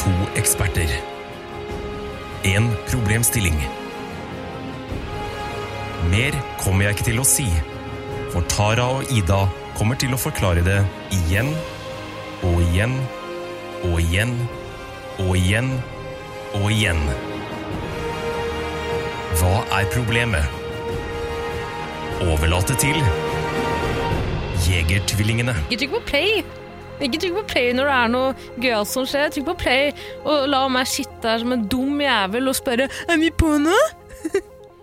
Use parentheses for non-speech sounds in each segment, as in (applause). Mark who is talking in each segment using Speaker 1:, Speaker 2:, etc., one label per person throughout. Speaker 1: To eksperter. En problemstilling. Mer kommer jeg ikke til å si, for Tara og Ida kommer til å forklare det igjen og igjen og igjen og igjen og igjen. Hva er problemet? Overlate til Jegertvillingene.
Speaker 2: Ikke trykk på play. Ikke trykk på play når det er noe gøyalt som skjer. Trykk på play og la meg sitte her som en dum jævel og spørre Er vi på nå? (laughs)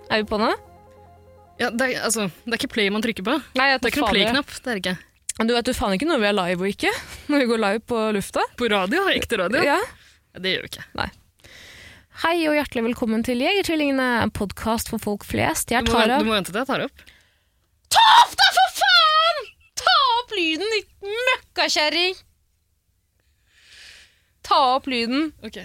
Speaker 2: er vi på nå?
Speaker 3: Ja, det, er, altså, det er ikke play man trykker på.
Speaker 2: Nei, jeg
Speaker 3: Det er ikke noen play-knapp. det er det ikke.
Speaker 2: Du vet jo faen ikke når vi er live og ikke. (laughs) Når vi går live på lufta.
Speaker 3: På radio, ekte radio. Ja, Det gjør vi ikke.
Speaker 2: Hei og hjertelig velkommen til Jegertvillingene, en podkast for folk flest. Jeg er
Speaker 3: Du må, vente,
Speaker 2: Tara.
Speaker 3: du må vente til jeg tar opp.
Speaker 2: Da, for faen! Ta opp lyden, ditt møkkakjerring! Ta opp lyden.
Speaker 3: Ok.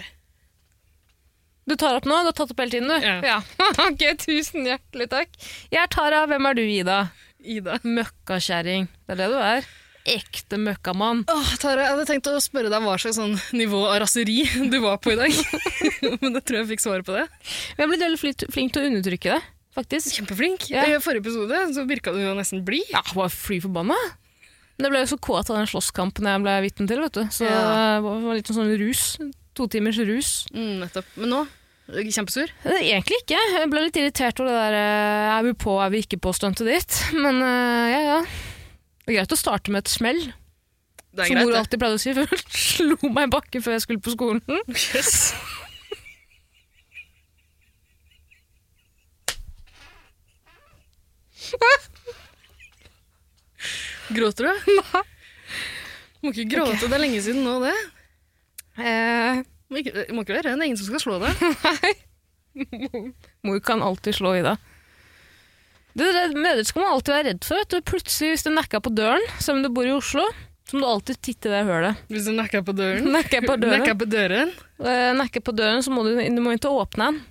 Speaker 2: Du tar opp nå? Du har tatt opp hele tiden, du?
Speaker 3: Ja.
Speaker 2: (laughs) ok, tusen hjertelig takk. Jeg er Tara. Hvem er du, Ida?
Speaker 3: Ida.
Speaker 2: Møkkakjerring. Det er det du er. Ekte møkkamann.
Speaker 3: Åh, Tara, jeg hadde tenkt å spørre deg hva slags sånn nivå av raseri du var på i dag. (laughs) Men jeg tror jeg fikk svaret på det.
Speaker 2: Jeg er blitt veldig flink, flink til å undertrykke det, faktisk.
Speaker 3: Kjempeflink.
Speaker 2: Ja.
Speaker 3: I forrige episode så virka du jo nesten blid.
Speaker 2: Ja, jeg var fly forbanna. Men jeg ble jo så kåt av den slåsskampen jeg ble vitne til, vet du. Så
Speaker 3: Ja.
Speaker 2: det var litt sånn rus. To timers rus.
Speaker 3: Mm, nettopp. Men nå Kjempesur.
Speaker 2: Eh, Egentlig ikke. Jeg ble litt irritert over det der eh, er vi på, er vi ikke på-stuntet ditt. Men eh, ja, ja. Det er greit å starte med et smell,
Speaker 3: Det er
Speaker 2: som mor
Speaker 3: greit,
Speaker 2: alltid pleide å si (laughs) før hun slo meg i bakken før jeg skulle på skolen.
Speaker 3: det. Yes. Gråter du?
Speaker 2: Nei.
Speaker 3: Må ikke gråte, det er lenge siden nå, det.
Speaker 2: Eh,
Speaker 3: Må ikke, må ikke være redd, det er ingen som skal slå deg.
Speaker 2: mor kan alltid slå Ida. Det, det, mødre skal man alltid være redd for. Vet du. Plutselig, hvis du nekka på døren, selv om du bor i Oslo, så må du alltid titte i det
Speaker 3: (laughs)
Speaker 2: hølet.
Speaker 3: Hvis du nakker på døren.
Speaker 2: Nekker på døren,
Speaker 3: Nakker på døren.
Speaker 2: eh, nekker på døren så må du, du må ikke åpne den.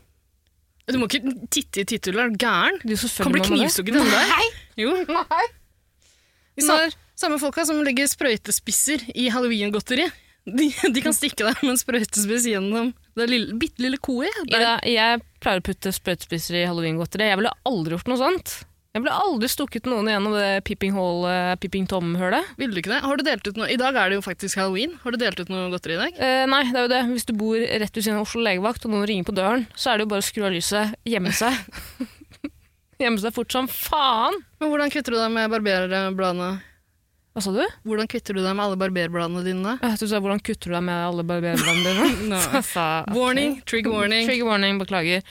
Speaker 3: Du må ikke titte i tittulet, er du gæren?
Speaker 2: Du
Speaker 3: Kan bli
Speaker 2: selvfølgelig må det.
Speaker 3: knivstukket den der. Jo.
Speaker 2: Nei!
Speaker 3: De sa- samme folka som legger sprøytespisser i halloween-godteri. De, de kan stikke deg med en sprøytespiss gjennom det lille, bitte lille koet. Der.
Speaker 2: Ida, jeg pleier å putte sprøytespisser i halloweengodteri. Jeg ville aldri gjort noe sånt. Jeg ville aldri stukket noen gjennom det Peeping, Hall, eh, Peeping Tom-hølet.
Speaker 3: Vil du ikke det? Har du delt ut noe? I dag er det jo faktisk halloween. Har du delt ut noe godteri i dag?
Speaker 2: Eh, nei, det er jo det. Hvis du bor rett ved siden av Oslo legevakt, og noen ringer på døren, så er det jo bare å skru av lyset, gjemme seg. (laughs) gjemme seg fort som faen!
Speaker 3: Men hvordan kvitter du deg med barberbladene?
Speaker 2: Hva sa du?
Speaker 3: Hvordan kvitter du deg med alle barberbladene dine?
Speaker 2: Eh, Du sa hvordan kutter du deg med alle barberbladene dine?
Speaker 3: Nå.
Speaker 2: Så (laughs) jeg sa-
Speaker 3: (laughs) Warning, trigger warning.
Speaker 2: Trigger warning, beklager.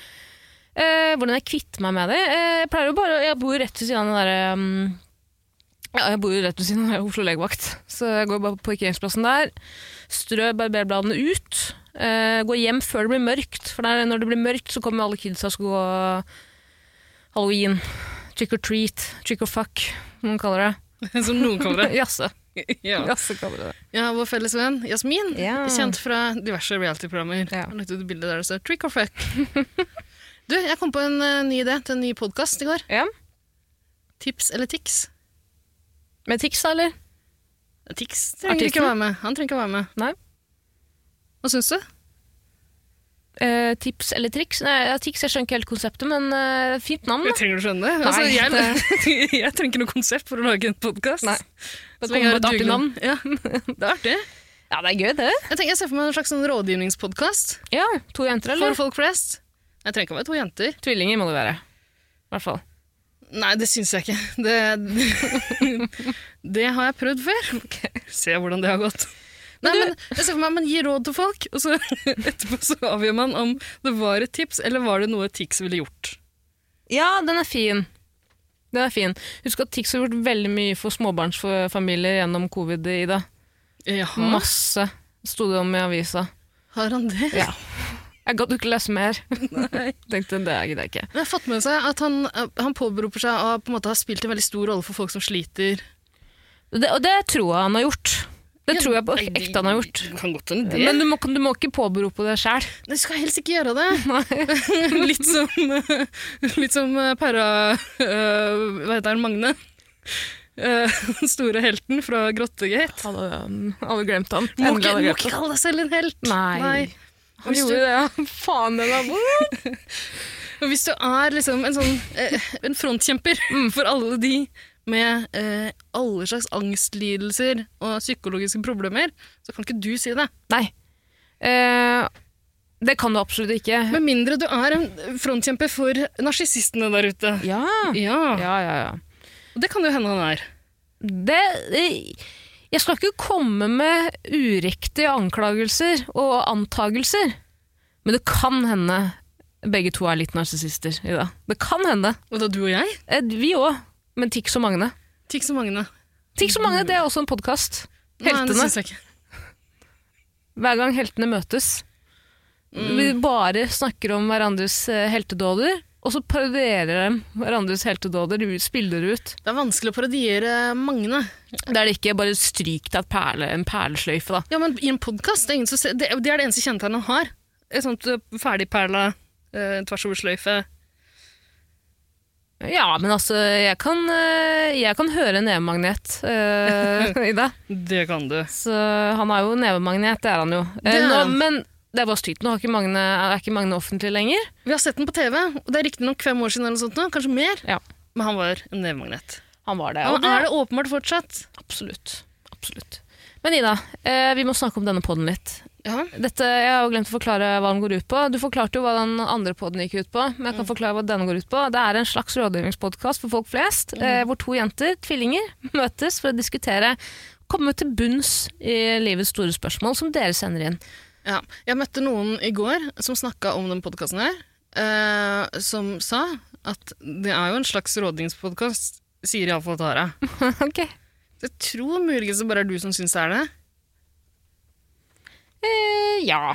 Speaker 2: Eh, hvordan jeg kvitter meg med det? Eh, jeg pleier jo bare, jeg bor rett ved siden av den derre mm, ja, jeg bor jo rett ved siden av Oslo legevakt, så jeg går bare på parkeringsplassen der. Strø barberbladene ut. Eh, går hjem før det blir mørkt, for der, når det blir mørkt, så kommer alle kidsa og skal gå halloween. Trick or treat, trick or fuck, som noen kaller det.
Speaker 3: (laughs) Som noen kaller det.
Speaker 2: Jasse.
Speaker 3: (laughs) Ja.
Speaker 2: Jasse kaller det.
Speaker 3: Jeg har vår felles venn Jasmin,
Speaker 2: Ja.
Speaker 3: kjent fra diverse reality-programmer.
Speaker 2: Ja.
Speaker 3: Hun lagt ut et bilde der det står 'trick or fuck'. (laughs) du, jeg kom på en eh, ny idé til en ny podkast i går.
Speaker 2: Ja.
Speaker 3: Tips eller tics?
Speaker 2: Med tics, da, eller?
Speaker 3: Tics trenger
Speaker 2: Artisten?
Speaker 3: ikke være med. Han trenger ikke være med.
Speaker 2: Nei.
Speaker 3: Hva syns du?
Speaker 2: Eh, tips eller triks? Nei, ja, tics, jeg skjønner ikke helt konseptet, men eh, fint navn, da.
Speaker 3: Jeg trenger å skjønne det.
Speaker 2: Nei,
Speaker 3: Altså, jeg,
Speaker 2: det-
Speaker 3: (laughs) jeg trenger ikke noe konsept for å lage en podkast.
Speaker 2: Nei. Det kommer et artig navn.
Speaker 3: Ja, det er artig.
Speaker 2: Ja, det er gøy, det.
Speaker 3: (laughs) Jeg tenker jeg ser for meg en slags sånn rådgivningspodkast
Speaker 2: Ja, To jenter, eller?
Speaker 3: for folk flest. Jeg trenger ikke å være to jenter.
Speaker 2: Tvillinger må det være. I hvert fall.
Speaker 3: Nei, det syns jeg ikke. (laughs) Det, det (laughs) har jeg prøvd før. (laughs) Se hvordan det har gått. Nei, men, jeg ser for meg, Man gir råd til folk, og så (laughs) etterpå så avgjør man om det var et tips eller var det noe Tix ville gjort.
Speaker 2: Ja, den er fin. Den er fin. Husk at Tix har gjort veldig mye for småbarnsfamilier gjennom covid, Ida.
Speaker 3: Jaha,
Speaker 2: Masse sto det om i avisa.
Speaker 3: har han det?
Speaker 2: Ja. Jeg gadd ikke lese mer. (laughs) Tenkte det gidder jeg ikke.
Speaker 3: Men jeg har fått med seg at han, eh, han påberoper seg å på en måte ha spilt en veldig stor rolle for folk som sliter.
Speaker 2: Det, og det tror jeg han har gjort. Det tror jeg på
Speaker 3: Nei, de-
Speaker 2: ekte han har gjort.
Speaker 3: det Kan godt hende det.
Speaker 2: Men du må, du må ikke påberope deg sjæl.
Speaker 3: Du skal helst ikke gjøre det. (laughs) litt eh, som, litt som para... øh, hva heter han? Magne? eh, den store helten fra Grottegate.
Speaker 2: Hadde, um, hadde glemt han. Endelig
Speaker 3: Må ikke,
Speaker 2: hadde
Speaker 3: må
Speaker 2: glemt
Speaker 3: ikke
Speaker 2: han.
Speaker 3: kalle deg selv en helt!
Speaker 2: Nei. Han
Speaker 3: Hvis
Speaker 2: gjorde
Speaker 3: du-
Speaker 2: det, ja. (laughs) Faen, den er vond.
Speaker 3: Og hvis du er liksom en sånn eh, en frontkjemper
Speaker 2: Mm.
Speaker 3: for alle de med eh, alle slags angstlidelser og psykologiske problemer, så kan ikke du si det.
Speaker 2: Nei. Eh, det kan du absolutt ikke.
Speaker 3: Med mindre du er en frontkjemper for narsissistene der ute.
Speaker 2: ja.
Speaker 3: Ja,
Speaker 2: ja, ja, ja.
Speaker 3: og det kan det jo hende han er.
Speaker 2: Det, eh, jeg skal ikke komme med uriktige anklagelser og antagelser, men det kan hende begge to er litt narsissister i det. Det kan hende.
Speaker 3: Og da du og jeg,
Speaker 2: Eh, Vi òg, men Tix og Magne.
Speaker 3: tikk som Magne.
Speaker 2: Tix og Magne det er også en podkast.
Speaker 3: Nei, det
Speaker 2: Heltene.
Speaker 3: syns jeg ikke.
Speaker 2: Hver gang heltene møtes. Vi bare snakker om hverandres eh, heltedåder, og så parodierer de hverandres heltedåder. De spiller det ut.
Speaker 3: Det er vanskelig å parodiere Magne.
Speaker 2: Det er det ikke. Bare stryk deg et perle, en perlesløyfe, da.
Speaker 3: Ja, men i en podkast det, er ingen som ser- det, det er det eneste kjennetegnet han har. Et sånt eh, ferdigperla eh, tvers over sløyfe.
Speaker 2: Ja, men altså, jeg kan, eh, jeg kan høre en nevemagnet eh, (laughs) i det.
Speaker 3: Det kan du.
Speaker 2: Så han er jo nevemagnet, det er han jo. Eh,
Speaker 3: Det er
Speaker 2: nå,
Speaker 3: han.
Speaker 2: men det er bare stygt. Nå har ikke Magne, er ikke Magne offentlig lenger.
Speaker 3: Vi har sett den på TV, og det er riktignok fem år siden, eller noe sånt nå, kanskje mer,
Speaker 2: Ja,
Speaker 3: men han var en nevemagnet.
Speaker 2: han var det.
Speaker 3: Ja,
Speaker 2: og
Speaker 3: men er det åpenbart fortsatt?
Speaker 2: Absolutt. Absolutt. Men Ida, eh, vi må snakke om denne podden litt.
Speaker 3: Ja.
Speaker 2: Dette, jeg har jo glemt å forklare hva den går ut på. Du forklarte jo hva den andre podden gikk ut på, men jeg kan forklare hva denne går ut på. Det er en slags rådgivningspodkast for folk flest, eh, hvor to jenter, tvillinger, møtes for å diskutere Komme til bunns i livets store spørsmål som dere sender inn.
Speaker 3: ja. Jeg møtte noen i går som snakka om den podkasten her, eh, som sa at det er jo en slags rådgivningspodkast, sier iallfall Tara.
Speaker 2: (laughs) ok.
Speaker 3: Jeg tror muligens det bare er du som syns det er det.
Speaker 2: Eh, ja.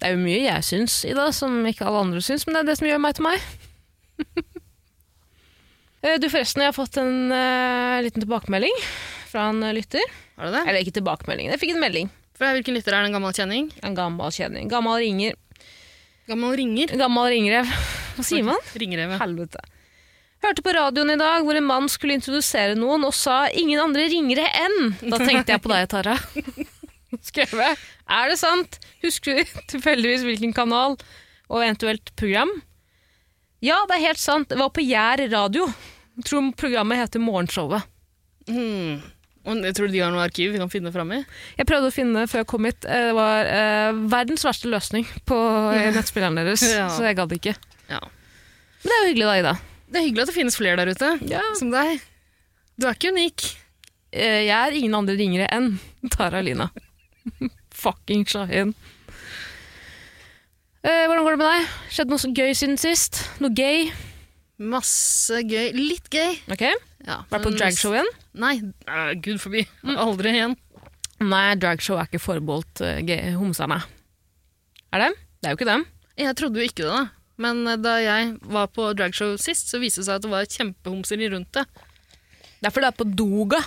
Speaker 2: Det er jo mye jeg syns, Ida, som ikke alle andre syns, men det er det som gjør meg til meg. (laughs) Eh, du, forresten, jeg har fått en eh, liten tilbakemelding fra en eh, lytter.
Speaker 3: Har du det?
Speaker 2: Eller ikke tilbakemelding, jeg fikk en melding.
Speaker 3: Fra hvilken lytter er det en gammel kjenning?
Speaker 2: En gammel kjenning. Gammel ringer.
Speaker 3: Gammel ringer.
Speaker 2: Gammel ringrev. (laughs) Hva sier man?
Speaker 3: Ringrev, ja.
Speaker 2: Helvete. Hørte på radioen i dag hvor en mann skulle introdusere noen og sa 'ingen andre ringere enn'. Da tenkte jeg på deg, Tara. (laughs) Skrev jeg. Er det sant? Husker du (laughs) tilfeldigvis hvilken kanal og eventuelt program? Ja, det er helt sant. Det var på Gjær radio. Jeg tror programmet heter Morgenshowet.
Speaker 3: Hmm. Og jeg tror de har noe arkiv vi kan finne fram i.
Speaker 2: Jeg prøvde å finne før jeg kom hit. eh, Det var eh, verdens verste løsning på eh, nettspilleren (laughs) deres,
Speaker 3: Ja.
Speaker 2: så jeg gadd ikke.
Speaker 3: Ja.
Speaker 2: Men det er jo hyggelig, da, Ida.
Speaker 3: Det er hyggelig at det finnes flere der ute, som deg. Du er ikke unik.
Speaker 2: Eh, Jeg er ingen andre ringere enn Tara Lina. (laughs) Fucking Shahin. Eh, hvordan går det med deg? Skjedd noe så gøy siden sist? Noe gay?
Speaker 3: Masse gøy. Litt gøy.
Speaker 2: Ok,
Speaker 3: Ja,
Speaker 2: Vært på
Speaker 3: men-
Speaker 2: dragshow igjen?
Speaker 3: Nei, eh, gud forbi. Aldri igjen.
Speaker 2: Nei, dragshow er ikke forbeholdt eh, gay- homserne. Er det? Det er jo ikke dem.
Speaker 3: Jeg trodde jo ikke det, da. Men eh, da jeg var på dragshow sist, så viste det seg at det var kjempehomseri rundt det.
Speaker 2: Derfor det er på Doga.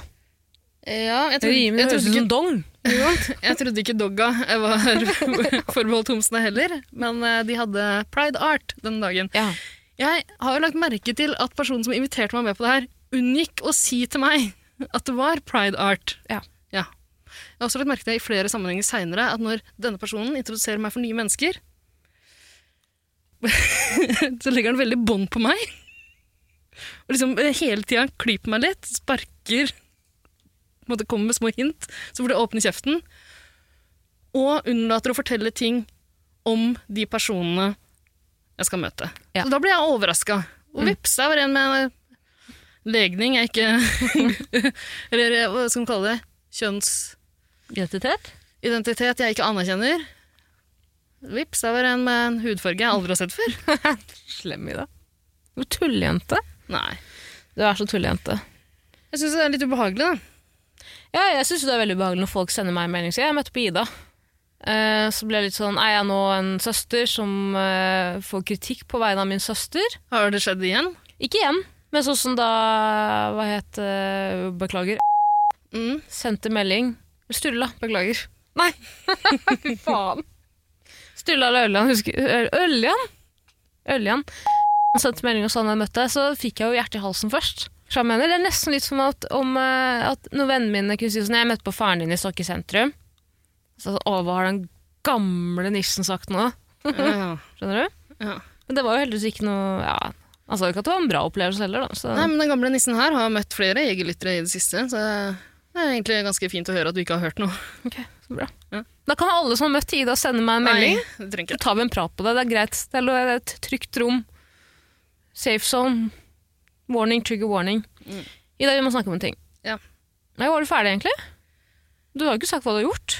Speaker 3: Ja, jeg trodde,
Speaker 2: Rimen
Speaker 3: jeg
Speaker 2: høres
Speaker 3: trodde,
Speaker 2: ut som
Speaker 3: ikke,
Speaker 2: dong.
Speaker 3: jeg trodde ikke dogga eh, var (laughs) forbeholdt homsene heller, men eh, de hadde pride art den dagen.
Speaker 2: (laughs) Ja.
Speaker 3: Jeg har jo lagt merke til at personen som inviterte meg med på det her, unngikk å si til meg at det var pride art.
Speaker 2: Ja.
Speaker 3: Jeg har også lagt merke til i flere sammenhenger seinere at når denne personen introduserer meg for nye mennesker, (laughs) så legger han veldig bånd på meg. Og liksom eh, hele tida klyper meg litt, sparker på en måte Kommer med små hint, så burde jeg åpne kjeften. Og unnlater å fortelle ting om de personene jeg skal møte.
Speaker 2: Ja. Mm.
Speaker 3: Så da blir jeg overraska. Og vips, der var en med legning jeg ikke (laughs) Eller eh, hva skal man kalle det? Kjønnsidentitet
Speaker 2: Identitet?
Speaker 3: jeg ikke anerkjenner. Vips, der var en med en hudfarge jeg aldri har sett før.
Speaker 2: Slem i det. Du er tullejente.
Speaker 3: Nei.
Speaker 2: Du er så tullejente.
Speaker 3: Jeg syns det er litt ubehagelig, da.
Speaker 2: Ja, jeg syns det er veldig ubehagelig når folk sender meg en melding. Så jeg møtte på Ida. Eh, så ble jeg litt sånn Er jeg nå en søster som eh, får kritikk på vegne av min søster?
Speaker 3: Har det skjedd igjen?
Speaker 2: Ikke igjen, men sånn som da Hva het eh, Beklager.
Speaker 3: Mm.
Speaker 2: Sendte melding. Sturla. Beklager. Nei! (laughs) Fy faen. Sturla eller Ørjan, husker Ø- Ørjan? Ørjan. Han sendte melding og sa han hadde møtt deg, så fikk jeg jo hjertet i halsen først. Skjønner du hva jeg mener? Det er nesten litt som at, om, eh, at når vennene mine kunne si sånn Jeg møtte på faren din i Stokke sentrum. Så sånn, Å, hva har den gamle nissen sagt nå?
Speaker 3: Ja.
Speaker 2: Skjønner du?
Speaker 3: Ja. Men
Speaker 2: Men det var jo heldigvis ikke noe ja, Han sa jo ikke at det var en bra opplevelse heller, da. Så.
Speaker 3: Nei, men Den gamle nissen her har møtt flere jegerlyttere i det siste, så det er egentlig ganske fint å høre at du ikke har hørt noe.
Speaker 2: Ok, så bra.
Speaker 3: Ja.
Speaker 2: Da kan alle som har møtt Ida, sende meg en melding.
Speaker 3: Nei, det trenger
Speaker 2: Så
Speaker 3: ikke.
Speaker 2: tar vi en prat på det. Det er greit. Det er lo- det er et trygt rom. Safe zone. Warning, trigger warning. Ida, vi må snakke om en ting.
Speaker 3: Mm. Ja.
Speaker 2: Nei, var du ferdig, egentlig? Du har jo ikke sagt hva du har gjort.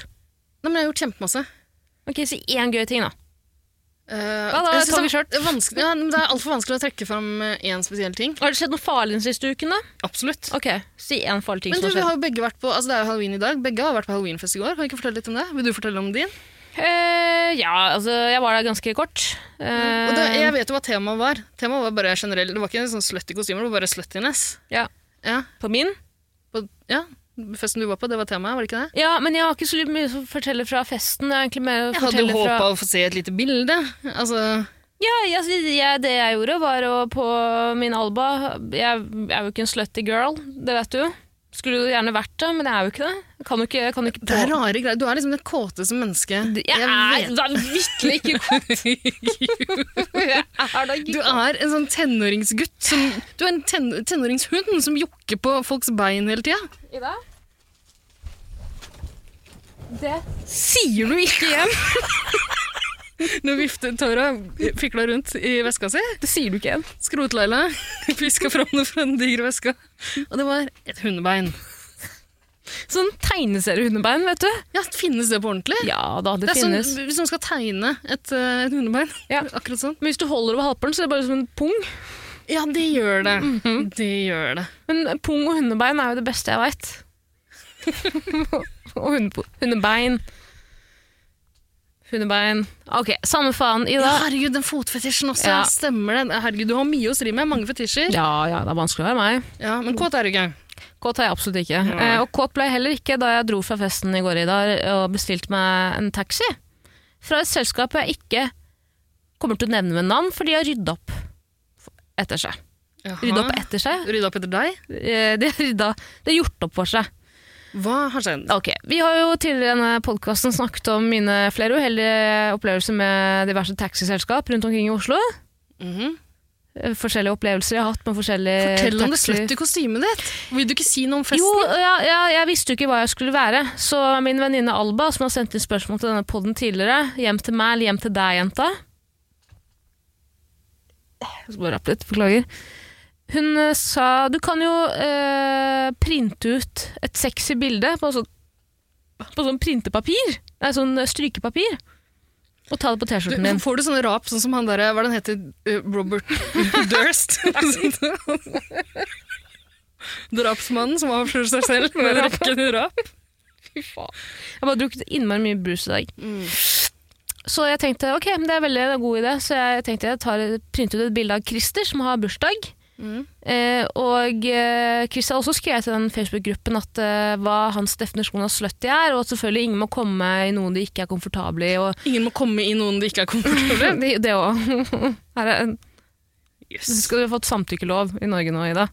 Speaker 3: Nei, men jeg har gjort kjempemasse.
Speaker 2: Ok, Si én gøy ting, da.
Speaker 3: Eh,
Speaker 2: da,
Speaker 3: jeg synes
Speaker 2: tar vi
Speaker 3: det er vanskelig- Ja, men det er altfor vanskelig å trekke fram én spesiell ting.
Speaker 2: Har det skjedd noe farlig den siste uken? da?
Speaker 3: Absolutt.
Speaker 2: Ok, Si én farlig ting
Speaker 3: Men du,
Speaker 2: som
Speaker 3: vi
Speaker 2: har skjedd.
Speaker 3: har jo begge vært på, altså Det er jo halloween i dag. Begge har vært på halloweenfest i går. Kan vi ikke fortelle litt om det? Vil du fortelle om din?
Speaker 2: Eh, ja, altså, jeg var der ganske kort. Eh,
Speaker 3: Mm, Og det, jeg vet jo hva temaet var. Temaet var bare generell, Det var ikke en sånn slutty kostymer, det var bare sluttiness.
Speaker 2: ja,
Speaker 3: Ja,
Speaker 2: på min?
Speaker 3: på, ja, festen du var på, det var temaet, var det ikke det?
Speaker 2: Ja, men jeg har ikke så mye å fortelle fra festen. Jeg, har egentlig mer å
Speaker 3: Jeg hadde jo
Speaker 2: fortelle fra...
Speaker 3: håpa å få se et lite bilde. Altså,
Speaker 2: Ja, jeg, jeg, det jeg gjorde var å på min alba Jeg, jeg er jo ikke en slutty girl, det vet du. Skulle jo gjerne vært det, men jeg er jo ikke det. Jeg kan jo ikke, jeg kan jo ikke
Speaker 3: det er rare greier. Du er liksom det kåteste mennesket
Speaker 2: Jeg er
Speaker 3: vet.
Speaker 2: vanvittig (laughs) ikke god. Jeg er da
Speaker 3: Du
Speaker 2: ikke
Speaker 3: er en sånn tenåringsgutt som Du er en ten, tenåringshund som jokker på folks bein hele tida.
Speaker 2: i det. Det sier du ikke igjen!
Speaker 3: Nå vifter Tara fikla rundt i veska si.
Speaker 2: Det sier du ikke igjen.
Speaker 3: (laughs) Skrotleila fiska fram det fra den digre veska. Og det var et hundebein.
Speaker 2: Sånn tegneseriehundebein, vet du.
Speaker 3: Ja, finnes det på ordentlig?
Speaker 2: Ja da, det,
Speaker 3: Det er sånn,
Speaker 2: finnes.
Speaker 3: Hvis man skal tegne et, eh, et hundebein,
Speaker 2: Ja.
Speaker 3: (laughs) akkurat sånn.
Speaker 2: Men hvis du holder over halvparten, så er det bare som en pung.
Speaker 3: Ja, det gjør det.
Speaker 2: Mhm.
Speaker 3: Det gjør det.
Speaker 2: Men pung og hundebein er jo det beste jeg veit. (laughs) og hunde, hundebein. Hundebein. Ok, samme faen,
Speaker 3: Ja,
Speaker 2: Ida.
Speaker 3: herregud, den fotfetisjen også.
Speaker 2: Ja.
Speaker 3: Stemmer det. Herregud, du har mye å stri med. Mange fetisjer.
Speaker 2: Ja, ja, det er vanskelig å være meg.
Speaker 3: Ja, men kåt er du ikke.
Speaker 2: Kåt er jeg absolutt ikke. Eh, og kåt ble jeg heller ikke da jeg dro fra festen i går, Ida, og bestilte meg en taxi. Fra et selskap jeg ikke kommer til å nevne med navn, for de har rydda opp etter seg.
Speaker 3: Jaha.
Speaker 2: Rydda opp etter seg?
Speaker 3: Rydda opp etter deg?
Speaker 2: Eh, De har rydda, de har gjort opp for seg.
Speaker 3: Hva har skjedd?
Speaker 2: Ok, Vi har jo tidligere i denne podkasten snakket om mine flere uheldige opplevelser med diverse taxiselskap rundt omkring i Oslo.
Speaker 3: Mhm.
Speaker 2: Eh, Forskjellige opplevelser jeg har hatt med forskjellige
Speaker 3: Fortell om det
Speaker 2: Eh, taxi-
Speaker 3: slutty kostymet ditt. Vil du ikke si noe om festen?
Speaker 2: Jo, ja, ja, jeg visste jo ikke hva jeg skulle være, så min venninne Alba, som har sendt inn spørsmål til denne podden tidligere, hjem til meg eller hjem til deg, jenta Jeg skal bare rappe litt, beklager. Hun eh, sa du kan jo eh, printe ut et sexy bilde på sånn, på sånn printepapir, nei, sånn strykepapir, og ta det på T-skjorten
Speaker 3: Du,
Speaker 2: din.
Speaker 3: får du sånne rap sånn som han der, hva er det han heter, Eh, Robert (laughs) Durst? Sånn Drapsmannen som avslører seg selv med en rekke rap.
Speaker 2: Fy faen. Jeg har bare drukket innmari mye brus i dag.
Speaker 3: Mm.
Speaker 2: Så jeg tenkte ok, men det er veldig en god idé, så jeg tenkte jeg tar, printer ut et bilde av Christer, som har bursdag.
Speaker 3: Mm.
Speaker 2: Eh, og eh, Christer har også skrevet til den Facebook-gruppen at eh, hva hans definisjon av slutty er, og at selvfølgelig ingen må komme i noen de ikke er komfortable i. Og,
Speaker 3: Ingen må komme i noen de ikke er komfortable
Speaker 2: (laughs)
Speaker 3: med.
Speaker 2: det det også. (laughs) Her er, du
Speaker 3: Yes.
Speaker 2: skal du ha fått samtykkelov i Norge nå, Ida.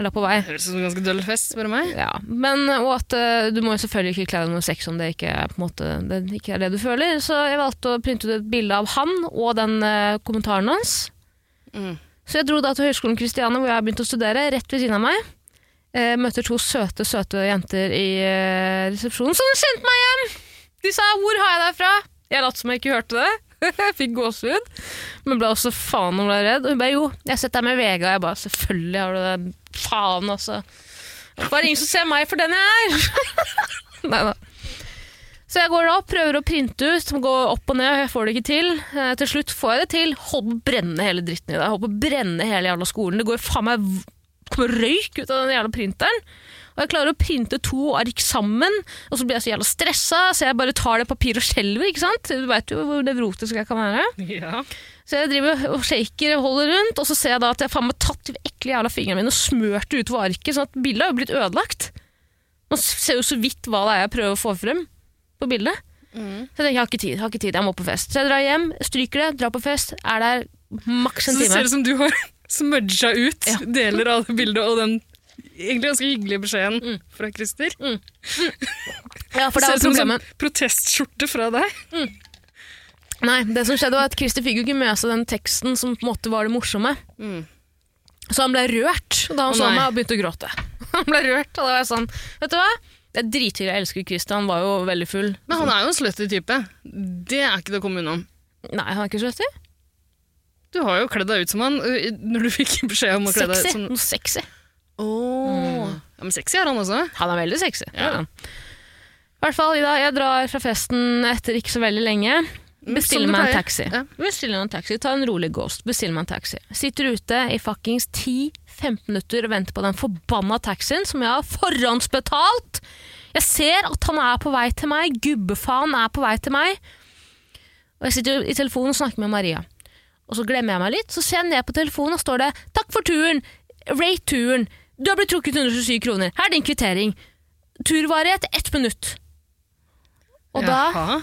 Speaker 2: Eller på vei.
Speaker 3: Det høres ut som en ganske døll fest, spør du meg.
Speaker 2: Ja, men og at eh, du må jo selvfølgelig ikke kle deg noe sex om det ikke, er på en måte, det ikke er det du føler. Så jeg valgte å printe ut et bilde av han og den eh, kommentaren hans.
Speaker 3: Mm.
Speaker 2: Så jeg dro da til Høgskolen Kristiania, hvor jeg har begynt å studere, rett ved siden av meg. Eh, møter to søte, søte jenter i eh, resepsjonen som sendte meg hjem! De sa 'hvor har jeg deg fra?' Jeg lot som jeg ikke hørte det. (laughs) Jeg fikk gåsehud, men ble også faen om jeg ble redd. Og hun bare 'jo, jeg har sett deg med Vega'. Jeg bare 'selvfølgelig har du det'. Faen, altså. Bare ingen som ser meg for den jeg er. (laughs) Nei da. Så jeg går da opp, prøver å printe ut, må gå opp og ned, jeg får det ikke til. Eh, til slutt får jeg det til. Holder på å brenne hele dritten i det. Jeg Holder på å brenne hele jævla skolen. Det går faen meg v- kommer røyk ut av den jævla printeren. Og jeg klarer å printe to ark sammen, og så blir jeg så jævla stressa, så jeg bare tar det papiret og skjelver, ikke sant? Du veit jo hvor nevrotisk jeg kan være.
Speaker 3: Ja.
Speaker 2: Så jeg driver og shaker og holder rundt, og så ser jeg da at jeg faen meg har tatt de ekle jævla fingrene mine og smørt det utover arket, sånn at bildet har jo blitt ødelagt. Man ser jo så vidt hva det er jeg prøver å få frem på bildet.
Speaker 3: Mm.
Speaker 2: Så jeg tenker, jeg har ikke tid, jeg har ikke tid, jeg må på fest. Så jeg drar hjem, stryker det, drar på fest, er der maks
Speaker 3: Så
Speaker 2: en
Speaker 3: det ser
Speaker 2: time.
Speaker 3: ut som du har (laughs) smudget ut
Speaker 2: Ja.
Speaker 3: deler av det bildet og den egentlig ganske hyggelig beskjeden fra Christer.
Speaker 2: Ja, for det er
Speaker 3: Ser ut som en
Speaker 2: problemet.
Speaker 3: sånn protestskjorte fra deg.
Speaker 2: Nei, det som skjedde var at Christer fikk jo ikke med seg den teksten som på en måte var det morsomme.
Speaker 3: Mm.
Speaker 2: Så han ble rørt da han
Speaker 3: Å,
Speaker 2: så
Speaker 3: nei.
Speaker 2: meg og begynte å gråte. (laughs) Han ble rørt, og da var jeg sånn, vet du hva? Det er drithyggelig, jeg elsker jo Christer, han var jo veldig full.
Speaker 3: Men han er jo en slutty type. Det er ikke det å komme unna.
Speaker 2: Nei, han er ikke slutty.
Speaker 3: Du har jo kledd deg ut som han ø, i- når du fikk beskjed om å kle deg
Speaker 2: Sexy.
Speaker 3: ut som
Speaker 2: Noe sexy.
Speaker 3: Åh. Ja, Men sexy er han også.
Speaker 2: Han er veldig sexy.
Speaker 3: Ja.
Speaker 2: Ja. I hvert fall, Ida, jeg drar fra festen etter ikke så veldig lenge. Bestiller
Speaker 3: som du
Speaker 2: meg
Speaker 3: pleier.
Speaker 2: en taxi.
Speaker 3: Ja.
Speaker 2: Bestiller meg en taxi, Ta en rolig ghost. Bestiller meg en taxi. Sitter ute i fuckings 10-15 minutter og venter på den forbanna taxien som jeg har forhåndsbetalt! Jeg ser at han er på vei til meg. Gubbefaen er på vei til meg. Og jeg sitter i telefonen og snakker med Maria. Og så glemmer jeg meg litt, så ser jeg ned på telefonen og står det 'Takk for turen! Rate turen! Du har blitt trukket 127 kroner. Her er din kvittering. Turvarighet ett minutt. Og da
Speaker 3: Jaha.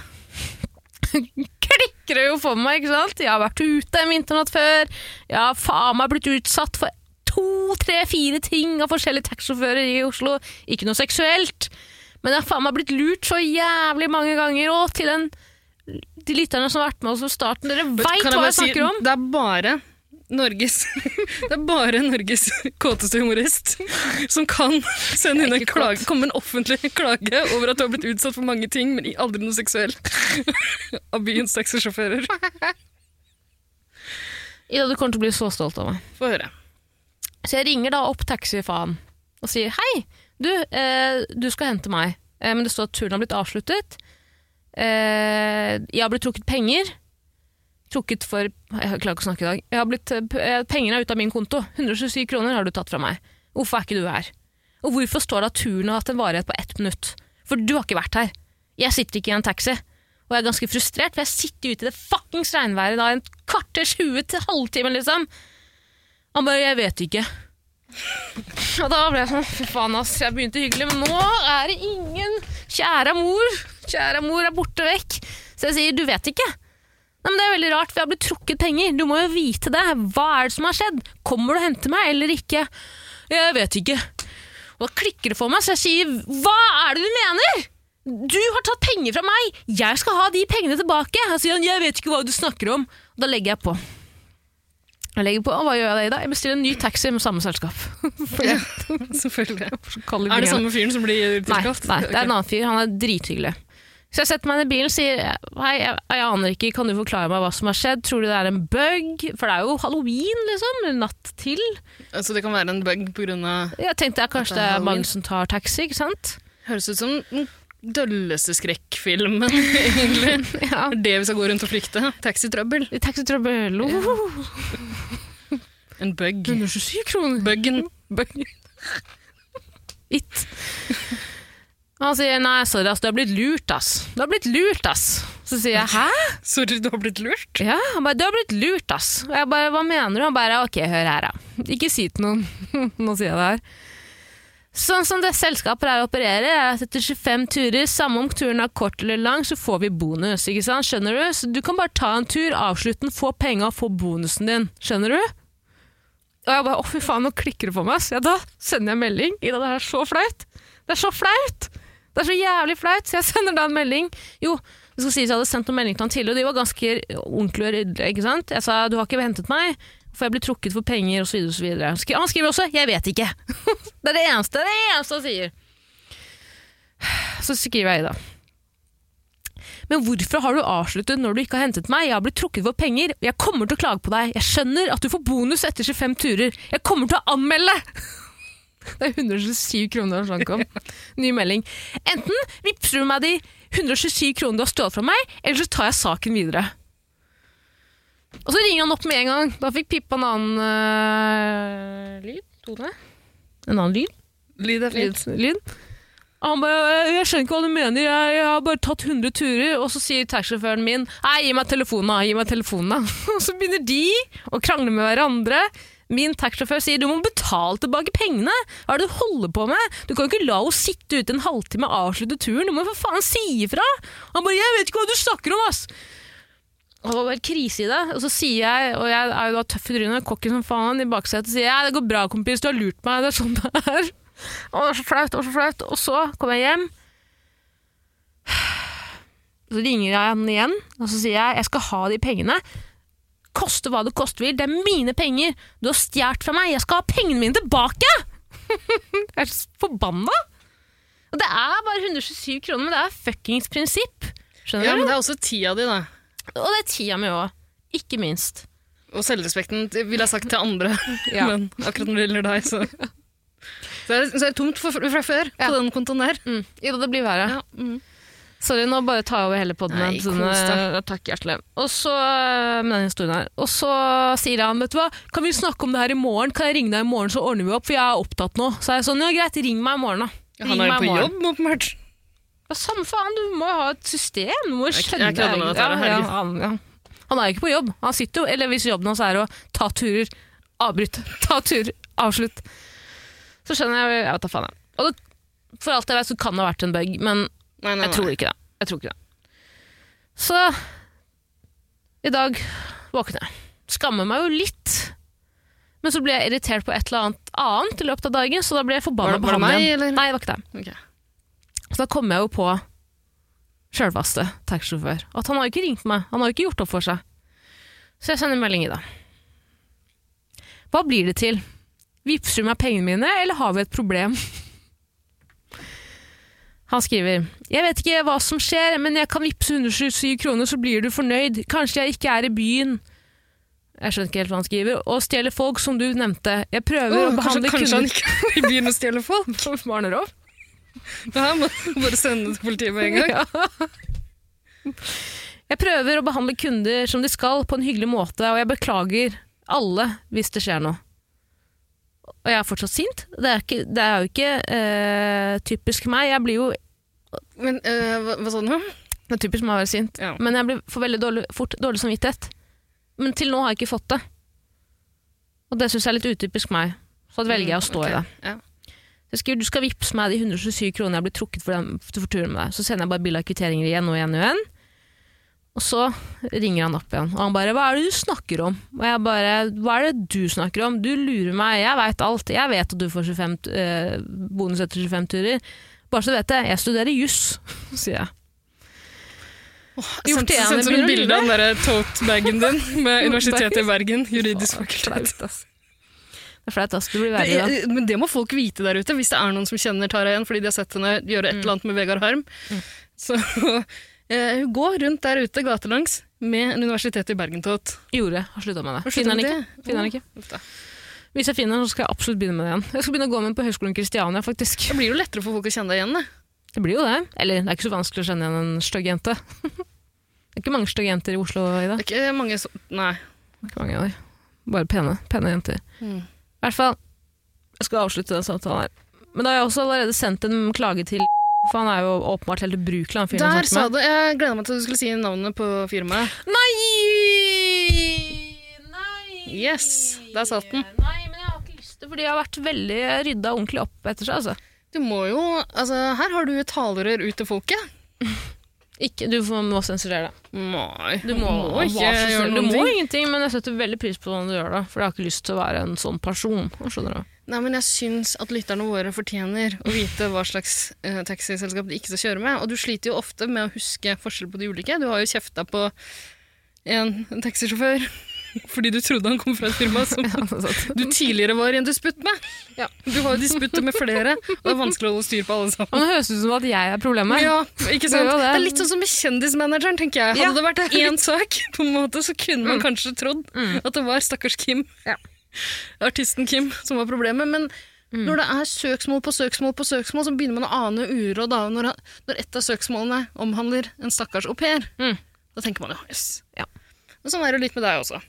Speaker 2: klikker det jo for meg, ikke sant? Jeg har vært ute en vinternatt før. Jeg har faen meg blitt utsatt for to, tre, fire ting av forskjellige taxisjåfører i Oslo. Ikke noe seksuelt, men jeg har faen meg blitt lurt så jævlig mange ganger. Og til den de lytterne som har vært med oss fra starten, dere
Speaker 3: Vet-
Speaker 2: veit
Speaker 3: kan
Speaker 2: hva
Speaker 3: jeg bare
Speaker 2: jeg snakker om.
Speaker 3: Det er bare Norges (laughs) Det er bare Norges kåteste humorist som kan sende inn en klage, komme med en offentlig (laughs) klage over at du har blitt utsatt for mange ting, men aldri noe seksuelt. (laughs) Av byens taxisjåfører.
Speaker 2: Ida, du kommer til å bli så stolt av meg.
Speaker 3: Få høre.
Speaker 2: Så jeg ringer da opp taxifaen og sier hei, du, eh, du skal hente meg. Eh, men det står at turen har blitt avsluttet. Eh, jeg har blitt trukket penger. Trukket for Jeg klarer ikke å snakke i dag. Jeg har blitt, eh, p- eh, pengene er ute av min konto. 127 kroner har du tatt fra meg. Hvorfor er ikke du her? Og hvorfor står det at turen har hatt en varighet på ett minutt? For du har ikke vært her. Jeg sitter ikke i en taxi. Og jeg er ganske frustrert, for jeg sitter ute i det fuckings regnværet da en kvarters hue til halvtimen, liksom. Han bare 'jeg vet ikke'. Og da ble jeg sånn Fy faen, ass. Jeg begynte hyggelig, men nå er det ingen Kjære mor. Kjære mor er borte vekk. Så jeg sier 'du vet ikke'. Nei, men Det er veldig rart, for jeg har blitt trukket penger. Du må jo vite det. Hva er det som har skjedd? Kommer du og henter meg, eller ikke? Jeg vet ikke. Og da klikker det for meg, så jeg sier 'hva er det du mener'? Du har tatt penger fra meg! Jeg skal ha de pengene tilbake! Og sier han 'jeg vet ikke hva du snakker om'. Og da legger jeg på. Jeg legger på, og Hva gjør jeg da, Ida? Jeg bestiller en ny taxi med samme selskap. For jeg
Speaker 3: (laughs) Selvfølgelig.
Speaker 2: kaller
Speaker 3: Er det
Speaker 2: pengene.
Speaker 3: samme fyren som blir
Speaker 2: sånn Nei,
Speaker 3: tilkalt?
Speaker 2: nei, det er en annen fyr. Han er drithyggelig. Så jeg setter meg inn i bilen og sier hei, jeg, jeg aner ikke, kan du forklare meg hva som har skjedd? Tror du det er en bug? For det er jo halloween, liksom. eller Natt til.
Speaker 3: Ok. Så Altså, det kan være en bug på grunn av
Speaker 2: Jeg tenkte ja, kanskje det
Speaker 3: At det er
Speaker 2: er
Speaker 3: halloween.
Speaker 2: mange som tar taxi, ikke sant?
Speaker 3: Høres ut som den dølleste skrekkfilmen, (laughs) egentlig.
Speaker 2: Ja.
Speaker 3: Det er det vi skal gå rundt og frykte. Taxitrøbbel.
Speaker 2: Taxitrøbbel. (laughs) Oh,
Speaker 3: En bug.
Speaker 2: 127 kroner.
Speaker 3: Buggen.
Speaker 2: It. Han sier nei, sorry, ass, du har blitt lurt, ass. Du har blitt lurt, ass. Så sier jeg hæ?
Speaker 3: Sorry, du har blitt lurt.
Speaker 2: Ja, han bare, du har blitt lurt, ass. Og jeg bare, hva mener du? Han bare, ok, hør her da. Ikke si til noen. (laughs) Nå sier jeg det her. Sånn som det selskapet her opererer, er at etter 25 turer, samme om turen er kort eller lang, så får vi bonus, ikke sant? Skjønner du? Så du kan bare ta en tur, avslutte den, få penger og få bonusen din. Skjønner du? Og jeg bare, å fy faen, nå klikker det på meg, ass. Ja, da sender jeg en melding. Ida, det her er så flaut. Det er så flaut. Det er så jævlig flaut, så jeg sender da en melding. Jo, det skal sies jeg hadde sendt noen melding til han tidligere, og de var ganske ordentlige og ryddelige, ikke sant? Jeg sa, du har ikke hentet meg, for jeg blir trukket for penger, og så videre, og så videre. Skri- Han skriver også, jeg vet ikke. (laughs) det er det eneste, det er det eneste han sier. Så skriver jeg da. Men hvorfor har du avsluttet når du ikke har hentet meg? Jeg har blitt trukket for penger, og jeg kommer til å klage på deg. Jeg skjønner at du får bonus etter 25 turer. Jeg kommer til å anmelde! (laughs) Det er 127 kroner som kom. Ny melding. Enten vippser du meg de 127 kronene du har stjålet fra meg, eller så tar jeg saken videre. Og så ringer han opp med en gang. Da fikk Pippa en annen øh, lyd. Tone? En annen lyd?
Speaker 3: Lyd er
Speaker 2: lyd. lyd. Og han bare «Jeg- 'Jeg skjønner ikke hva du mener, jeg, jeg har bare tatt 100 turer.' Og så sier taxisjåføren min 'Nei, gi meg telefonen, da, gi meg telefonen', da. (laughs) Og så begynner de å krangle med hverandre. Min taxisjåfør sier 'du må betale tilbake pengene'. Hva er det du holder på med? Du kan jo ikke la henne sitte ute en halvtime og avslutte turen, du må jo for faen si ifra! Han bare 'jeg vet ikke hva du snakker om', ass'. Og det var helt krise i det. Og så sier jeg, og jeg er jo da tøff i trynet, cocky som faen, i baksetet sier jeg 'det går bra, kompis, du har lurt meg', det er sånn det er. Å, det var så flaut, det var så flaut. Og så kom jeg hjem. Så ringer jeg han igjen, og så sier jeg jeg skal ha de pengene. Koste hva det koste vil, det er mine penger. Du har stjålet fra meg, jeg skal ha pengene mine tilbake! (laughs) jeg er så forbanna. Og det er bare 127 kroner, men det er fuckings prinsipp. Skjønner
Speaker 3: Ja,
Speaker 2: du?
Speaker 3: men det er også tida di, da.
Speaker 2: Og det er tida mi òg. Ikke minst.
Speaker 3: Og selvrespekten det ville jeg sagt til andre,
Speaker 2: (laughs) Ja.
Speaker 3: men akkurat når det gjelder deg, så Så er det, så er det tomt for, fra før
Speaker 2: Ja.
Speaker 3: på den kontoen der.
Speaker 2: Mm. Jo, det blir verre.
Speaker 3: Ja, mm.
Speaker 2: Sorry, nå bare tar jeg over hele podden.
Speaker 3: Nei,
Speaker 2: Nei, sånn,
Speaker 3: kos deg.
Speaker 2: eh, takk hjertelig. Og så, eh, med den historien her. Og så sier han, vet du hva, kan vi snakke om det her i morgen? Kan jeg ringe deg i morgen, så ordner vi opp, for jeg er opptatt nå. Så er jeg sånn, ja greit, ring meg i morgen da. Ring
Speaker 3: Han er
Speaker 2: meg
Speaker 3: jo
Speaker 2: i
Speaker 3: på
Speaker 2: morgen.
Speaker 3: jobb, åpenbart.
Speaker 2: Ja, samme faen, du må jo ha et system. Du må jo
Speaker 3: Jeg-
Speaker 2: skjønne
Speaker 3: jeg kødder med dette
Speaker 2: ja,
Speaker 3: her,
Speaker 2: ja,
Speaker 3: herregud.
Speaker 2: han, ja. han er jo ikke på jobb. Han sitter jo, eller hvis jobben hans er å ta turer, avbryt, ta turer, avslutt. Så skjønner jeg, jeg vet da faen jeg. Og det, for alt jeg vet så kan det ha vært en bug, men
Speaker 3: Nei, nei, nei.
Speaker 2: jeg tror ikke det. Jeg tror ikke det. Så i dag våkner jeg. Skammer meg jo litt. Men så ble jeg irritert på et eller annet annet i løpet av dagen, så da ble jeg
Speaker 3: Var
Speaker 2: forbanna
Speaker 3: det-
Speaker 2: på
Speaker 3: var det
Speaker 2: han
Speaker 3: meg,
Speaker 2: igjen.
Speaker 3: eller?
Speaker 2: Nei, det var ikke det.
Speaker 3: Ok.
Speaker 2: Så da kom jeg jo på sjølvaste taxisjåfør. At han har jo ikke ringt meg. Han har jo ikke gjort opp for seg. Så jeg sender en melding i dag. Hva blir det til? Vippser du meg pengene mine, eller har vi et problem? Han skriver Jeg vet ikke hva som skjer, men jeg kan vippse 127 kroner, så blir du fornøyd. Kanskje jeg ikke er i byen. Jeg skjønner ikke helt hva han skriver. Og stjeler folk, som du nevnte. Jeg prøver å
Speaker 3: Åh, kanskje,
Speaker 2: behandle
Speaker 3: kanskje han ikke er i byen og stjeler folk? (laughs)
Speaker 2: kunder Barnerov?
Speaker 3: Det her må du bare sende til politiet med en gang.
Speaker 2: (laughs) Ja. Jeg prøver å behandle kunder som de skal, på en hyggelig måte, og jeg beklager alle hvis det skjer noe. Og jeg er fortsatt sint. Det er, ikke, det er jo ikke eh, typisk meg. Jeg blir jo
Speaker 3: Men eh, hva, hva sa du nå?
Speaker 2: Det er typisk meg å være sint,
Speaker 3: Ja.
Speaker 2: men jeg blir, får veldig dårlig, fort dårlig samvittighet. Men til nå har jeg ikke fått det. Og det syns jeg er litt utypisk meg. Så da velger jeg å stå i det.
Speaker 3: Ja.
Speaker 2: Så jeg skriver, du skal vippse meg de 127 kroner jeg blir trukket for, den, for turen med deg. Så sender jeg bare bilde av kvitteringer igjen og igjen og igjen. Og så ringer han opp igjen, og han bare 'hva er det du snakker om?' Og jeg bare 'hva er det du snakker om? Du lurer meg, jeg veit alt. Jeg vet at du får 25, t- eh, bonus etter 25 turer. Bare så du vet det, jeg studerer juss, (laughs) sier jeg. Gjort det
Speaker 3: Sendte
Speaker 2: igjen, jeg
Speaker 3: sendte du
Speaker 2: begynner å
Speaker 3: bilde av den der eh, tote-bagen din med
Speaker 2: Jo,
Speaker 3: Universitetet i
Speaker 2: bare-
Speaker 3: Bergen, juridisk
Speaker 2: Faen,
Speaker 3: fakultet?
Speaker 2: flaut, ass. Det er flaut, ass. Det blir
Speaker 3: Det,
Speaker 2: verre, da.
Speaker 3: eh, men det må folk vite der ute, hvis det er noen som kjenner Tara igjen fordi de har sett henne
Speaker 2: Mm.
Speaker 3: gjøre et eller annet med Vegard Harm. Så (laughs) eh, hun går rundt der ute gatelangs med en Universitetet i Bergen-tot.
Speaker 2: Gjorde. Har slutta med det.
Speaker 3: Har sluttet
Speaker 2: Finner den
Speaker 3: med
Speaker 2: ikke.
Speaker 3: det?
Speaker 2: Finner den ikke.
Speaker 3: Uff da.
Speaker 2: Hvis jeg finner den, så skal jeg absolutt begynne med det igjen. Jeg skal begynne å gå med den på Høgskolen Kristiania, faktisk.
Speaker 3: Det blir jo lettere for folk å kjenne deg igjen, det.
Speaker 2: Det blir jo det. Eller det er ikke så vanskelig å kjenne igjen en stygg jente. (laughs) det er ikke mange stygge jenter i Oslo i dag.
Speaker 3: Det er ikke mange som Nei.
Speaker 2: Ikke mange av de. Bare pene, pene jenter.
Speaker 3: Mm.
Speaker 2: I hvert fall, jeg skal avslutte den samtalen her. Men da har jeg også allerede sendt en klage til (laughs) for han er jo åpenbart helt ubrukelig, han fyren jeg
Speaker 3: Der
Speaker 2: snakket
Speaker 3: sa
Speaker 2: med.
Speaker 3: du Jeg gleda meg til at du skulle si navnet på firmaet.
Speaker 2: Nei! Nei!
Speaker 3: Yes, der satt den.
Speaker 2: Nei, men jeg har ikke lyst til, fordi jeg har vært veldig rydda ordentlig opp etter seg, altså.
Speaker 3: Du må jo Altså, her har du et talerør ut til folket.
Speaker 2: Ikke, du får- må sensurere det.
Speaker 3: Nei.
Speaker 2: Du må,
Speaker 3: ikke
Speaker 2: vær så
Speaker 3: gjøre
Speaker 2: snill.
Speaker 3: noen
Speaker 2: Du må
Speaker 3: ting.
Speaker 2: ingenting, men jeg setter veldig pris på hvordan du gjør det. For jeg har ikke lyst til å være en sånn person. skjønner
Speaker 3: (laughs)
Speaker 2: du?
Speaker 3: Nei, men jeg syns at lytterne våre fortjener å vite hva slags eh, taxiselskap de ikke skal kjøre med. Og du sliter jo ofte med å huske forskjell på de ulike. Du har jo kjefta på en taxisjåfør (laughs) fordi du trodde han kom fra et firma som du tidligere var i en disputt med.
Speaker 2: Ja.
Speaker 3: Du har jo disputter med flere, og det er vanskelig å holde styr på alle sammen.
Speaker 2: Men det høres ut som at jeg er problemet.
Speaker 3: Ja, ikke
Speaker 2: Det
Speaker 3: sant?
Speaker 2: er jo
Speaker 3: Det
Speaker 2: det.
Speaker 3: er litt sånn som med kjendismanageren, tenker jeg.
Speaker 2: Ja,
Speaker 3: Hadde det
Speaker 2: (laughs) det
Speaker 3: vært
Speaker 2: er
Speaker 3: én sak, på en måte, så kunne man kanskje trodd at det var stakkars Kim,
Speaker 2: Mm. Ja.
Speaker 3: artisten Kim, som var problemet. Men
Speaker 2: Mm.
Speaker 3: når det er søksmål på søksmål på søksmål, så begynner man å ane uråd da, når, når et av søksmålene omhandler en stakkars au pair.
Speaker 2: Mm.
Speaker 3: Da tenker man jo jøss.
Speaker 2: Ja.
Speaker 3: Men Sånn er det litt med deg også.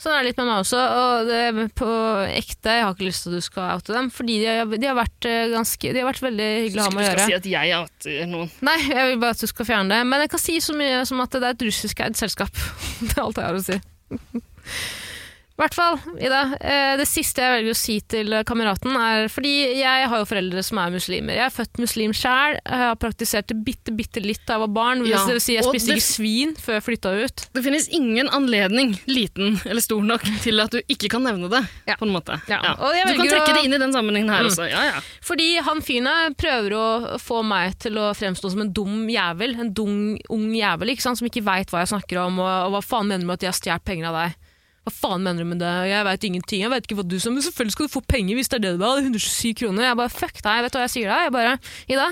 Speaker 2: Sånn er det litt med meg også. Og det, på ekte, jeg har ikke lyst til at du skal oute dem. Fordi de har, de har, vært, eh, ganske, de har vært veldig hyggelig å ha med å
Speaker 3: skal
Speaker 2: gjøre.
Speaker 3: si at jeg outer noen.
Speaker 2: Nei, jeg vil bare at du skal fjerne det. Men jeg (laughs) kan si så mye som at det er et russiskeid selskap. Det er alt jeg har å si. I hvert fall, Ida. eh, Det siste jeg velger å si til eh, kameraten, er fordi jeg har jo foreldre som er muslimer. Jeg er født muslim sjæl, har praktisert det bitte, bitte litt da jeg var barn. Hvis
Speaker 3: Ja,
Speaker 2: dere sier jeg
Speaker 3: og
Speaker 2: spiste
Speaker 3: det-
Speaker 2: ikke svin før jeg flytta ut.
Speaker 3: Det finnes ingen anledning, liten eller stor nok, til at du ikke kan nevne det.
Speaker 2: Ja.
Speaker 3: på en måte.
Speaker 2: Ja,
Speaker 3: Ja.
Speaker 2: og jeg
Speaker 3: Du kan
Speaker 2: velger å-
Speaker 3: trekke det inn i den sammenhengen her også. Ja, ja.
Speaker 2: Fordi han fyren her prøver å få meg til å fremstå som en dum jævel. En dung, ung jævel ikke sant? som ikke veit hva jeg snakker om, og, og hva faen mener du med at jeg har stjålet penger av deg? Hva faen mener du med det? Jeg veit ingenting. Jeg vet ikke hva du sa, men selvfølgelig skal du få penger hvis det er det du vil ha. 127 kroner. Jeg bare fuck deg, vet du hva jeg sier da? Jeg bare Ida,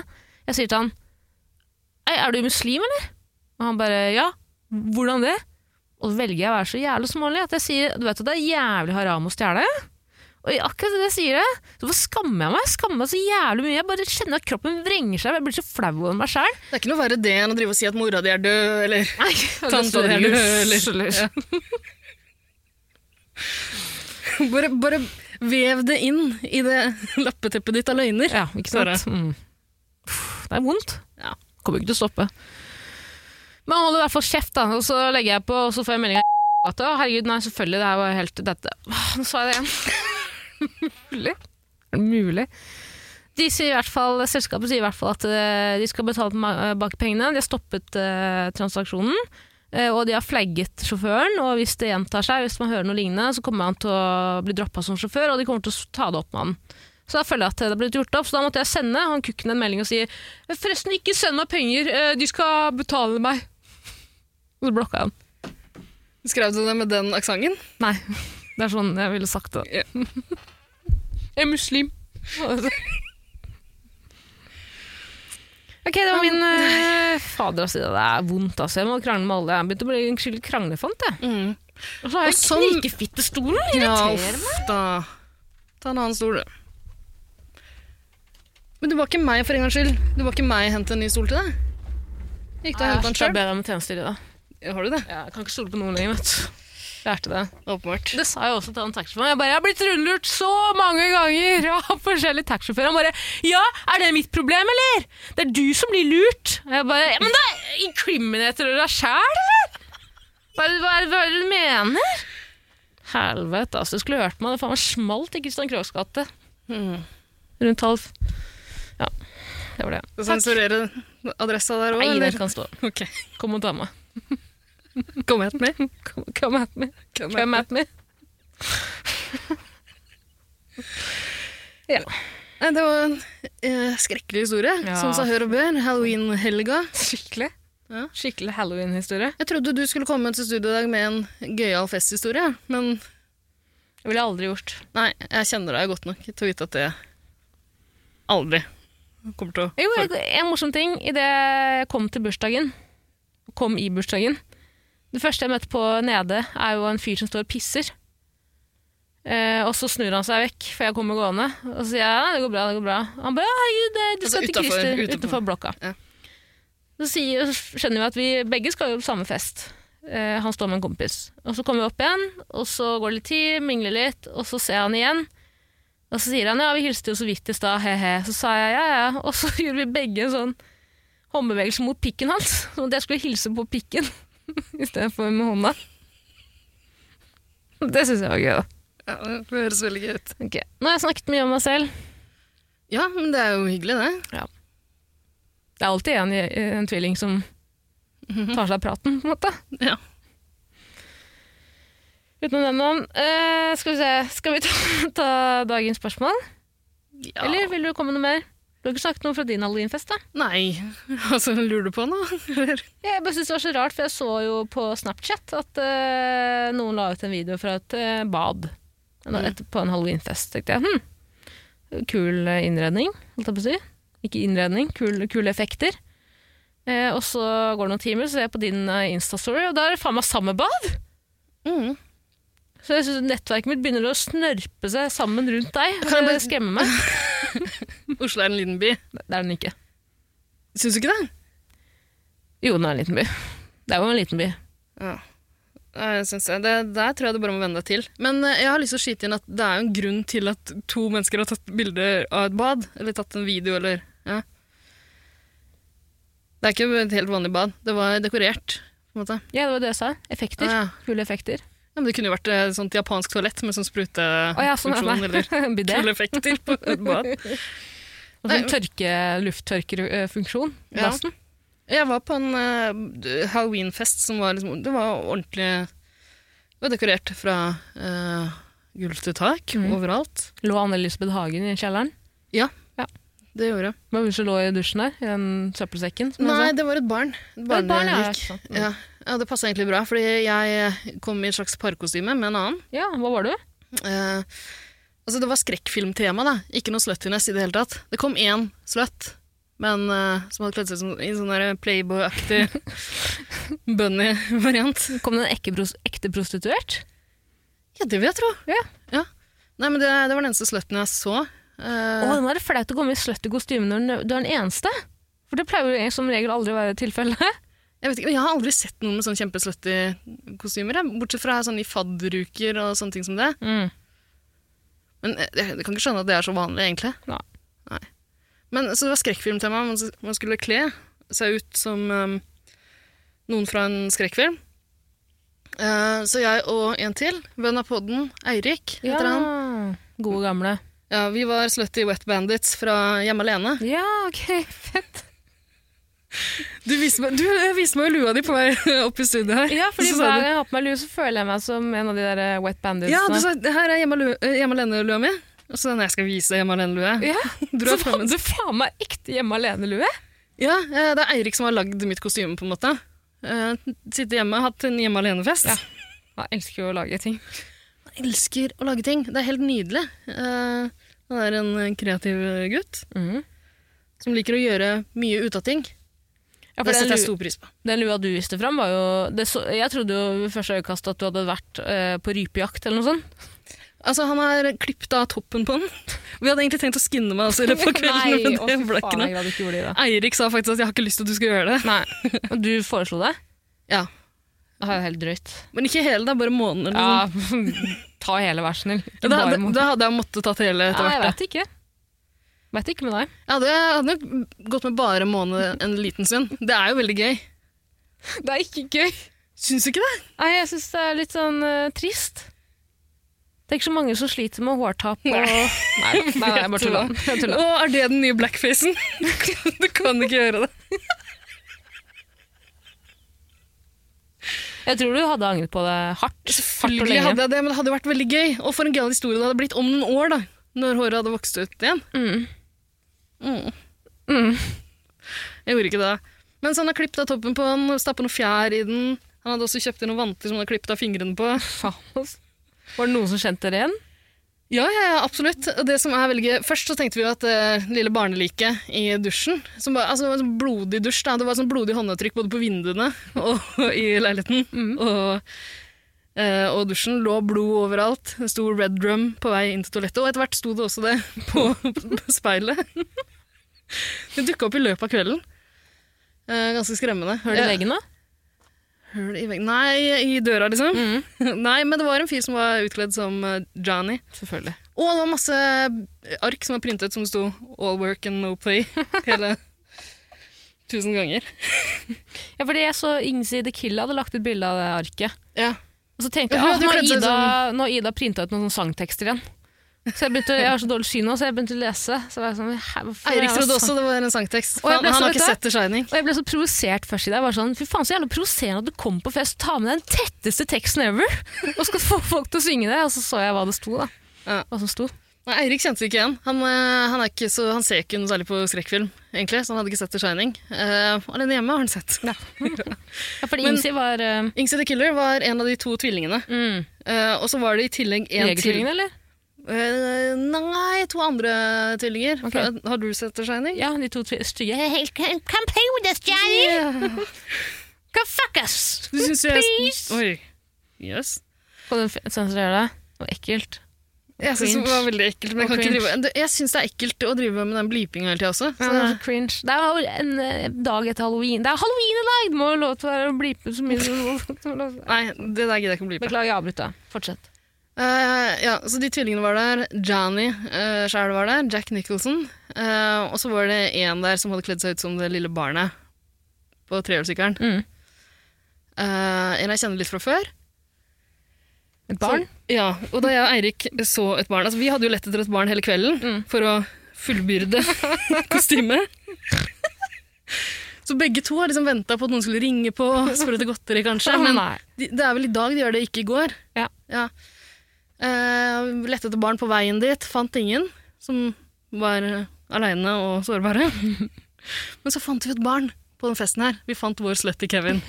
Speaker 2: jeg sier til han Ei, er du muslim, eller? Og han bare ja. Hvordan det? Og så velger jeg å være så jævlig smålig at jeg sier du vet at det er jævlig haram å stjele. Og i akkurat det jeg sier det, så bare skammer jeg meg. Jeg skammer meg så jævlig mye. Jeg bare kjenner at kroppen vrenger seg. Jeg blir så flau over meg sjæl.
Speaker 3: Det er ikke noe verre det enn å drive og si at mora di er død, eller Tante di er død, eller
Speaker 2: Sånn Ja.
Speaker 3: (laughs) bare, bare vev det inn i det (laughs) lappeteppet ditt av løgner.
Speaker 2: ja, ikke sant? Mm. Uff, Det er vondt.
Speaker 3: Ja.
Speaker 2: Kommer ikke til å stoppe. Men han holder i hvert fall kjeft, da. Og så legger jeg på, og så får jeg melding av (laughs) at å, herregud, nei, selvfølgelig, det her var helt dette. Åh, Nå sa jeg det igjen. (laughs) mulig? Er det mulig? De sier i hvert fall, selskapet sier i hvert fall at eh, de skal betale tilbake pengene. De har stoppet eh, transaksjonen. eh, Og de har flagget sjåføren, og hvis det gjentar seg, hvis man hører noe lignende, så kommer han til å bli droppa som sjåfør, og de kommer til å ta det opp med han. Så da føler jeg at det er blitt gjort opp, så da måtte jeg sende han kukken en melding og si forresten, ikke send meg penger, eh, de skal betale meg. Og så blokka jeg han.
Speaker 3: Skrev du det med den aksenten?
Speaker 2: Nei, (laughs) det er sånn jeg ville sagt det. (laughs) jeg
Speaker 3: Ja.
Speaker 2: er muslim. Ok, det var min eh, fader å si det. Det er vondt, altså. Jeg må krangle med alle. Jeg begynte å bli en skikkelig kranglefant, jeg.
Speaker 3: Mm.
Speaker 2: Og så har
Speaker 3: Og
Speaker 2: jeg
Speaker 3: sånn-
Speaker 2: knikefittestolen.
Speaker 3: Ja,
Speaker 2: Irriterer meg.
Speaker 3: uff da. Ta en annen stol, du. Men du var ikke meg, for en gangs skyld. Du var ikke meg hente en ny stol til deg. Gikk du og hentet den sjøl?
Speaker 2: bedre med tjenester i dag.
Speaker 3: Har du det?
Speaker 2: Ah, Ja, jeg kan ikke stole på noen lenger, vet du. Lærte det.
Speaker 3: Åpenbart.
Speaker 2: Det sa jeg også til han taxisjåføren. Jeg bare, jeg har blitt rundlurt så mange ganger av forskjellige taxisjåfører. Han bare 'Ja, er det mitt problem, eller?' 'Det er du som blir lurt.' Og Jeg bare ja, 'Men da inkriminerer du deg sjæl, eller?' Hva er det- hva er det hva er det du mener? Helvete, altså. Du skulle hørt meg. Det faen meg smalt i Kristian Krohgs gate. Hmm.
Speaker 3: Mm.
Speaker 2: Rundt halv Ja, det var det.
Speaker 3: Skal sensurere adressa der òg,
Speaker 2: Nei, den
Speaker 3: eller?
Speaker 2: kan stå.
Speaker 3: Ok.
Speaker 2: Kom og ta meg.
Speaker 3: Kom hit med.
Speaker 2: Come, come at me.
Speaker 3: Come
Speaker 2: Come at me.
Speaker 3: Nei, det var en eh, skrekkelig historie, Sånn
Speaker 2: Ja.
Speaker 3: som sa hør og bør. Halloween-helga.
Speaker 2: Skikkelig.
Speaker 3: Ja.
Speaker 2: Skikkelig halloween-historie.
Speaker 3: Jeg trodde du skulle komme til studio i dag med en gøyal festhistorie, men
Speaker 2: Det ville jeg aldri gjort.
Speaker 3: nei, jeg kjenner deg godt nok til å vite at det aldri kommer til å
Speaker 2: Jo, jeg- en morsom ting idet jeg kom til bursdagen. Kom i bursdagen. Det første jeg møtte på nede, er jo en fyr som står og pisser. Eh, og så snur han seg vekk, for jeg kommer gående. Og så sier jeg ja, det går bra, det går bra. Han bare ja, herregud, det- du skal
Speaker 3: Altså,
Speaker 2: til
Speaker 3: utenfor-
Speaker 2: Christer.
Speaker 3: utenfor.
Speaker 2: Utenfor blokka.
Speaker 3: Ja.
Speaker 2: Så, sier, så skjønner vi at vi begge skal jo på samme fest. Eh, han står med en kompis. Og så kommer vi opp igjen, og så går det litt tid, mingler litt, og så ser jeg han igjen. Og så sier han ja, vi hilste jo så vidt i stad, he-he. Så sa jeg ja, ja. Og så (laughs) gjorde vi begge en sånn håndbevegelse mot pikken hans. (laughs) Som at jeg skulle hilse på pikken (laughs) istedenfor med hånda. (laughs) Det syns jeg var gøy, da.
Speaker 3: Ja, det høres veldig gøy ut.
Speaker 2: Ok, Nå har jeg snakket mye om meg selv.
Speaker 3: Ja, men det er jo hyggelig, det.
Speaker 2: Det er alltid en, en tvilling som tar seg av praten, på en måte.
Speaker 3: Ja.
Speaker 2: Uten å nevne navn. Eh, skal vi se, skal vi ta, ta dagens spørsmål? Eller vil du komme noe mer? Du har ikke snakket noe fra din halloweenfest, da?
Speaker 3: Nei, (laughs) altså, lurer du på noe? (laughs) Eller?
Speaker 2: Jeg bare synes det var så rart, for jeg så jo på Snapchat at eh, noen la ut en video fra et eh, bad En-
Speaker 3: Mm.
Speaker 2: etter- på en halloweenfest. tenkte jeg, hm, Kul eh, innredning, holdt jeg på å si. Ikke innredning, kul, kule effekter. Eh, og så går det noen timer, så ser jeg på din eh, Insta-story, og da er det faen meg samme bad!
Speaker 3: Mm.
Speaker 2: Så jeg synes nettverket mitt begynner å snørpe seg sammen rundt deg.
Speaker 3: Kan jeg
Speaker 2: og
Speaker 3: bare-
Speaker 2: Det skremmer meg.
Speaker 3: Oslo er en liten by.
Speaker 2: Det er den ikke.
Speaker 3: Syns du ikke det?
Speaker 2: Jo, den er en liten by. Det er jo en liten by.
Speaker 3: Ja. Nei, Jeg synes det, det, der tror jeg du bare må venne deg til. Men eh, jeg har lyst til å skyte inn at det er jo en grunn til at to mennesker har tatt bilde av et bad, eller tatt en video, eller ja. Det er ikke et helt vanlig bad. Det var dekorert, på en måte.
Speaker 2: Ja, det var det jeg sa. Effekter.
Speaker 3: Ah, ja.
Speaker 2: Kule effekter. (laughs)
Speaker 3: Ja, Ja, men det kunne jo vært et sånt japansk toalett med sånn
Speaker 2: Å ja, sånn,
Speaker 3: sprutefunksjon
Speaker 2: nei.
Speaker 3: (laughs) eller
Speaker 2: En bidé.
Speaker 3: kuleeffekter på et bad.
Speaker 2: Og sånn tørke, lufttørkerfunksjon.
Speaker 3: Ja.
Speaker 2: Nesten.
Speaker 3: Jeg var på en eh, Halloween-fest som var liksom Det var ordentlig Det var dekorert fra eh, gulv til tak
Speaker 2: Mhm.
Speaker 3: overalt.
Speaker 2: Lå Anne-Elisabeth Hagen i kjelleren?
Speaker 3: Det gjorde jeg.
Speaker 2: Men hun som lå i dusjen der, i den søppelsekken? Som
Speaker 3: Nei,
Speaker 2: jeg sa.
Speaker 3: det var et barn. Et
Speaker 2: Det var et barn, ja.
Speaker 3: barnevik.
Speaker 2: ikke sant.
Speaker 3: Ja, ja, det passa egentlig bra, fordi jeg eh, kom i et slags parkostyme med en annen.
Speaker 2: ja, hva var du?
Speaker 3: Eh, altså, det var skrekkfilmtema, da. Ikke noe sluttiness i det hele tatt. Det kom én slutt, men eh, som hadde kledd seg som, i en sånn der playboy-aktig (laughs) bunny-variant.
Speaker 2: Kom det en ekte, pros ekte prostituert?
Speaker 3: Ja, det vil jeg tro.
Speaker 2: Ja.
Speaker 3: Nei, men det, det var den eneste slutten jeg så. Eh,
Speaker 2: Å, nå er det flaut å komme i sløtt i kostyme når den- du er den eneste. For det pleier jo som regel aldri å være tilfellet.
Speaker 3: jeg, vet ikke, men jeg har aldri sett noen med sånn kjempeslutty kostymer, jeg, bortsett fra sånn i fadderuker og sånne ting som det.
Speaker 2: (laughs) Mm.
Speaker 3: Men eh, jeg, jeg kan ikke skjønne at det er så vanlig, egentlig.
Speaker 2: Nei.
Speaker 3: Nei. Men, så det var skrekkfilmtema. Man, s- man skulle kle seg ut som eh, noen fra en skrekkfilm. Eh, så jeg og en til, venn av podden, Eirik, heter han.
Speaker 2: Gode gamle.
Speaker 3: Ja, vi var slutty wet bandits fra Hjemme alene.
Speaker 2: Ja, ok, fett.
Speaker 3: Du viste meg, du, jeg viste meg jo lua di på vei (laughs) opp i studio her.
Speaker 2: (laughs) Ja, fordi
Speaker 3: Så sa
Speaker 2: hver
Speaker 3: du-
Speaker 2: gang jeg har på meg lue, så føler jeg meg som en av de der eh, wet banditsene.
Speaker 3: Ja, du sa det her er hjemme, alu- eh, hjemme alene-lua mi. Og så den jeg skal vise hjemme (laughs) alene-lue.
Speaker 2: Ja,
Speaker 3: Dro
Speaker 2: så
Speaker 3: jeg
Speaker 2: faen,
Speaker 3: frem en-
Speaker 2: du faen meg ekte hjemme alene-lue.
Speaker 3: Ja, eh, det er Eirik som har lagd mitt kostyme, på en måte. Eh, Sitte hjemme, hatt en hjemme alene-fest.
Speaker 2: Ja. Jeg elsker jo å lage ting.
Speaker 3: Jeg elsker å lage ting. Det er helt nydelig. Eh, Han er en kreativ gutt
Speaker 2: Mhm.
Speaker 3: som liker å gjøre mye ut av ting.
Speaker 2: Ja, for
Speaker 3: det
Speaker 2: den
Speaker 3: setter jeg
Speaker 2: lu-
Speaker 3: stor pris på.
Speaker 2: Den lua du viste fram, var jo det så, Jeg trodde jo ved første øyekast at du hadde vært eh, på rypejakt eller noe (laughs) sånt.
Speaker 3: Altså, han har klippet av toppen på den. (laughs) Vi hadde egentlig tenkt å skinne meg altså, i løpet av (laughs) kvelden, men
Speaker 2: å,
Speaker 3: det
Speaker 2: fy
Speaker 3: ble ikke
Speaker 2: faen, jeg
Speaker 3: noe.
Speaker 2: glad du ikke gjorde det.
Speaker 3: Eirik sa faktisk at jeg har ikke lyst til at du skal gjøre det.
Speaker 2: Nei, men du foreslo det?
Speaker 3: Ja,
Speaker 2: Det er jo helt drøyt.
Speaker 3: Men ikke hele, det er bare måneder.
Speaker 2: Ja, (laughs)
Speaker 3: Liksom.
Speaker 2: ta hele, vær snill. Ikke
Speaker 3: da,
Speaker 2: bare
Speaker 3: da,
Speaker 2: mot-
Speaker 3: da hadde jeg måttet tatt hele etter
Speaker 2: Nei, jeg
Speaker 3: hvert. da.
Speaker 2: vet ikke. Vet ikke med deg.
Speaker 3: Jeg hadde, jeg hadde nok gått med bare måned en liten stund. Det er jo veldig gøy.
Speaker 2: Det er ikke gøy.
Speaker 3: Syns du ikke det?
Speaker 2: Nei, jeg syns det er litt sånn eh, trist. Det er ikke så mange som sliter med hårtap og Nei, nei, nei (laughs) jeg bare tulla. Jeg
Speaker 3: Å,
Speaker 2: tulla.
Speaker 3: er det den nye blackfacen? (laughs) Du kan, du kan ikke gjøre det.
Speaker 2: Jeg tror du hadde angret på det hardt. hardt og
Speaker 3: Selvfølgelig
Speaker 2: lenge.
Speaker 3: hadde jeg det, men det hadde vært veldig gøy. Og for en gøyal historie det hadde blitt om noen år, da. Når håret hadde vokst ut igjen.
Speaker 2: Mm.
Speaker 3: Mm.
Speaker 2: Mm.
Speaker 3: Jeg gjorde ikke det. Men så han har klippet av toppen på den, stappa noe fjær i den. Han hadde også kjøpt inn noen vanter som han hadde klippet av fingrene på.
Speaker 2: Faen, altså. Var det noen som kjente dere igjen?
Speaker 3: Ja, ja, ja, absolutt. Og Det som er veldig gøy, Først så tenkte vi jo at det lille barneliket i dusjen som var, altså, det var en sånn Blodig dusj. da. Det var sånn blodig håndavtrykk både på vinduene (laughs) og i leiligheten. Og, eh, og dusjen lå blod overalt. En stor red drum på vei inn til toalettet. Og etter hvert sto det også det (laughs) på, på speilet. (laughs) Det dukka opp i løpet av kvelden. Eh, ganske skremmende.
Speaker 2: Hører du
Speaker 3: Eh,
Speaker 2: veggene?
Speaker 3: Hull i veggen Nei, i døra, liksom.
Speaker 2: Mm.
Speaker 3: (laughs) Nei, men det var en fyr som var utkledd som eh, Johnny.
Speaker 2: Selvfølgelig.
Speaker 3: Og det var masse ark som var printet som det sto 'All work and no play' (laughs) hele tusen ganger.
Speaker 2: Ja, fordi jeg så Ingsi The Killa hadde lagt ut bilde av det arket.
Speaker 3: Ja.
Speaker 2: Og så tenkte
Speaker 3: Ja,
Speaker 2: jeg at
Speaker 3: hun hadde
Speaker 2: nå
Speaker 3: kledd
Speaker 2: har
Speaker 3: seg
Speaker 2: Ida, nå har Ida printa ut noen sånne sangtekster igjen. Så jeg, begynte, jeg har så dårlig syn nå, så jeg begynte å lese. Så var jeg sånn, "Hæ, hvorfor er
Speaker 3: Eirik
Speaker 2: det
Speaker 3: trodde
Speaker 2: sang?"
Speaker 3: også det var en sangtekst.
Speaker 2: Og jeg
Speaker 3: Han,
Speaker 2: ble så-
Speaker 3: han har
Speaker 2: vet
Speaker 3: ikke
Speaker 2: du-
Speaker 3: sett The Shining.
Speaker 2: Og jeg ble så provosert først i det. Jeg var sånn, Fy faen, så jævla provoserende at du kom på fest, ta med deg den tetteste teksten ever, og skal få folk til å synge det. Og så så jeg hva det sto, da.
Speaker 3: Ja.
Speaker 2: Hva som sto.
Speaker 3: Nei, Eirik kjente det ikke igjen. Han, eh, han, er ikke så, han ser ikke noe særlig på skrekkfilm, egentlig, så han hadde ikke sett The Shining. Eh, alene hjemme har han sett. (laughs)
Speaker 2: Ja, fordi
Speaker 3: Men-
Speaker 2: Ingsi var uh,
Speaker 3: Ingsy the Killer var en av de to tvillingene.
Speaker 2: mm,
Speaker 3: Eh, og så var det i tillegg en til
Speaker 2: Jegertvillingen, eller?
Speaker 3: Eh, Nei, to andre tvillinger.
Speaker 2: Ok.
Speaker 3: Fra- Har du sett The Shining?
Speaker 2: Ja, de to tvi- stygge Helt campodest, Jenny! Go fuck us!
Speaker 3: Du syns jeg
Speaker 2: Please!
Speaker 3: Oi. Yes.
Speaker 2: Kan du f- sensurere det? Det var ekkelt.
Speaker 3: Jeg syns det
Speaker 2: Cringe.
Speaker 3: var veldig ekkelt. Men jeg,
Speaker 2: Og
Speaker 3: kan ikke
Speaker 2: cringe.
Speaker 3: drive, Det- jeg syns det er ekkelt å drive med den blipinga hele tida også.
Speaker 2: Ja,
Speaker 3: Så
Speaker 2: det er så cringe. Det er jo en eh, dag etter halloween. Det er halloween i dag! Det må jo lov til å være å blipe så mye som (laughs) lov.
Speaker 3: Nei, det der gidder jeg ikke å blipe.
Speaker 2: Beklager, jeg avbryter. deg. Fortsett.
Speaker 3: Eh, ja, så de tvillingene var der. Johnny uh, sjæl var der. Jack Nicholson. eh, og så var det en der som hadde kledd seg ut som det lille barnet på trehjulssykkelen.
Speaker 2: Mm.
Speaker 3: Eh, en jeg kjenner litt fra før.
Speaker 2: Et barn?
Speaker 3: Så, ja, og da jeg og Eirik så et barn Altså, vi hadde jo lett etter et barn hele kvelden
Speaker 2: Mm.
Speaker 3: for å (laughs) fullbyrde kostymet. Så begge to har liksom venta på at noen skulle ringe på og spørre etter godteri, kanskje.
Speaker 2: Å,
Speaker 3: Men
Speaker 2: nei.
Speaker 3: de, det er vel i dag de gjør det, ikke i går.
Speaker 2: Ja.
Speaker 3: Eh, lette etter barn på veien dit, fant ingen som var eh, aleine og sårbare. Men så fant vi et barn på den festen her. Vi fant vår slutty Kevin.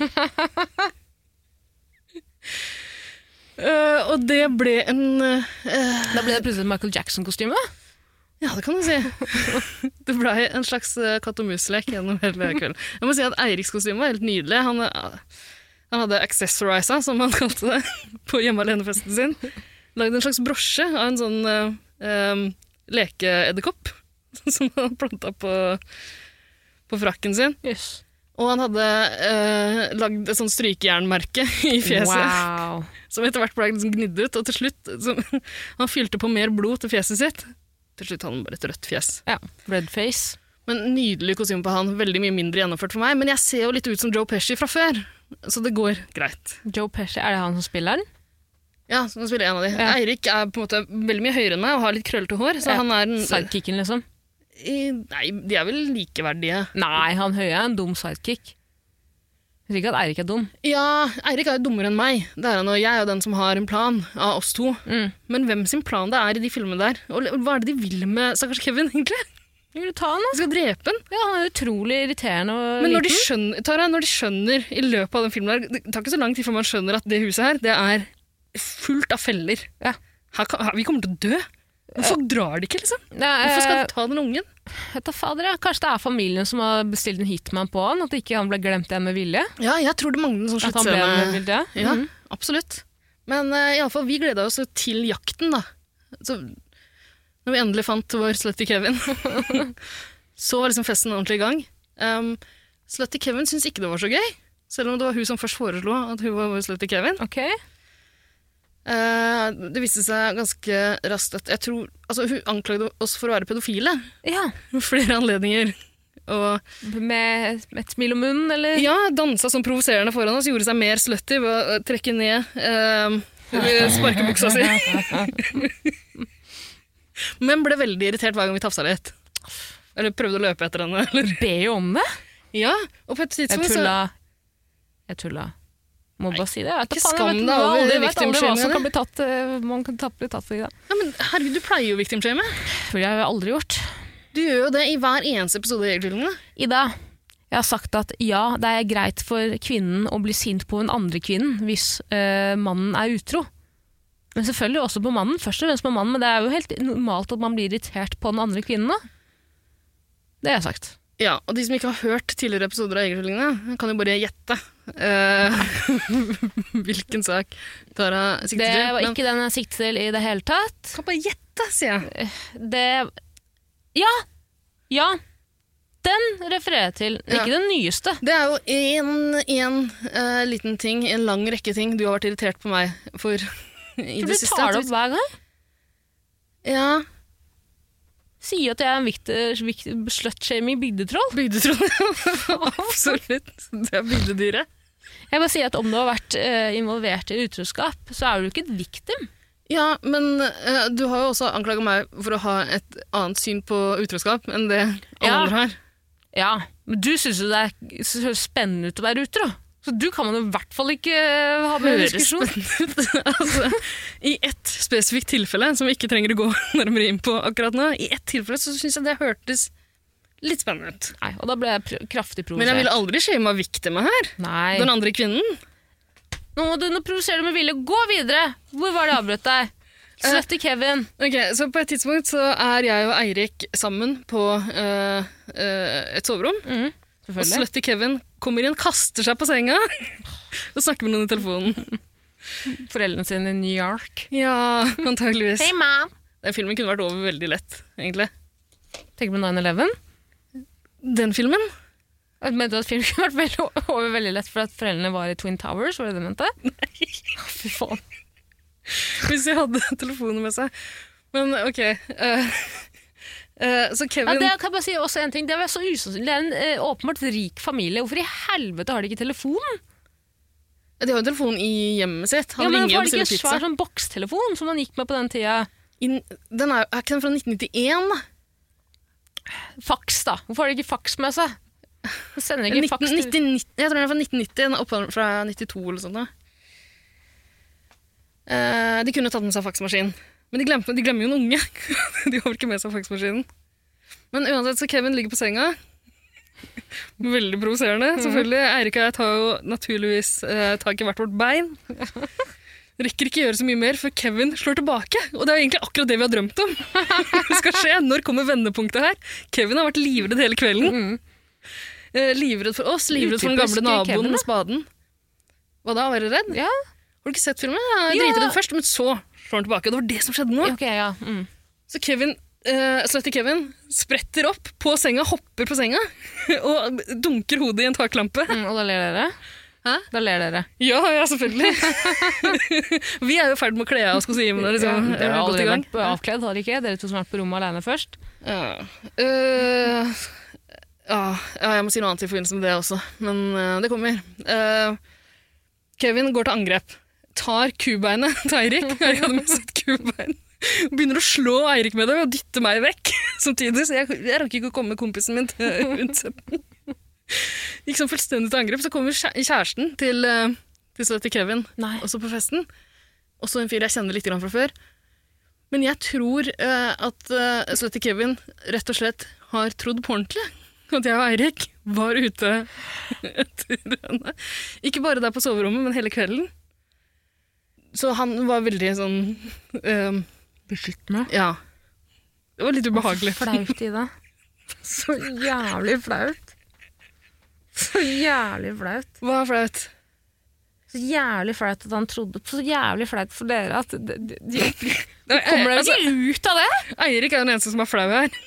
Speaker 3: Eh, og det ble en eh,
Speaker 2: Da ble det plutselig et Michael Jackson-kostyme. da.
Speaker 3: Ja, det kan du si. det blei en slags eh, katt og mus-lek gjennom hele kvelden. Jeg må si at Eiriks kostyme var helt nydelig. Han, eh, han hadde accessoriza, som han kalte det, (laughs) på hjemme alene-festen sin. Lagde en slags brosje av en sånn eh, em, lekeedderkopp (laughs) som han planta på, på frakken sin. Og han hadde eh, lagd et sånt strykejernmerke (laughs) i fjeset,
Speaker 2: Wow.
Speaker 3: som etter hvert ble liksom gnidd ut. Og til slutt så, (laughs) Han fylte på mer blod til fjeset sitt. Til slutt hadde han bare et rødt fjes.
Speaker 2: (laughs) Ja. Red face.
Speaker 3: Men Nydelig kostyme på han. Veldig mye mindre gjennomført for meg. Men jeg ser jo litt ut som Joe Pesci fra før, så det går greit.
Speaker 2: Joe Pesci, er det han som spiller den?
Speaker 3: Ja, så nå spiller jeg en av de.
Speaker 2: Ja.
Speaker 3: Eirik er på en måte veldig mye høyere enn meg og har litt krøllete hår. Så
Speaker 2: Ja.
Speaker 3: han er en,
Speaker 2: Sidekicken, liksom?
Speaker 3: i, Nei, de er vel likeverdige.
Speaker 2: Nei, han høye er en dum sidekick. Jeg sier ikke at Eirik er dum.
Speaker 3: Ja, Eirik er jo dummere enn meg. Det er han, og Jeg er jo den som har en plan av oss to.
Speaker 2: Mm.
Speaker 3: Men hvem sin plan det er i de filmene der? Og og hva er det de vil med stakkars Kevin, egentlig?
Speaker 2: Vil du ta han, da?
Speaker 3: De skal drepe han.
Speaker 2: Ja, han er utrolig irriterende og
Speaker 3: Men når de,
Speaker 2: liten.
Speaker 3: skjønner, Tara, når de skjønner i løpet av den filmen der, Det tar ikke så lang tid før man skjønner at det huset her det er fullt av feller.
Speaker 2: Ja.
Speaker 3: Her, kan- her, vi kommer til å dø. Hvorfor drar de ikke, liksom?
Speaker 2: Nei,
Speaker 3: Hvorfor skal
Speaker 2: eh,
Speaker 3: de ta den ungen?
Speaker 2: vet da fader, ja. Kanskje det er familien som har bestilt en hitman på han? At ikke han ble glemt igjen med vilje?
Speaker 3: Ja, jeg tror det mangler en sånn
Speaker 2: At han ble med
Speaker 3: sluttscene.
Speaker 2: vilje?
Speaker 3: Ja,
Speaker 2: Mhm.
Speaker 3: absolutt. Men uh, iallfall, vi gleda oss jo til jakten, da. Så, når vi endelig fant vår slutty Kevin, (laughs) så var liksom festen ordentlig i gang. Um, slutty Kevin syntes ikke det var så gøy, selv om det var hun som først foreslo at hun var vår slutty Kevin.
Speaker 2: Ok.
Speaker 3: Eh, det viste seg ganske raskt at jeg tror, altså, hun anklagde oss for å være pedofile (laughs)
Speaker 2: Ja.
Speaker 3: ved flere anledninger. Og
Speaker 2: Med, med et smil om munnen, eller?
Speaker 3: Ja, dansa som provoserende foran oss, gjorde seg mer slutty ved å trekke ned eh, (laughs) ved sparkebuksa si. Men ble veldig irritert hver gang vi tafsa litt. Eller prøvde å løpe etter henne. (laughs) Eller.
Speaker 2: Be jo om det!
Speaker 3: Ja, og på et
Speaker 2: Jeg
Speaker 3: tidspunkt så-
Speaker 2: tulla. Jeg tulla. Må bare si det. Jeg vet da faen,
Speaker 3: ikke skam
Speaker 2: jeg vet
Speaker 3: deg
Speaker 2: hva-
Speaker 3: over
Speaker 2: aldri- jeg vet aldri hva
Speaker 3: viktimshaming,
Speaker 2: som kan
Speaker 3: eller?
Speaker 2: bli tatt, eh, man kan tatt, bli tatt for i dag.
Speaker 3: ja, men Herregud, du pleier jo victimshame.
Speaker 2: Det ville jeg aldri gjort.
Speaker 3: Du gjør jo det i hver eneste episode av Jegertvillingene.
Speaker 2: Ida, jeg har sagt at ja, det er greit for kvinnen å bli sint på den andre kvinnen hvis eh, mannen er utro. Men selvfølgelig også på mannen, først og fremst på mannen, men det er jo helt normalt at man blir irritert på den andre kvinnen. da. Det har jeg sagt.
Speaker 3: Ja, og de som ikke har hørt tidligere episoder av Jegertvillingene, kan jo bare gjette eh, (laughs) hvilken sak Tara sikter
Speaker 2: Det
Speaker 3: til.
Speaker 2: var
Speaker 3: Men-
Speaker 2: ikke den jeg siktet til i det hele tatt.
Speaker 3: Kan bare gjette, sier jeg.
Speaker 2: Det Ja! Ja! Den refererer jeg til,
Speaker 3: Ja.
Speaker 2: ikke den nyeste.
Speaker 3: Det er jo en, en eh, liten ting, en lang rekke ting du har vært irritert på meg for i
Speaker 2: For
Speaker 3: det
Speaker 2: du
Speaker 3: siste.
Speaker 2: tar
Speaker 3: at
Speaker 2: det
Speaker 3: du-
Speaker 2: opp hver gang.
Speaker 3: Ja,
Speaker 2: Sier at jeg er en viktig- viktig slutshaming bygdetroll.
Speaker 3: bygdetroll. (laughs) Absolutt. Det er bygdedyret.
Speaker 2: Jeg bare sier at om du har vært eh, involvert i utroskap, så er du ikke et victim.
Speaker 3: Ja, men eh, du har jo også anklaget meg for å ha et annet syn på utroskap enn det alle
Speaker 2: Ja.
Speaker 3: andre har.
Speaker 2: Ja, men du syns jo det er så høres spennende ut å være utro. Så du kan man jo i hvert fall ikke eh, ha med i en diskusjon.
Speaker 3: spennende ut. (laughs) altså, I ett spesifikt tilfelle, som vi ikke trenger å gå (laughs) nærmere inn på akkurat nå, i ett tilfelle så syns jeg det hørtes litt spennende ut.
Speaker 2: Nei, og da ble jeg pr kraftig provosert.
Speaker 3: Men jeg ville aldri shama viktima her.
Speaker 2: Nei,
Speaker 3: Den andre kvinnen.
Speaker 2: nå må du nå provoserer du med vilje. Gå videre! Hvor var det jeg avbrøt deg? Slutty Kevin.
Speaker 3: Ok, så På et tidspunkt så er jeg og Eirik sammen på eh, eh, et soverom.
Speaker 2: Mhm,
Speaker 3: Og
Speaker 2: selvfølgelig.
Speaker 3: slutty Kevin kommer inn, kaster seg på senga (laughs) og snakker med noen i telefonen.
Speaker 2: Foreldrene sine i New York.
Speaker 3: Ja, antageligvis.
Speaker 2: Hey, mom!
Speaker 3: Den filmen kunne vært over veldig lett, egentlig.
Speaker 2: Tenker på 9-11.
Speaker 3: Den filmen?
Speaker 2: Jeg Mente du at filmen (laughs) kunne vært veldig, over veldig lett fordi at foreldrene var i Twin Towers? Var det det du mente? Nei. Fy faen.
Speaker 3: (laughs) Hvis de hadde telefonen med seg. Men ok. eh, eh, så
Speaker 2: Ja,
Speaker 3: Kevin
Speaker 2: det kan jeg bare si også en ting. Det er, så usannsynlig. Det er en eh, åpenbart rik familie. Hvorfor i helvete har de ikke telefon?
Speaker 3: De har jo en telefon i hjemmet sitt. Han
Speaker 2: ja, men
Speaker 3: ringer
Speaker 2: Var
Speaker 3: og
Speaker 2: det ikke en
Speaker 3: bestiller pizza.
Speaker 2: svær sånn bokstelefon som man gikk med på den tida?
Speaker 3: Inn- den er, er ikke den fra 1991? da?
Speaker 2: Faks, da. Hvorfor har de ikke faks med seg? Man sender ikke
Speaker 3: 19,
Speaker 2: faks til
Speaker 3: 1990 jeg tror den er fra 1990. Den er opphav fra 92 eller sånt. da. Eh, de kunne tatt med seg faksmaskinen, men de, glemte, de glemmer jo en unge. (laughs) de har vel ikke med seg faksmaskinen. Men uansett, så Kevin ligger på senga. Veldig provoserende, selvfølgelig. Eirik og jeg tar jo naturligvis eh, tak i hvert vårt bein. Rekker ikke gjøre så mye mer før Kevin slår tilbake. Og det er jo egentlig akkurat det vi har drømt om. (laughs) Det skal skje. Når kommer vendepunktet her? Kevin har vært livredd hele kvelden.
Speaker 2: Mm.
Speaker 3: Eh, livredd for oss, livredd for den gamle
Speaker 2: Utypisk
Speaker 3: naboen
Speaker 2: Kevin, da.
Speaker 3: med spaden. Hva da, være redd?
Speaker 2: Ja,
Speaker 3: Har du ikke sett filmen? Jeg er
Speaker 2: Ja.
Speaker 3: dritredd først, men så slår han tilbake. og Det var det som skjedde nå.
Speaker 2: ok, ja. Mm.
Speaker 3: Så Kevin, eh, slette Kevin spretter opp på senga, hopper på senga (laughs) og dunker hodet i en taklampe.
Speaker 2: Mm, og da ler dere?
Speaker 3: Hæ?
Speaker 2: Da ler dere.
Speaker 3: Ja, ja, selvfølgelig. (laughs) Vi er jo i ferd med å kle av oss kostymene. Liksom.
Speaker 2: Ja, dere har
Speaker 3: Er vi godt i
Speaker 2: aldri
Speaker 3: gang?
Speaker 2: vært avkledd, har dere ikke? Dere to som har vært på rommet alene først.
Speaker 3: Ja. Eh, ja, ja, jeg må si noe annet i forbindelse med det også, men eh, det kommer. Eh, Kevin går til angrep. Tar kubeinet til Eirik. (laughs) Eirik hadde med seg et kubein. Og Begynner å slå Eirik med det og dytte meg vekk (laughs) samtidig. Så jeg, jeg rakk ikke å komme kompisen min til (laughs) unnsetning. Gikk sånn fullstendig til angrep. Så kommer kjæ- kjæresten til, eh, til, så til Kevin
Speaker 2: Nei.
Speaker 3: også på festen. Også en fyr jeg kjenner litt grann fra før. Men jeg tror eh, at uh, Slette Kevin rett og slett har trodd på ordentlig at jeg og Eirik var ute etter henne. Ikke bare der på soverommet, men hele kvelden. Så han var veldig sånn eh,
Speaker 2: Beskyttende.
Speaker 3: Ja. Det var litt ubehagelig.
Speaker 2: Flaut, Ida. (laughs) Så jævlig flaut. Så jævlig flaut.
Speaker 3: Hva er flaut?
Speaker 2: Så jævlig flaut at han trodde på. Så jævlig flaut for dere at de, de, de,
Speaker 3: Nei,
Speaker 2: Kommer dere
Speaker 3: altså,
Speaker 2: ikke Eh, ut av det?
Speaker 3: Eirik er den eneste som er flau her.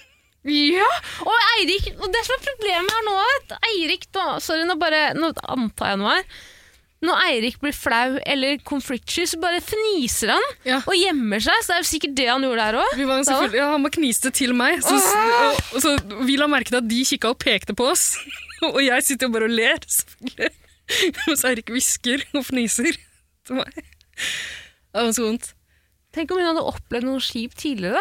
Speaker 2: Ja, og Eirik Og det som er problemet her nå, er at Eirik da, Sorry, nå bare Nå antar jeg noe her. Når Eirik blir flau eller konfliktsky, så bare fniser han
Speaker 3: Ja.
Speaker 2: og gjemmer seg. Så det er jo sikkert det han gjorde der òg.
Speaker 3: Vi var jo selvfølgelig, ja, han bare kniste til meg, så, og, og, så vi la merke til at de kikka og pekte på oss. (laughs) Og jeg sitter jo bare og ler, selvfølgelig. (laughs) Mens Eirik hvisker og fniser til meg. Det var så vondt.
Speaker 2: Tenk om hun hadde opplevd noe kjipt tidligere.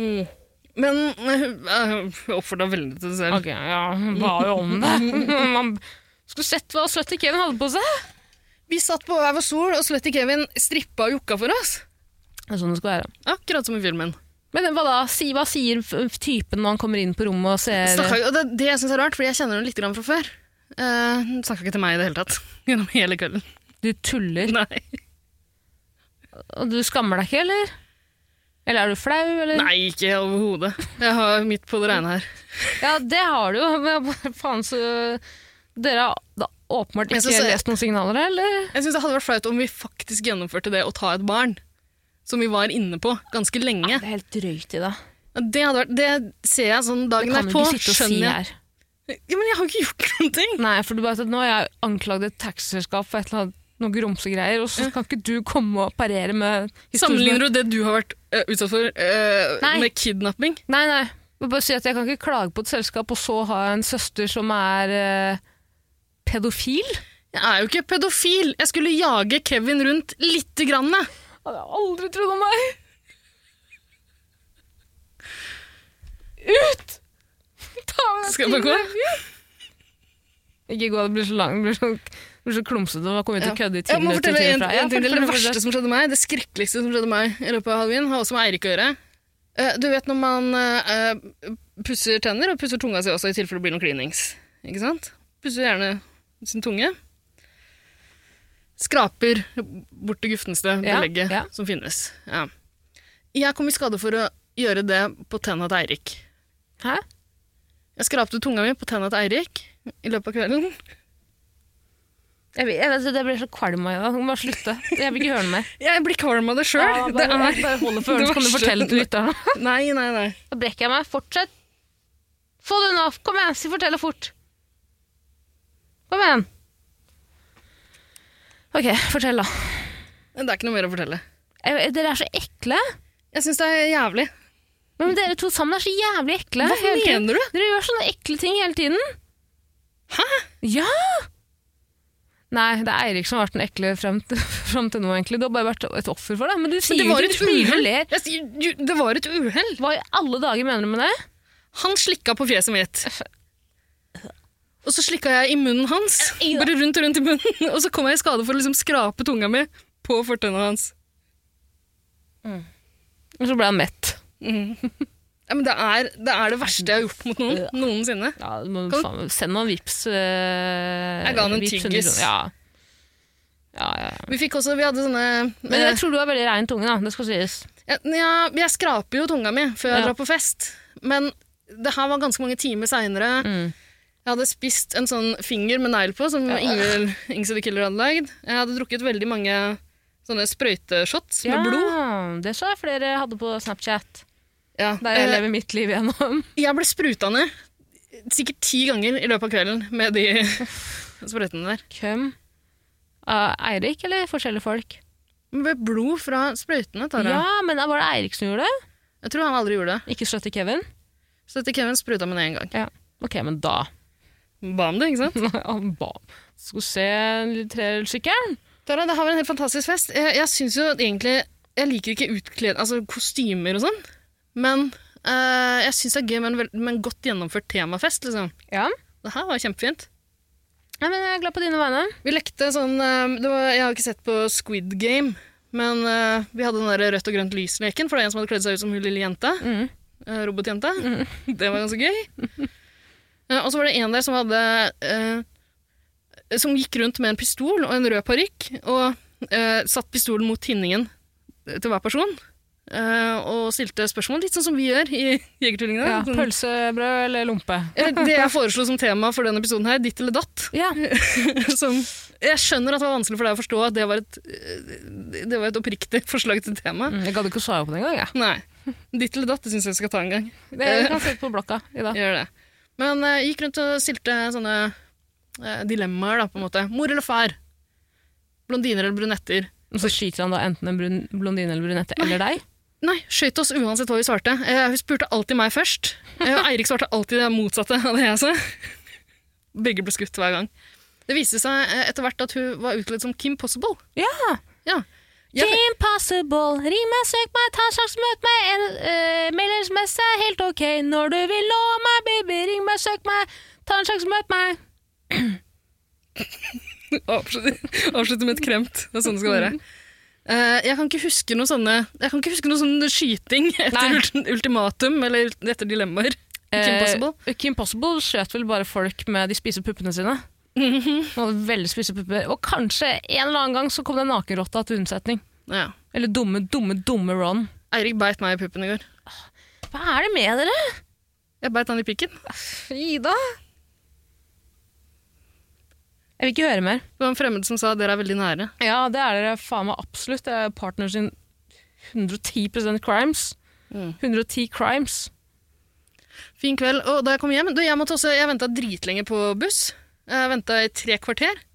Speaker 3: Men eh, jeg oppfordra veldig til det selv.
Speaker 2: Ok, ja, hun ba jo om det. (laughs) Man skulle sett hva søtte Kevin hadde på seg.
Speaker 3: Vi satt på hver vår sol, og Sletty Kevin strippa og jokka for oss.
Speaker 2: Det er sånn det skal være.
Speaker 3: Akkurat som i filmen.
Speaker 2: Men hva da? Si, hva sier f- typen når han kommer inn på rommet og ser
Speaker 3: Snakka, og det, det jeg synes er rart, fordi jeg kjenner henne litt grann fra før. Uh, Snakka ikke til meg i det hele tatt (laughs) gjennom hele kvelden.
Speaker 2: Du tuller.
Speaker 3: Nei.
Speaker 2: Og du skammer deg ikke, eller? Eller er du flau, eller?
Speaker 3: Nei, ikke overhodet. Jeg har midt på det rene her.
Speaker 2: Ja, det har du jo, men bare faen så Dere har da åpenbart
Speaker 3: Jeg
Speaker 2: ikke
Speaker 3: synes jeg-
Speaker 2: lest noen signaler, eller?
Speaker 3: Jeg synes det hadde vært flaut om vi faktisk gjennomførte det å ta et barn. Som vi var inne på ganske lenge.
Speaker 2: Det er helt drøyt i det.
Speaker 3: Det, hadde vært, det ser jeg sånn
Speaker 2: Det
Speaker 3: dagen
Speaker 2: kan du
Speaker 3: derpå.
Speaker 2: ikke sitte og si
Speaker 3: skjønner
Speaker 2: her.
Speaker 3: jeg. Ja, men jeg har jo ikke gjort noen ting!
Speaker 2: Nei, for du bare vet at nå har jeg anklagd et taxiselskap for et eller annet noe grumsegreier, og så kan ikke du komme og parere med
Speaker 3: Sammenligner du det du har vært eh, utsatt for, eh,
Speaker 2: Nei.
Speaker 3: med kidnapping?
Speaker 2: Nei, nei. Jeg vil bare si at jeg kan ikke klage på et selskap og så ha en søster som er eh, pedofil.
Speaker 3: Jeg er jo ikke pedofil! Jeg skulle jage Kevin rundt lite grann. jeg.
Speaker 2: Hadde jeg aldri trodd om meg. Ut! Ta av deg
Speaker 3: Skal jeg bare gå?
Speaker 2: tidløpet. Ikke gå, det blir så langt, det blir så, det blir så klumsete. og Da kommer vi til å kødde i ti
Speaker 3: Jeg må
Speaker 2: minutter
Speaker 3: fortelle
Speaker 2: til
Speaker 3: en,
Speaker 2: og fra. Ja,
Speaker 3: en ting til.
Speaker 2: fortell,
Speaker 3: Det
Speaker 2: fortell.
Speaker 3: verste som skjedde meg, det skrekkeligste som skjedde meg i løpet av halloween, har også med Eirik å gjøre. Eh, Du vet når man eh, pusser tenner, og pusser tunga si også i tilfelle det blir noen klinings. Ikke sant? Pusser gjerne sin tunge. Skraper bort det gufneste
Speaker 2: Ja,
Speaker 3: belegget
Speaker 2: ja.
Speaker 3: som finnes. Ja. Jeg kom i skade for å gjøre det på tenna til Eirik.
Speaker 2: Hæ?
Speaker 3: Jeg skrapte tunga mi på tenna til Eirik i løpet av kvelden.
Speaker 2: Jeg, vet- jeg vet det, det blir så kvalm av det. Du må bare slutte. Jeg vil ikke høre den mer.
Speaker 3: Jeg blir kvalm av det sjøl.
Speaker 2: Ja,
Speaker 3: det
Speaker 2: bare,
Speaker 3: er
Speaker 2: bare hold (laughs) det for ørene, så kan du
Speaker 3: verste.
Speaker 2: fortelle til lytterne.
Speaker 3: Nei, nei, nei.
Speaker 2: Da brekker jeg meg. Fortsett. Få det unna. Kom igjen, si fortell det fort. Kom igjen. Ok, fortell da.
Speaker 3: Det er ikke noe mer å fortelle.
Speaker 2: Eh, Dere er så ekle.
Speaker 3: Jeg syns det er jævlig.
Speaker 2: Men dere to sammen er så jævlig ekle.
Speaker 3: Hva
Speaker 2: hele tiden.
Speaker 3: mener du?
Speaker 2: Dere gjør sånne ekle ting hele tiden. Hæ? Ja! Nei, det er Eirik som har vært den ekle frem til, (laughs) frem til nå, egentlig. Du har bare vært et offer for det. Men du sier
Speaker 3: Men det var
Speaker 2: jo
Speaker 3: et
Speaker 2: du smiler og
Speaker 3: uhell.
Speaker 2: ler.
Speaker 3: Jeg sier, du, Det var et uhell.
Speaker 2: Hva i alle dager mener du med det?
Speaker 3: Han slikka på fjeset mitt. Og så slikka jeg i munnen hans,
Speaker 2: Eh,
Speaker 3: bare rundt og rundt i munnen. (laughs) Og så kom jeg i skade for å liksom skrape tunga mi på fortenna hans.
Speaker 2: Og så ble han mett.
Speaker 3: Ja, men det er, det er det verste jeg har gjort mot noen noensinne.
Speaker 2: Ja, du må
Speaker 3: Kan-
Speaker 2: faen, send noen vips. eh,
Speaker 3: Jeg ga han en
Speaker 2: vips under
Speaker 3: tyggis.
Speaker 2: kroner. Ja. Ja, ja. ja.
Speaker 3: Vi fikk også, vi hadde sånne
Speaker 2: Men
Speaker 3: eh,
Speaker 2: jeg tror du har veldig rein tunge, da. Det skal sies.
Speaker 3: jeg, jeg, jeg skraper jo tunga mi før jeg
Speaker 2: Ja.
Speaker 3: drar på fest, men det her var ganske mange timer seinere.
Speaker 2: Mm.
Speaker 3: Jeg hadde spist en sånn finger med negl på, som Ingvild Ingse the Killer hadde lagd. Jeg hadde drukket veldig mange sånne sprøyteshots med blod.
Speaker 2: Det så jeg flere hadde på Snapchat.
Speaker 3: Ja.
Speaker 2: Der jeg
Speaker 3: eh,
Speaker 2: lever mitt liv gjennom. (laughs)
Speaker 3: Jeg ble spruta ned sikkert ti ganger i løpet av kvelden med de (laughs) sprøytene der.
Speaker 2: Hvem? Uh, Eirik eller forskjellige folk?
Speaker 3: Med blod fra sprøytene, Tara.
Speaker 2: Ja, men da var det Eirik som gjorde det?
Speaker 3: Jeg tror han aldri gjorde det.
Speaker 2: Ikke støtte Kevin?
Speaker 3: Så dette Kevin spruta meg ned en gang.
Speaker 2: Ja. Ok, men (laughs) da
Speaker 3: Ba om det, ikke sant?
Speaker 2: Han ba Skal vi se trehjulssykkelen?
Speaker 3: Tara, det har vært en helt fantastisk fest. Jeg, jeg synes jo at egentlig Jeg liker ikke utkled, altså kostymer og sånn, men eh, jeg syns det er gøy med en vel- med en godt gjennomført temafest, liksom.
Speaker 2: Ja.
Speaker 3: Det her var kjempefint.
Speaker 2: Nei, men jeg er glad på dine vegne.
Speaker 3: Vi lekte sånn eh, det var, Jeg har ikke sett på Squid Game, men eh, vi hadde den der rødt og grønt lys-leken, for det er en som hadde kledd seg ut som hun lille jenta.
Speaker 2: Mm.
Speaker 3: eh, Robotjenta. Det var ganske gøy.
Speaker 2: (laughs)
Speaker 3: Eh, Og så var det en der som hadde eh, Som gikk rundt med en pistol og en rød parykk, og eh, satt pistolen mot tinningen til hver person. eh, og stilte spørsmål, litt sånn som vi gjør i Jegertvillingene.
Speaker 2: Ja,
Speaker 3: Sånn,
Speaker 2: pølsebrød eller lompe?
Speaker 3: eh, det jeg foreslo som tema for denne episoden her, ditt eller datt.
Speaker 2: Ja.
Speaker 3: (laughs) Som, jeg skjønner at det var vanskelig for deg å forstå at det var et, eh, det var et oppriktig (laughs) forslag til tema.
Speaker 2: Mm, Jeg gadd ikke å svare på det engang. jeg.
Speaker 3: Nei. Ditt eller datt, det syns jeg vi skal ta en gang.
Speaker 2: Det jeg kan sitte på blokka i dag.
Speaker 3: Gjør det. Men eh, gikk rundt og stilte sånne eh, dilemmaer, da, på en måte. Mor eller far? Blondiner eller brunetter?
Speaker 2: Og så skyter han da enten en brun, blondine eller brunette eller deg.
Speaker 3: Nei, skøyt oss uansett hva vi svarte. Eh, Hun spurte alltid meg først. Eh, og Eirik svarte alltid det motsatte av det jeg sa. (laughs) Begge ble skutt hver gang. Det viste seg eh, etter hvert at hun var utkledd som Kim Possible.
Speaker 2: Ja!
Speaker 3: Ja. Jeg-
Speaker 2: Team Possible, ring meg, søk meg, ta en sjanse, møt meg. En, eh, mail eller SMS er helt ok. Når du vil nå meg, baby, ring meg, søk meg, ta en sjanse, møt meg.
Speaker 3: Avslutte (laughs) avslutte med et kremt. Det er sånn det skal være. Eh, jeg kan ikke huske noe sånne Jeg kan ikke huske noe sånn skyting (laughs) etter
Speaker 2: Nei.
Speaker 3: ulti- ultimatum eller etter dilemmaer. Kim Possible.
Speaker 2: Eh, Kim Possible skjøt vel bare folk med de spise puppene sine. Hun hadde veldig spisse pupper. Og kanskje en eller annen gang så kom det en nakenrotta til unnsetning.
Speaker 3: (laughs) Ja.
Speaker 2: Eller dumme, dumme, dumme Ron.
Speaker 3: Eirik beit meg i puppen i går.
Speaker 2: Hva er det med dere?
Speaker 3: Jeg beit han i pikken.
Speaker 2: Ida? Jeg vil ikke høre mer.
Speaker 3: Det var en fremmed som sa dere er veldig nære.
Speaker 2: Ja, det er dere faen meg absolutt. Det er partners in 110 crimes.
Speaker 3: Mm.
Speaker 2: 110 crimes.
Speaker 3: Fin kveld. Og da jeg kom hjem du, Jeg, måtte også- jeg venta dritlenge på buss. Jeg venta i tre kvarter.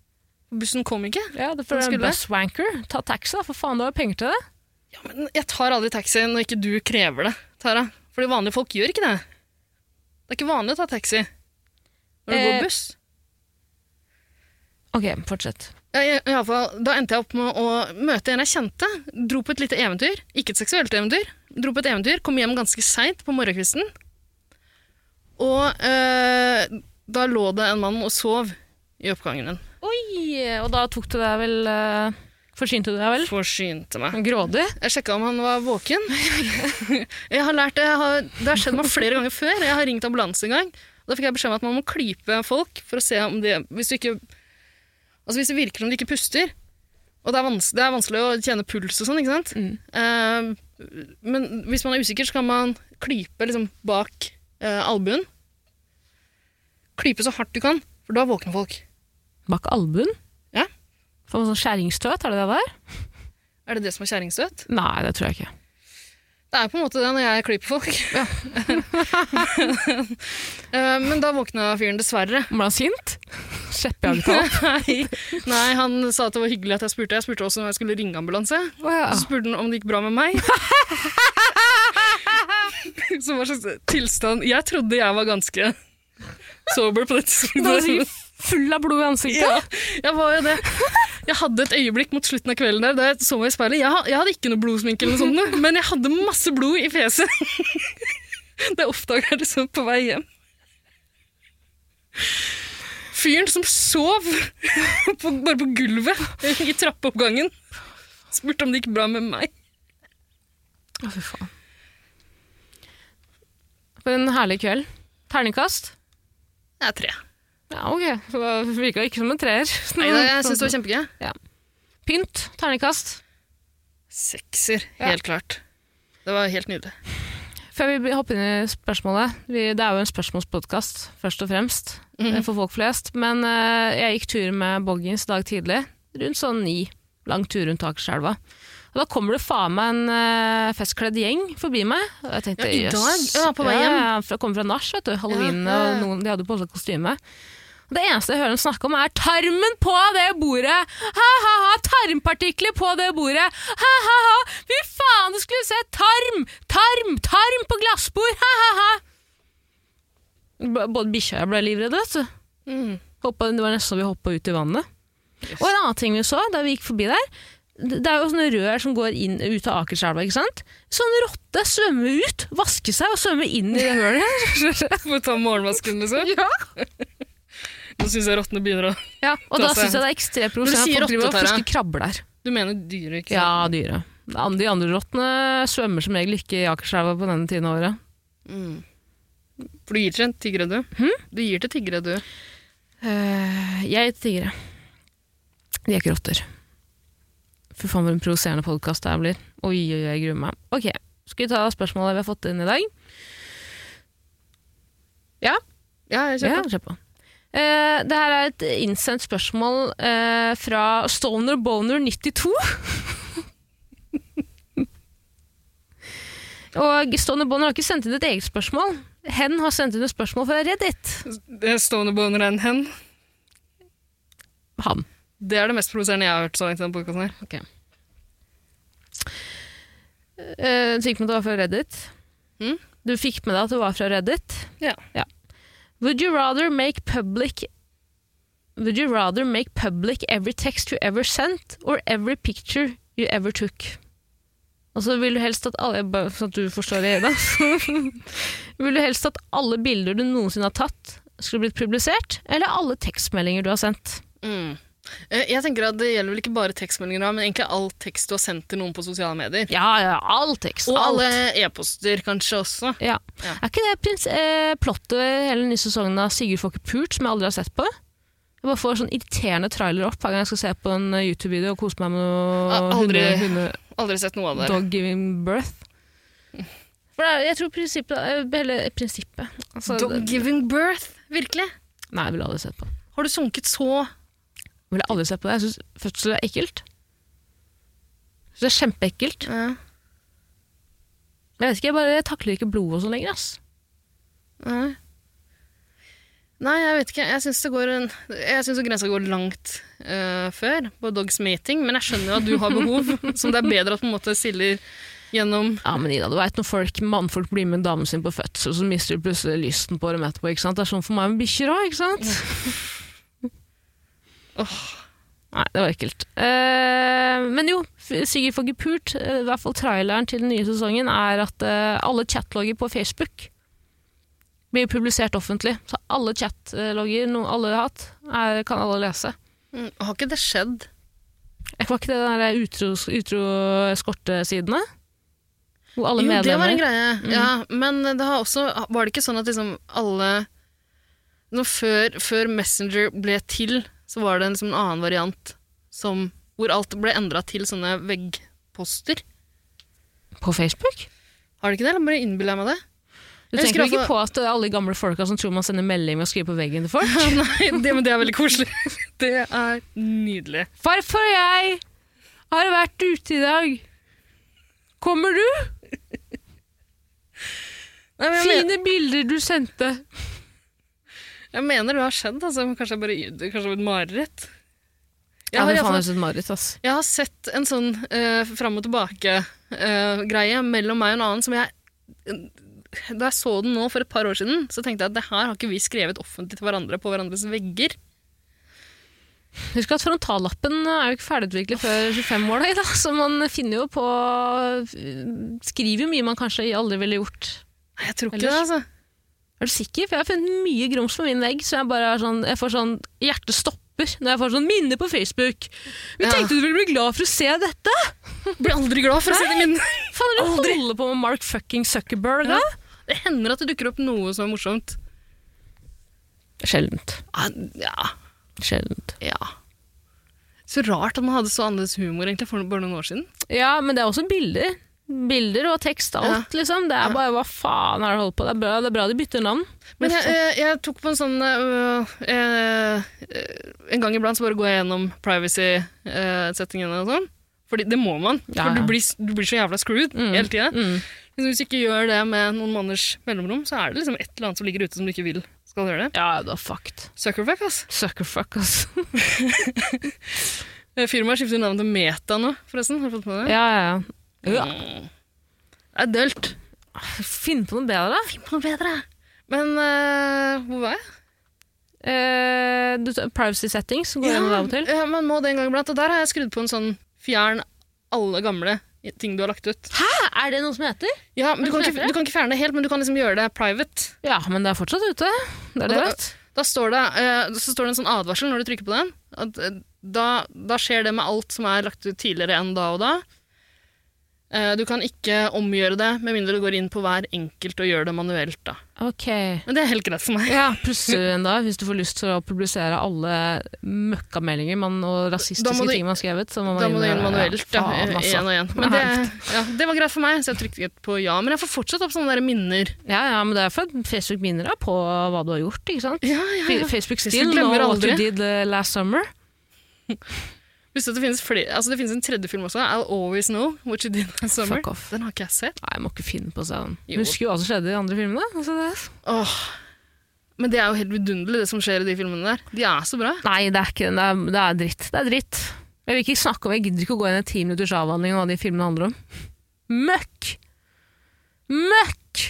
Speaker 3: Bussen kom ikke.
Speaker 2: Ja, det er
Speaker 3: Den
Speaker 2: en
Speaker 3: skulle.
Speaker 2: buswanker. Ta taxi, da, for faen, du har jo penger til det.
Speaker 3: Ja, men jeg tar aldri taxi når ikke du krever det, Tara. Fordi vanlige folk gjør ikke det. Det er ikke vanlig å ta taxi når du
Speaker 2: Eh.
Speaker 3: går buss.
Speaker 2: Ok, fortsett.
Speaker 3: Ja, i, i alle fall, da endte jeg opp med å møte en jeg kjente. Dro på et lite eventyr. Ikke et seksuelt eventyr. Dro på et eventyr, kom hjem ganske seint på morgenkvisten. Og eh, da lå det en mann og sov i oppgangen.
Speaker 2: Oi, og da tok du deg vel eh, Forsynte du deg vel?
Speaker 3: Forsynte meg.
Speaker 2: Grådig?
Speaker 3: Jeg sjekka om han var våken. (laughs) Jeg har lært, jeg har, det har skjedd meg flere ganger før. Jeg har ringt ambulanse en gang. og Da fikk jeg beskjed om at man må klype folk for å se om de Hvis, du ikke, altså hvis det virker som de ikke puster Og det er, vans, det er vanskelig å kjenne puls og sånn, ikke sant? Eh, men hvis man er usikker, så kan man klype liksom bak eh, albuen. Klype så hardt du kan, for da våkner folk.
Speaker 2: Bak albuen?
Speaker 3: Ja.
Speaker 2: Får man sånn skjæringstøt, er det det der?
Speaker 3: Er det det som er kjerringstøt?
Speaker 2: Nei, det tror jeg ikke.
Speaker 3: Det er på en måte det når jeg klyper folk. (laughs) Eh, Men da våkna fyren dessverre.
Speaker 2: Ble han sint? Skjeppjaget han opp?
Speaker 3: Nei. Nei, han sa at det var hyggelig at jeg spurte. Jeg spurte også om jeg skulle ringe ambulanse.
Speaker 2: (laughs) Å ja.
Speaker 3: Så spurte han om det gikk bra med meg. Så hva slags tilstand Jeg trodde jeg var ganske sober på det
Speaker 2: Det var
Speaker 3: tidspunktet.
Speaker 2: sikkert full av blod i ansiktet.
Speaker 3: Ja, jeg var jo det. Jeg hadde et øyeblikk mot slutten av kvelden der da jeg så meg i speilet. Jeg, ha- jeg hadde ikke noe blodsminke, eller noe sånt, men jeg hadde masse blod i fjeset. Det oppdaga jeg liksom på vei hjem. Fyren som sov på, bare på gulvet i trappeoppgangen, spurte om det gikk bra med meg.
Speaker 2: Å, fy faen. For en herlig kveld. Terningkast?
Speaker 3: Jeg er tre.
Speaker 2: Ja, ok. Så det virka ikke som en treer. sånn
Speaker 3: Nei, jeg syns det var kjempegøy.
Speaker 2: Pynt? Terningkast?
Speaker 3: Sekser,
Speaker 2: Ja.
Speaker 3: helt klart. Det var helt nydelig.
Speaker 2: Før vi hopper inn i spørsmålet, vi, det er jo en spørsmålspodkast først og fremst
Speaker 3: Mhm.
Speaker 2: eh, for folk flest, men eh, jeg gikk tur med Boggins i dag tidlig, rundt sånn ni, lang tur rundt Akerselva. Og da kommer det faen meg en eh, festkledd gjeng forbi meg. Og jeg tenkte,
Speaker 3: Ja, i dag?
Speaker 2: jøss.
Speaker 3: Ja, på vei
Speaker 2: Ja,
Speaker 3: hjem.
Speaker 2: ja, for jeg kommer fra nach, vet du. Halloween,
Speaker 3: Ja, ja, ja.
Speaker 2: og noen, de hadde på seg kostyme. Og Det eneste jeg hører dem snakke om, er tarmen på det bordet! Ha-ha-ha! Tarmpartikler på det bordet! Ha-ha-ha! Fy faen, du skulle se! Tarm! Tarm! Tarm på glassbord! Ha-ha-ha! B- Både bikkja og jeg ble livredde, vet du.
Speaker 3: Mm.
Speaker 2: Hoppa, det var nesten så vi hoppa ut i vannet. Og en annen ting vi så da vi gikk forbi der, det det er jo sånne rør som går inn ut av Akerselva, ikke sant? Sånn rotte svømmer ut, vasker seg og svømmer inn i det hølet.
Speaker 3: Får ta morgenvasken, liksom.
Speaker 2: ja.
Speaker 3: Nå syns jeg rottene begynner å
Speaker 2: ja, og da
Speaker 3: Ta seg
Speaker 2: syns jeg det er ekstremt
Speaker 3: Når du
Speaker 2: provoserende
Speaker 3: sier
Speaker 2: at folk driver og
Speaker 3: rotte, Tara.
Speaker 2: fisker krabber der.
Speaker 3: Du mener dyret, ikke
Speaker 2: Ja, dyret. De andre- de andre rottene svømmer som regel ikke i Akerselva på denne tiden av året.
Speaker 3: Mm. For du gir til en tiggere, du. Du gir til tiggere, du.
Speaker 2: Eh, jeg heter Tigre. De er ikke rotter. Fy faen, for en provoserende podkast det her blir. Oi, oi, oi, jeg gruer meg. Ok, Skal vi ta spørsmålet vi har fått inn i dag? Ja?
Speaker 3: Ja, jeg
Speaker 2: Ja,
Speaker 3: kjøper.
Speaker 2: kjør på. Eh, det her er et innsendt spørsmål eh, fra Stoner Boner 92. (laughs) Og Stoner Boner har ikke sendt inn et eget spørsmål. Hen har sendt inn et spørsmål fra Reddit.
Speaker 3: Det er Stående boner er en hen.
Speaker 2: Han.
Speaker 3: Det er det mest provoserende jeg har hørt så langt i denne podkasten her.
Speaker 2: Eh, Du fikk med deg at det var fra Reddit?
Speaker 3: Mm?
Speaker 2: Du fikk med deg at det var fra Reddit?
Speaker 3: Ja.
Speaker 2: Would you rather make public Would you rather make public every text you ever sent or every picture you ever took? Og så vil du helst at alle bare Sånn at du forstår det, Ida. (laughs) vil du helst at alle bilder du noensinne har tatt, skulle blitt publisert, eller alle tekstmeldinger du har sendt?
Speaker 3: Eh, Jeg tenker at Det gjelder vel ikke bare tekstmeldinger, da, men egentlig all tekst du har sendt til noen på sosiale medier.
Speaker 2: Ja, ja, all tekst.
Speaker 3: Og
Speaker 2: alt.
Speaker 3: alle e-poster kanskje også.
Speaker 2: Ja.
Speaker 3: Ja.
Speaker 2: Er ikke det prins, eh, plottet hele den nye sesongen av Sigurd får ikke pult, som jeg aldri har sett på? Jeg bare får sånn irriterende trailer opp hver gang jeg skal se på en eh, YouTube-video og kose meg med
Speaker 3: Jeg
Speaker 2: noe
Speaker 3: har aldri-
Speaker 2: hunde,
Speaker 3: Aldri sett noe av
Speaker 2: hunde,
Speaker 3: det.
Speaker 2: dog giving birth. For det er, jeg tror prinsippet eh, Hele prinsippet altså,
Speaker 3: Dog
Speaker 2: det-
Speaker 3: giving birth, virkelig?
Speaker 2: Nei, jeg ville aldri sett på det.
Speaker 3: Har du sunket så
Speaker 2: Jeg ville aldri sett på det. Jeg syns fødsel er ekkelt. Jeg synes det er kjempeekkelt.
Speaker 3: Ja.
Speaker 2: Jeg vet ikke, jeg bare jeg takler ikke blod og sånn lenger. ass.
Speaker 3: Nei. Nei, jeg vet ikke. Jeg syns det går en Jeg synes jo grensa går langt eh, før på dogs mating, men jeg skjønner jo at du har behov, (laughs) som det er bedre at på en måte stiller gjennom
Speaker 2: Ja, men Ida, du vet når folk, mannfolk blir med damen sin på fødsel, så mister du plutselig lysten på dem etterpå. ikke sant? Det er sånn for meg med bikkjer òg, ikke sant? (laughs)
Speaker 3: Åh,
Speaker 2: Nei, det var ekkelt. Eh, men jo, F- Sigurd får ikke pult. eh, I hvert fall traileren til den nye sesongen er at eh, alle chatlogger på Facebook blir publisert offentlig. Så alle chatlogger noe alle har hatt, er, kan alle lese.
Speaker 3: mm, Har ikke det skjedd?
Speaker 2: Jeg var ikke det den der utro- utro-eskortesidene? Hvor alle
Speaker 3: jo, det var
Speaker 2: medlemmer
Speaker 3: en
Speaker 2: Mm.
Speaker 3: greie. Ja, men det har også Var det ikke sånn at liksom alle nå før, før Messenger ble til, så var det en, liksom, en annen variant som, hvor alt ble endra til sånne veggposter?
Speaker 2: På Facebook?
Speaker 3: Har det ikke det? Eller bare innbiller jeg meg det?
Speaker 2: Du
Speaker 3: Jeg
Speaker 2: tenker jo
Speaker 3: husker altså-
Speaker 2: ikke på at eh, alle gamle folka som tror man sender melding med å skrive på veggen til folk?
Speaker 3: (laughs) Nei, det, men det er veldig koselig. (laughs) Det er nydelig.
Speaker 2: Farfar og jeg har vært ute i dag. Kommer du?
Speaker 3: Nei, men jeg, men,
Speaker 2: Fine bilder du sendte.
Speaker 3: jeg mener det har skjedd, altså. men Kanskje jeg bare det kanskje var et mareritt. Jeg
Speaker 2: Ja,
Speaker 3: har,
Speaker 2: det
Speaker 3: i
Speaker 2: faen
Speaker 3: hvert
Speaker 2: høres ut som et mareritt, ass.
Speaker 3: fall- jeg har sett en sånn uh, fram og tilbake-greie mellom meg og en annen som jeg Da jeg så den nå for et par år siden, så tenkte jeg at det her har ikke vi skrevet offentlig til hverandre på hverandres vegger.
Speaker 2: Husk at frontallappen er jo ikke ferdigutviklet før 25-åra, da, så man finner jo på Skriver jo mye man kanskje aldri ville gjort.
Speaker 3: Nei, jeg tror ikke
Speaker 2: Ellers-
Speaker 3: det, altså.
Speaker 2: Er du sikker? For jeg har funnet mye grums på min vegg, så jeg bare er sånn, jeg får sånn Hjertet stopper når jeg får sånn minne på Facebook. Vi
Speaker 3: Ja.
Speaker 2: tenkte du ville bli glad for å se dette!
Speaker 3: Blir aldri glad for å se det min.
Speaker 2: Faen, er det du holder på med Mark fucking Zuckerberg, da?
Speaker 3: Det hender at det dukker opp noe som er morsomt.
Speaker 2: Sjeldent.
Speaker 3: Ah, Ja,
Speaker 2: Sjeldent.
Speaker 3: ja. Så rart at man hadde så annerledes humor egentlig for bare noen år siden.
Speaker 2: Ja, men det er også bilder. Bilder og tekst og alt, liksom. Det er bare hva faen er det du holder på med? Det er bra- Det er bra de bytter navn.
Speaker 3: Men jeg, jeg, jeg tok på en sånn øh, øh, øh, En gang iblant så bare går jeg gjennom privacy-settingene og sånn. Fordi det må man.
Speaker 2: Ja,
Speaker 3: For
Speaker 2: ja.
Speaker 3: du blir, s- du blir så jævla screwed hele tida.
Speaker 2: Mm.
Speaker 3: Liksom, hvis du ikke gjør det med noen måneders mellomrom, så er det liksom et eller annet som ligger ute som du ikke vil skal gjøre det.
Speaker 2: Ja, du er fucked.
Speaker 3: Zuckerfuck, ass.
Speaker 2: Suckerfuck, altså.
Speaker 3: Eh, Firmaet skifter navn til Meta nå, forresten. Har du fått med det?
Speaker 2: (laughs) Ja, ja. ja.
Speaker 3: Mm. Det er dølt.
Speaker 2: Finn på noe bedre, da.
Speaker 3: Noe bedre. Men eh, hvor var jeg?
Speaker 2: Eh, du, privacy settings går gjennom det av og til.
Speaker 3: Ja, man må det en gang iblant. Og der har jeg skrudd på en sånn fjern alle gamle ting du har lagt ut.
Speaker 2: Hæ, er det noe som heter?
Speaker 3: Ja, men du,
Speaker 2: Hva
Speaker 3: kan
Speaker 2: heter
Speaker 3: ikke,
Speaker 2: det?
Speaker 3: du kan ikke fjerne det helt, men du kan liksom gjøre det private.
Speaker 2: Ja, men det er fortsatt ute. Det er det,
Speaker 3: Og da-
Speaker 2: vet
Speaker 3: Da står det, eh, så står det en sånn advarsel når du trykker på den. At, eh, da, da skjer det med alt som er lagt ut tidligere enn da og da. Eh, du kan ikke omgjøre det, med mindre du går inn på hver enkelt og gjør det manuelt. da.
Speaker 2: Ok.
Speaker 3: Men det er helt greit for meg.
Speaker 2: Ja, plusser en da, hvis du får lyst til å publisere alle møkkameldinger man, og
Speaker 3: Da må
Speaker 2: rasistiske
Speaker 3: du-
Speaker 2: ting man har skrevet. Så må man
Speaker 3: Da må du gjøre det manuelt.
Speaker 2: Ja,
Speaker 3: da,
Speaker 2: faen,
Speaker 3: eh,
Speaker 2: altså.
Speaker 3: igjen og igjen. Men det, ja, det var greit for meg, så jeg trykket på ja. Men jeg får fortsatt opp sånne der minner.
Speaker 2: ja, ja, men det er for at Facebook minner deg på hva du har gjort, ikke sant?
Speaker 3: Ja, ja,
Speaker 2: Fe-
Speaker 3: ja.
Speaker 2: Facebook
Speaker 3: Facebook
Speaker 2: still, know
Speaker 3: glemmer
Speaker 2: what you
Speaker 3: aldri.
Speaker 2: did eh, last summer.
Speaker 3: Visste du at det finnes, flere, altså det finnes en tredje film også, I'll Always Know What You Did Last Summer.
Speaker 2: Fuck off.
Speaker 3: Den har ikke jeg sett.
Speaker 2: Nei, jeg må ikke finne på seg den.
Speaker 3: Jo.
Speaker 2: Husker jo hva som skjedde i de andre filmene. Altså det.
Speaker 3: Åh. Men det er jo helt vidunderlig, det som skjer i de filmene der. De er så bra.
Speaker 2: Nei, det er ikke det. Er, det er dritt. Det er dritt. Jeg vil ikke snakke om, jeg gidder ikke å gå inn i en ti minutters avhandling om hva de filmene handler om. Møkk! Møkk!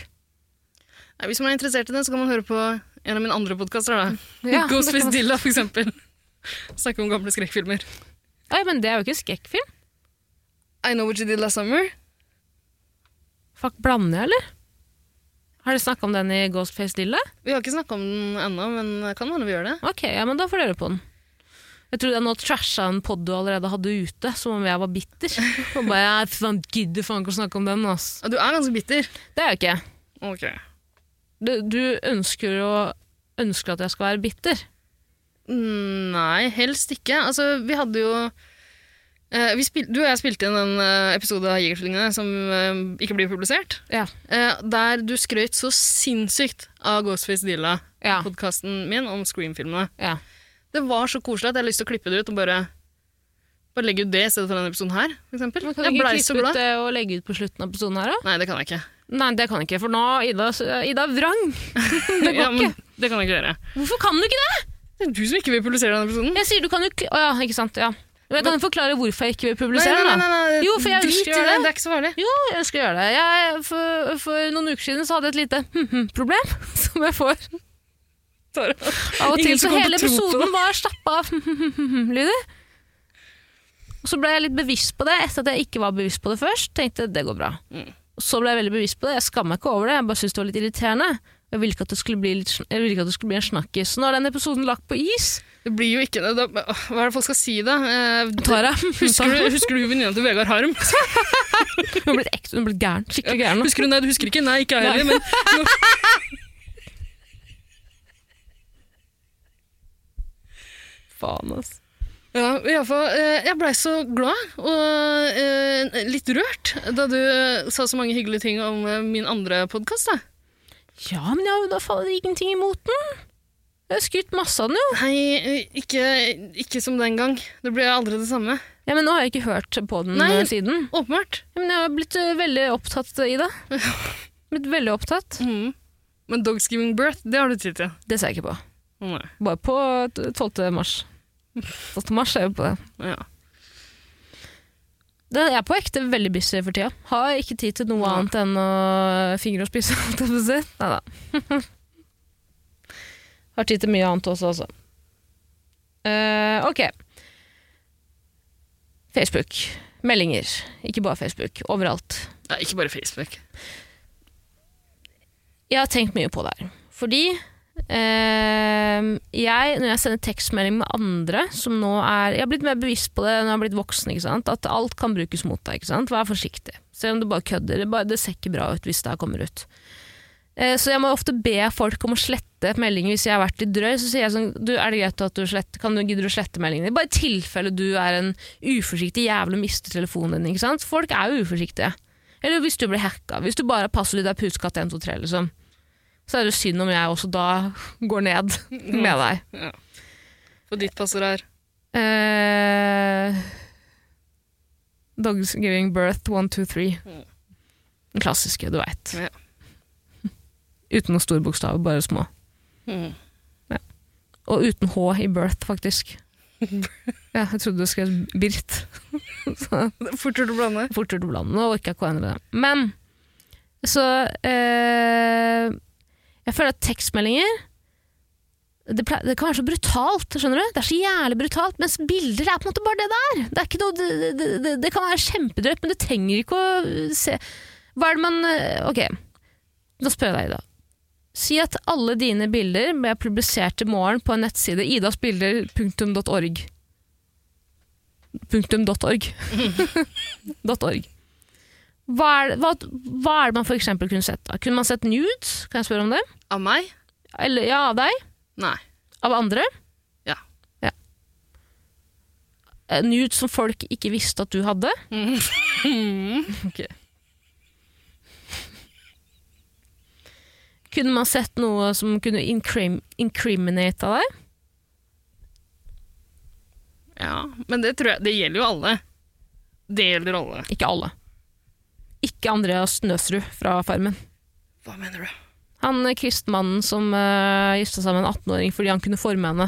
Speaker 3: Nei, Hvis man er interessert i det, så kan man høre på en av mine andre podkaster.
Speaker 2: (laughs) Ja,
Speaker 3: Ja, Ghost
Speaker 2: det kan
Speaker 3: Face
Speaker 2: man-
Speaker 3: Dilla, for eksempel. Snakke om gamle skrekkfilmer.
Speaker 2: Oi, men det er jo ikke en skrekkfilm.
Speaker 3: I Know What You Did Last Summer.
Speaker 2: Fuck, blander jeg, eller? Har dere snakka om den i Ghostface Lille?
Speaker 3: Vi har ikke snakka om den ennå, men kan hende vi gjør det.
Speaker 2: Ok, ja, men da får dere på den. Jeg trodde jeg nå trasha en pod du allerede hadde ute, som om jeg var bitter. Og bare, jeg faen, gidder faen ikke å snakke om den, ass.
Speaker 3: Og du er ganske bitter.
Speaker 2: Det er jeg ikke.
Speaker 3: Ok.
Speaker 2: Du, du ønsker, å, ønsker at jeg skal være bitter.
Speaker 3: Nei, helst ikke. Altså, vi hadde jo eh, vi spil, Du og jeg spilte inn en eh, episode av Jegertvillingene som eh, ikke blir publisert.
Speaker 2: Ja.
Speaker 3: eh, der du skrøt så sinnssykt av Ghostface
Speaker 2: Ja.
Speaker 3: Dilla-podkasten min om Scream-filmene.
Speaker 2: ja.
Speaker 3: Det var så koselig at jeg har lyst til å klippe det ut og bare, bare legge ut det i stedet for denne episoden her. For eksempel.
Speaker 2: Men kan du
Speaker 3: jeg
Speaker 2: ikke
Speaker 3: blei
Speaker 2: klippe
Speaker 3: så
Speaker 2: ut
Speaker 3: glad.
Speaker 2: det og legge ut på slutten av episoden her, da?
Speaker 3: Nei, det kan jeg ikke.
Speaker 2: Nei, det kan jeg ikke, for nå er Ida, Ida vrang. (laughs) Det går
Speaker 3: Ja, men
Speaker 2: ikke.
Speaker 3: det kan jeg ikke gjøre.
Speaker 2: Hvorfor kan du ikke det?
Speaker 3: Det er du som ikke vil publisere denne episoden.
Speaker 2: Jeg sier du kan jo kli- Å ja, ikke sant. Ja. Men jeg kan forklare hvorfor jeg ikke vil publisere
Speaker 3: nei,
Speaker 2: den,
Speaker 3: nei,
Speaker 2: da.
Speaker 3: nei, nei,
Speaker 2: Jo, for jeg
Speaker 3: drit
Speaker 2: ønsker å
Speaker 3: i
Speaker 2: gjøre det.
Speaker 3: Det er ikke så farlig.
Speaker 2: Jo, jeg ønsker å gjøre det. Jeg, for, for noen uker siden så hadde jeg et lite hm-hm-problem, (laughs) som jeg får av og til.
Speaker 3: Ingen som
Speaker 2: Så
Speaker 3: kommer
Speaker 2: hele
Speaker 3: til å tro på det.
Speaker 2: episoden var stappa av Hm, hm-hm-hm-lyder. Og så ble jeg litt bevisst på det etter at jeg ikke var bevisst på det først. Tenkte det går bra.
Speaker 3: Mm.
Speaker 2: Så ble jeg veldig bevisst på det. Jeg skammer meg ikke over det, jeg bare syntes det var litt irriterende. Jeg ville ikke at det skulle bli, litt, sn- jeg ville ikke at det skulle bli en snakkis. Så nå er den episoden lagt på is.
Speaker 3: Det blir jo ikke da, Hva er det folk skal si, da? Eh,
Speaker 2: Tara, (laughs)
Speaker 3: Husker du, husker du venninna til Vegard Harm?
Speaker 2: hun har blitt ekte, hun har blitt gæren. Skikkelig gæren. nå.
Speaker 3: Husker du, nei, du husker ikke? Nei, ikke jeg heller. Men nå...
Speaker 2: Faen, ass.
Speaker 3: ja, i alle fall, eh, jeg blei så glad og eh, litt rørt da du eh, sa så mange hyggelige ting om eh, min andre podkast.
Speaker 2: Ja, men jeg har jo da faen ingenting imot den. Jeg har skutt masse av den, jo.
Speaker 3: Nei, eh, ikke, ikke som den gang. Det ble aldri det samme.
Speaker 2: Ja, men nå har jeg ikke hørt på den
Speaker 3: Nei.
Speaker 2: eh, siden.
Speaker 3: Åpenbart.
Speaker 2: Ja, men jeg har blitt eh, veldig opptatt, Ida. (laughs) Blitt veldig opptatt.
Speaker 3: Mhm. Men Dogs Giving Birth, det har du tid til.
Speaker 2: Det ser jeg ikke på.
Speaker 3: Å, nei.
Speaker 2: Bare på t- 12. mars. 12. mars er jeg på det.
Speaker 3: Ja.
Speaker 2: Det jeg er på ekte veldig busy for tida. Har ikke tid til noe
Speaker 3: Ja.
Speaker 2: annet enn å fingre og spise. (laughs) holdt jeg på å si. (laughs) Neida. Har tid til mye annet også, altså. Eh, ok. Facebook. Meldinger. Ikke bare Facebook. Overalt.
Speaker 3: Ja, ikke bare Facebook.
Speaker 2: Jeg har tenkt mye på det her. Fordi eh, jeg, når jeg sender tekstmelding med andre, som nå er Jeg har blitt mer bevisst på det når jeg har blitt voksen, ikke sant? at alt kan brukes mot deg. Ikke sant? Vær forsiktig. Selv om du bare kødder. Det, bare, det ser ikke bra ut hvis det her kommer ut. Eh, Så jeg må ofte be folk om å slette meldinger hvis jeg har vært litt drøy. Så sier jeg sånn du, Er det greit at du sletter, kan du gidder du å slette meldingene? Bare i tilfelle du er en uforsiktig jævel og mister telefonen din. ikke sant? Folk er jo uforsiktige. Eller hvis du blir hacka. Hvis du bare har passordet er pusekatt 123, liksom. Så er det synd om jeg også da går ned med deg.
Speaker 3: Ja. Og ditt passord er
Speaker 2: Eh, dogs giving birth, one, two, three. Den klassiske, du veit.
Speaker 3: Ja.
Speaker 2: (laughs) Uten noen store bokstaver, bare små.
Speaker 3: Mm.
Speaker 2: Og uten H i birth, faktisk. ja, jeg trodde du skrev Birt.
Speaker 3: Fortere å blande.
Speaker 2: Fortere til blandet, og ikke hva endre det. Men, så eh, Jeg føler at tekstmeldinger det, ple- det kan være så brutalt, skjønner du? Det er så jævlig brutalt, mens bilder er på en måte bare det der. Det, er ikke noe, det, det, det, det kan være kjempedrøyt, men du trenger ikke å se Hva er det man eh, Ok, nå spør jeg deg, Ida. Si at alle dine bilder ble publisert i morgen på en nettside idasbilder.org. Punktum dot .org. Dot .org. Hva er, det- hva, hva er det man for eksempel kunne sett? da? Kunne man sett nudes? Kan jeg spørre om det?
Speaker 3: Av meg?
Speaker 2: Eller, ja, av deg?
Speaker 3: Nei.
Speaker 2: Av andre?
Speaker 3: Ja.
Speaker 2: ja. Eh, Nudes som folk ikke visste at du (laughs) hadde? Mm. Ok. Kunne man sett noe som kunne incrim incriminate deg?
Speaker 3: Ja, men det tror jeg Det gjelder jo alle. Det gjelder alle.
Speaker 2: Ikke alle. Ikke Andreas Nøsrud fra Farmen.
Speaker 3: Hva mener du?
Speaker 2: Han eh, kristmannen som uh, gifta seg med en 18-åring fordi han kunne forme henne.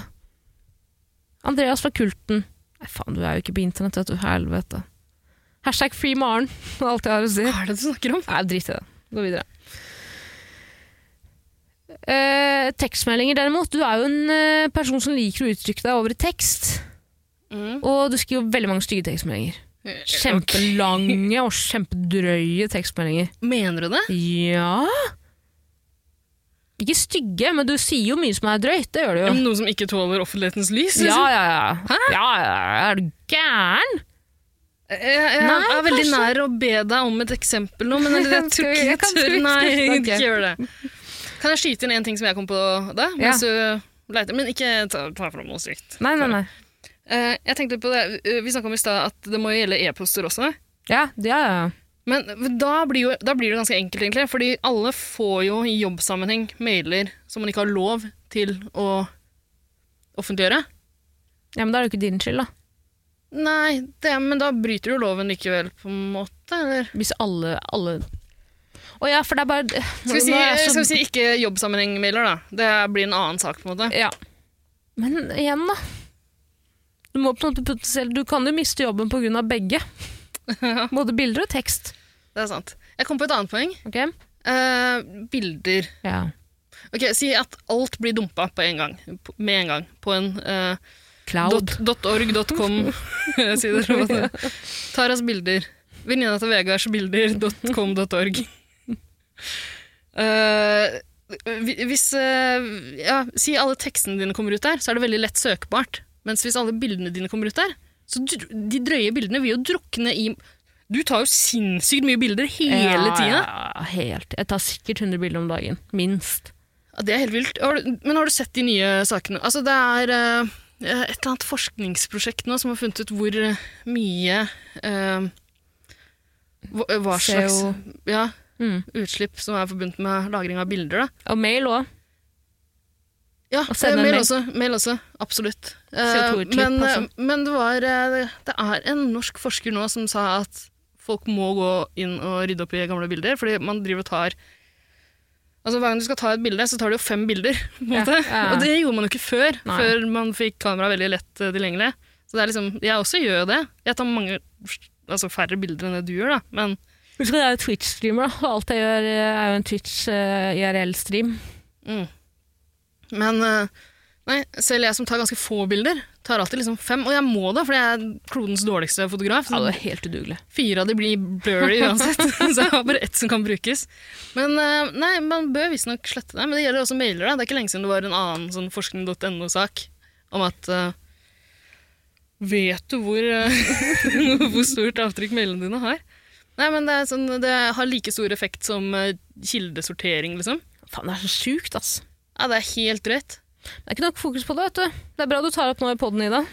Speaker 2: Andreas fra kulten. Nei, faen, du er jo ikke på internett, vet du. Helvete. Hashtag free Maren. Det er (laughs) Alt jeg har å si.
Speaker 3: Hva er det du snakker om?
Speaker 2: Nei, drit i det. Gå videre. Eh, tekstmeldinger, derimot. Du er jo en eh, person som liker å uttrykke deg over i tekst.
Speaker 3: Mm.
Speaker 2: Og du skriver veldig mange stygge tekstmeldinger.
Speaker 3: Eh,
Speaker 2: Kjempelange og kjempedrøye tekstmeldinger.
Speaker 3: Mener du det?
Speaker 2: Ja Ikke stygge, men du sier jo mye som er drøyt. Det gjør du jo.
Speaker 3: Noe som ikke tåler offentlighetens lys?
Speaker 2: Ja,
Speaker 3: liksom?
Speaker 2: ja, ja. ja, ja, ja. Er du gæren?
Speaker 3: Jeg, jeg
Speaker 2: Nei,
Speaker 3: er veldig
Speaker 2: kanskje.
Speaker 3: nær å be deg om et eksempel nå, men
Speaker 2: (laughs)
Speaker 3: jeg, jeg
Speaker 2: Skal
Speaker 3: tror
Speaker 2: vi-
Speaker 3: ikke
Speaker 2: jeg
Speaker 3: jeg
Speaker 2: kan- skal
Speaker 3: tør.
Speaker 2: vi- (laughs)
Speaker 3: Nei,
Speaker 2: skal vi-
Speaker 3: ikke gjør det. Kan jeg skyte inn en ting som jeg kom på da? Mens du leter? Men ikke ta, ta fram noe sykt.
Speaker 2: Nei, nei, nei.
Speaker 3: Eh, jeg tenkte litt på det. Eh, Vi snakka om i stad at det må jo gjelde e-poster også.
Speaker 2: Ja, ja, ja.
Speaker 3: Men da blir, jo, da blir det ganske enkelt, egentlig. Fordi alle får jo i jobbsammenheng mailer som man ikke har lov til å offentliggjøre.
Speaker 2: ja, men da er det jo ikke din skyld, da.
Speaker 3: Nei, det, men da bryter du loven likevel, på en måte. Eller?
Speaker 2: Hvis alle, alle Å ja, for det er bare
Speaker 3: Skal vi si,
Speaker 2: Nå er jeg så-
Speaker 3: skal vi si ikke jobbsammenheng-mailer, da? Det blir en annen sak, på en måte.
Speaker 2: Ja. Men igjen, da. Du, må på en måte putte selv. du kan jo miste jobben pga. (laughs) begge. Både bilder og tekst.
Speaker 3: Det er sant. Jeg kom på et annet poeng.
Speaker 2: Ok?
Speaker 3: Eh, bilder.
Speaker 2: Ja.
Speaker 3: Ok, Si at alt blir dumpa på en gang, på- med en gang. På en eh,
Speaker 2: Cloud.
Speaker 3: Dot- dot .org, dot
Speaker 2: (laughs)
Speaker 3: .com sider. eller hva det er. Taras bilder. Venninna til Vegards bilder. Dot .com, dot .org. Eh, hvi- hvis eh, ja, Si alle tekstene dine kommer ut der, så er det veldig lett søkbart. Mens hvis alle bildene dine kommer ut der, så dr de drøye bildene vil jo drukne i Du tar jo sinnssykt mye bilder hele
Speaker 2: Ja,
Speaker 3: tida.
Speaker 2: Ja, ja, helt. Jeg tar sikkert 100 bilder om dagen. Minst.
Speaker 3: Ja, Det er helt vilt. Har du, men har du sett de nye sakene? Altså, det er eh, et eller annet forskningsprosjekt nå som har funnet ut hvor eh, mye eh, hva, hva slags
Speaker 2: CO.
Speaker 3: ja,
Speaker 2: Mm.
Speaker 3: utslipp som er forbundet med lagring av bilder. Da.
Speaker 2: Og mail òg.
Speaker 3: Ja,
Speaker 2: Og sende en
Speaker 3: eh, mail,
Speaker 2: mail.
Speaker 3: også, mail også. Absolutt. Eh,
Speaker 2: CO2-utslipp,
Speaker 3: men, eh,
Speaker 2: altså.
Speaker 3: men det var eh, Det er en norsk forsker nå som sa at folk må gå inn og rydde opp i gamle bilder, fordi man driver og tar Altså Hver gang du skal ta et bilde, så tar du jo fem bilder. (laughs) på en
Speaker 2: Ja,
Speaker 3: måte.
Speaker 2: ja.
Speaker 3: Og det gjorde man jo ikke før,
Speaker 2: Nei.
Speaker 3: før man fikk kamera veldig lett eh, tilgjengelig. Så det er liksom, jeg også gjør jo det. Jeg tar mange, altså færre bilder enn det du gjør, da. Men
Speaker 2: Husk at jeg er jo Twitch-streamer, da. Og alt jeg gjør, eh, er jo en eh, Twitch-IRL-stream.
Speaker 3: Men eh, nei, selv jeg som tar ganske få bilder, Tar alltid liksom fem, og jeg må da, for jeg er klodens dårligste
Speaker 2: Ja,
Speaker 3: fotograf. Så
Speaker 2: det er helt udugelig.
Speaker 3: fire av de
Speaker 2: (laughs)
Speaker 3: blir blurry uansett, (laughs) så jeg har bare ett som kan brukes. Men eh, nei, man bør visstnok slette det. Men det gjelder også mailer. Da. Det er ikke lenge siden det var en annen sånn forskning.no-sak om at eh, Vet du hvor, eh, (laughs) hvor stort avtrykk mailene dine har? Nei, men det, er sånn, det har like stor effekt som eh, kildesortering, liksom.
Speaker 2: Faen, det er så sjukt, ass.
Speaker 3: Ja, det er helt rødt.
Speaker 2: Det er ikke nok fokus på det, vet du. Det er bra du tar opp nå i poden, Ida.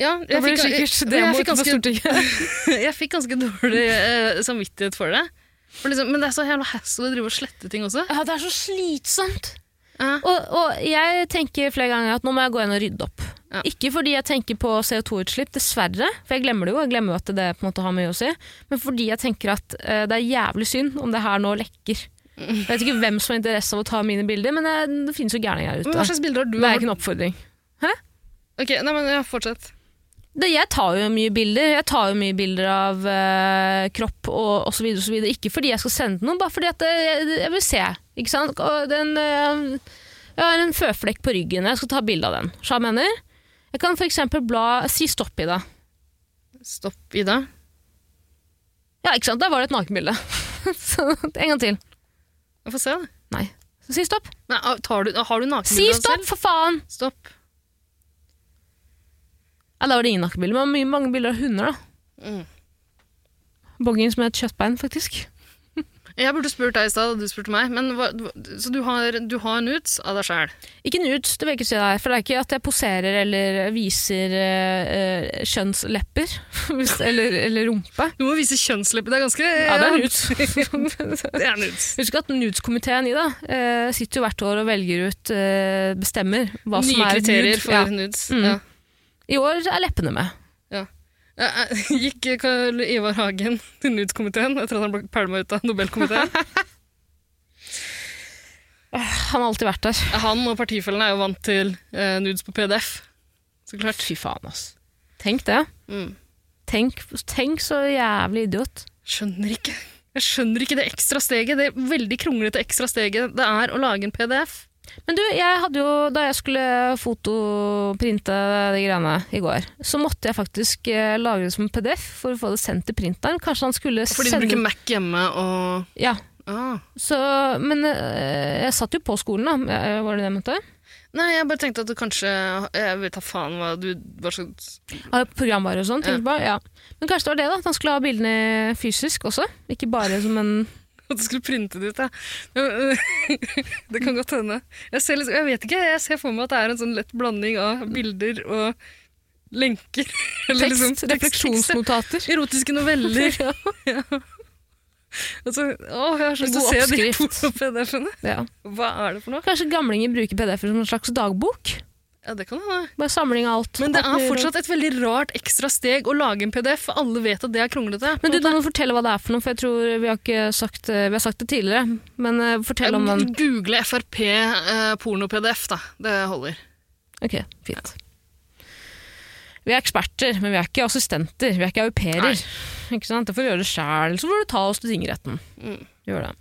Speaker 3: Ja,
Speaker 2: Da
Speaker 3: jeg
Speaker 2: blir
Speaker 3: fikk,
Speaker 2: det
Speaker 3: jeg,
Speaker 2: sikkert
Speaker 3: jeg,
Speaker 2: demo
Speaker 3: fikk
Speaker 2: utenfor
Speaker 3: ganske,
Speaker 2: Stortinget.
Speaker 3: (laughs) jeg fikk ganske dårlig eh, samvittighet for det. For liksom, men det er så jævla hassle å drive og slette ting også.
Speaker 2: Ja, det er så slitsomt.
Speaker 3: Ja.
Speaker 2: Og, og jeg tenker flere ganger at nå må jeg gå inn og rydde opp.
Speaker 3: Ja.
Speaker 2: Ikke fordi jeg tenker på CO2-utslipp, dessverre, for jeg glemmer det jo. Jeg glemmer jo at det på en måte har mye å si. Men fordi jeg tenker at eh, det er jævlig synd om det her nå lekker. Jeg vet ikke hvem som har interesse av å ta mine bilder, men eh, det finnes jo gærninger her
Speaker 3: Men hva
Speaker 2: ute.
Speaker 3: slags bilder har du?
Speaker 2: Det er ikke en oppfordring.
Speaker 3: Ok, nei, men ja, Fortsett.
Speaker 2: Det, jeg tar jo mye bilder. Jeg tar jo mye bilder av eh, kropp og og så videre, og så videre. Ikke fordi jeg skal sende til noen, bare fordi at eh, jeg, jeg vil se. Ikke sant? Og Den, eh, jeg har en føflekk på ryggen. Jeg skal ta bilde av den. Skjønner du hva jeg mener? Jeg kan for eksempel bla Si stopp i det.
Speaker 3: Stopp, Ida.
Speaker 2: Ja, ikke sant? Da var det et nakenbilde. (laughs) Så, en gang til.
Speaker 3: Jeg får se, da.
Speaker 2: Nei. Så Si stopp.
Speaker 3: Nei, ah, tar du, har du
Speaker 2: Si
Speaker 3: nakenbilder av deg
Speaker 2: stopp,
Speaker 3: selv?
Speaker 2: for faen!
Speaker 3: Stopp.
Speaker 2: Ja, da var det ingen nakenbilder, men mye- mange bilder av hunder, da.
Speaker 3: Mm.
Speaker 2: Boggins med et kjøttbein, faktisk.
Speaker 3: Jeg burde spurt deg i stad, og du spurte meg. Men hva, du- så du har, du har nudes av deg sjæl?
Speaker 2: Ikke nudes, det vil jeg ikke si det er. For det er ikke at jeg poserer eller viser eh, eh, kjønnslepper. (laughs) hvis- eller, eller rumpe.
Speaker 3: Du må vise kjønnslepper. Det er ganske
Speaker 2: Ja, det er nudes.
Speaker 3: (laughs) Det er nudes.
Speaker 2: (laughs) Husk at nudeskomiteen Ida, eh, sitter jo hvert år og velger ut, eh, bestemmer hva som er
Speaker 3: Nye
Speaker 2: et
Speaker 3: kriterier
Speaker 2: nude.
Speaker 3: for
Speaker 2: Ja.
Speaker 3: nudes.
Speaker 2: Mm.
Speaker 3: Ja.
Speaker 2: I år er leppene med.
Speaker 3: Ja, eh, (laughs) Gikk Karl Ivar Hagen til nudeskomiteen etter at han ble pælma ut av Nobelkomiteen?
Speaker 2: Han har alltid vært der.
Speaker 3: Han og partifellene er jo vant til eh, nudes på PDF. Så klart.
Speaker 2: Fy faen, ass. Tenk det.
Speaker 3: Mm.
Speaker 2: Tenk, tenk så jævlig idiot.
Speaker 3: Skjønner ikke. Jeg skjønner ikke det ekstra steget, det veldig kronglete ekstra steget det er å lage en PDF.
Speaker 2: Men du, jeg hadde jo, da jeg skulle fotoprinte de greiene i går, så måtte jeg faktisk eh, lage det som en PDF for å få det sendt til printeren. Kanskje han skulle
Speaker 3: Fordi du
Speaker 2: sende
Speaker 3: bruker Mac hjemme og
Speaker 2: Ja,
Speaker 3: ah.
Speaker 2: så, men eh, jeg satt jo på skolen, da. Eh, Var det det jeg mente?
Speaker 3: Nei, jeg bare tenkte at du kanskje Jeg vet da faen hva du var så
Speaker 2: Ah, Programvare og sånn. tenkte jeg bare, ja. Men kanskje det var det, da. At han skulle ha bildene fysisk også. Ikke bare som en
Speaker 3: (laughs) At du skulle printe det ut, ja. (laughs) Det kan godt hende. Jeg, ser liksom, jeg vet ikke, jeg ser for meg at det er en sånn lett blanding av bilder og lenker. (laughs) Eller
Speaker 2: tekst.
Speaker 3: liksom-
Speaker 2: refleksjonsnotater.
Speaker 3: (laughs) Erotiske (laughs) noveller.
Speaker 2: Ja.
Speaker 3: Altså, å, jeg har så lyst
Speaker 2: God
Speaker 3: til å se de
Speaker 2: oppskrift.
Speaker 3: (laughs) på PDF-ene.
Speaker 2: (laughs) Ja.
Speaker 3: Hva er det for noe?
Speaker 2: Kanskje gamlinger bruker PDF-er som en slags dagbok?
Speaker 3: Ja, det kan hende.
Speaker 2: Bare samling av alt.
Speaker 3: Men det
Speaker 2: Alt
Speaker 3: er
Speaker 2: mulig.
Speaker 3: fortsatt et veldig rart ekstra steg å lage en PDF. for Alle vet at det er kronglete.
Speaker 2: Men du, du må fortelle hva det er for noe, for jeg tror vi har ikke sagt, eh, vi har sagt det tidligere. Men eh, fortell om den.
Speaker 3: Google Frp eh, porno-PDF, da. Det holder.
Speaker 2: Ok, fint. Vi er eksperter, men vi er ikke assistenter. Vi er ikke au pairer. Ikke sant? Det får vi gjøre sjæl. Så får du ta oss til tingretten.
Speaker 3: Mm.
Speaker 2: Gjør det.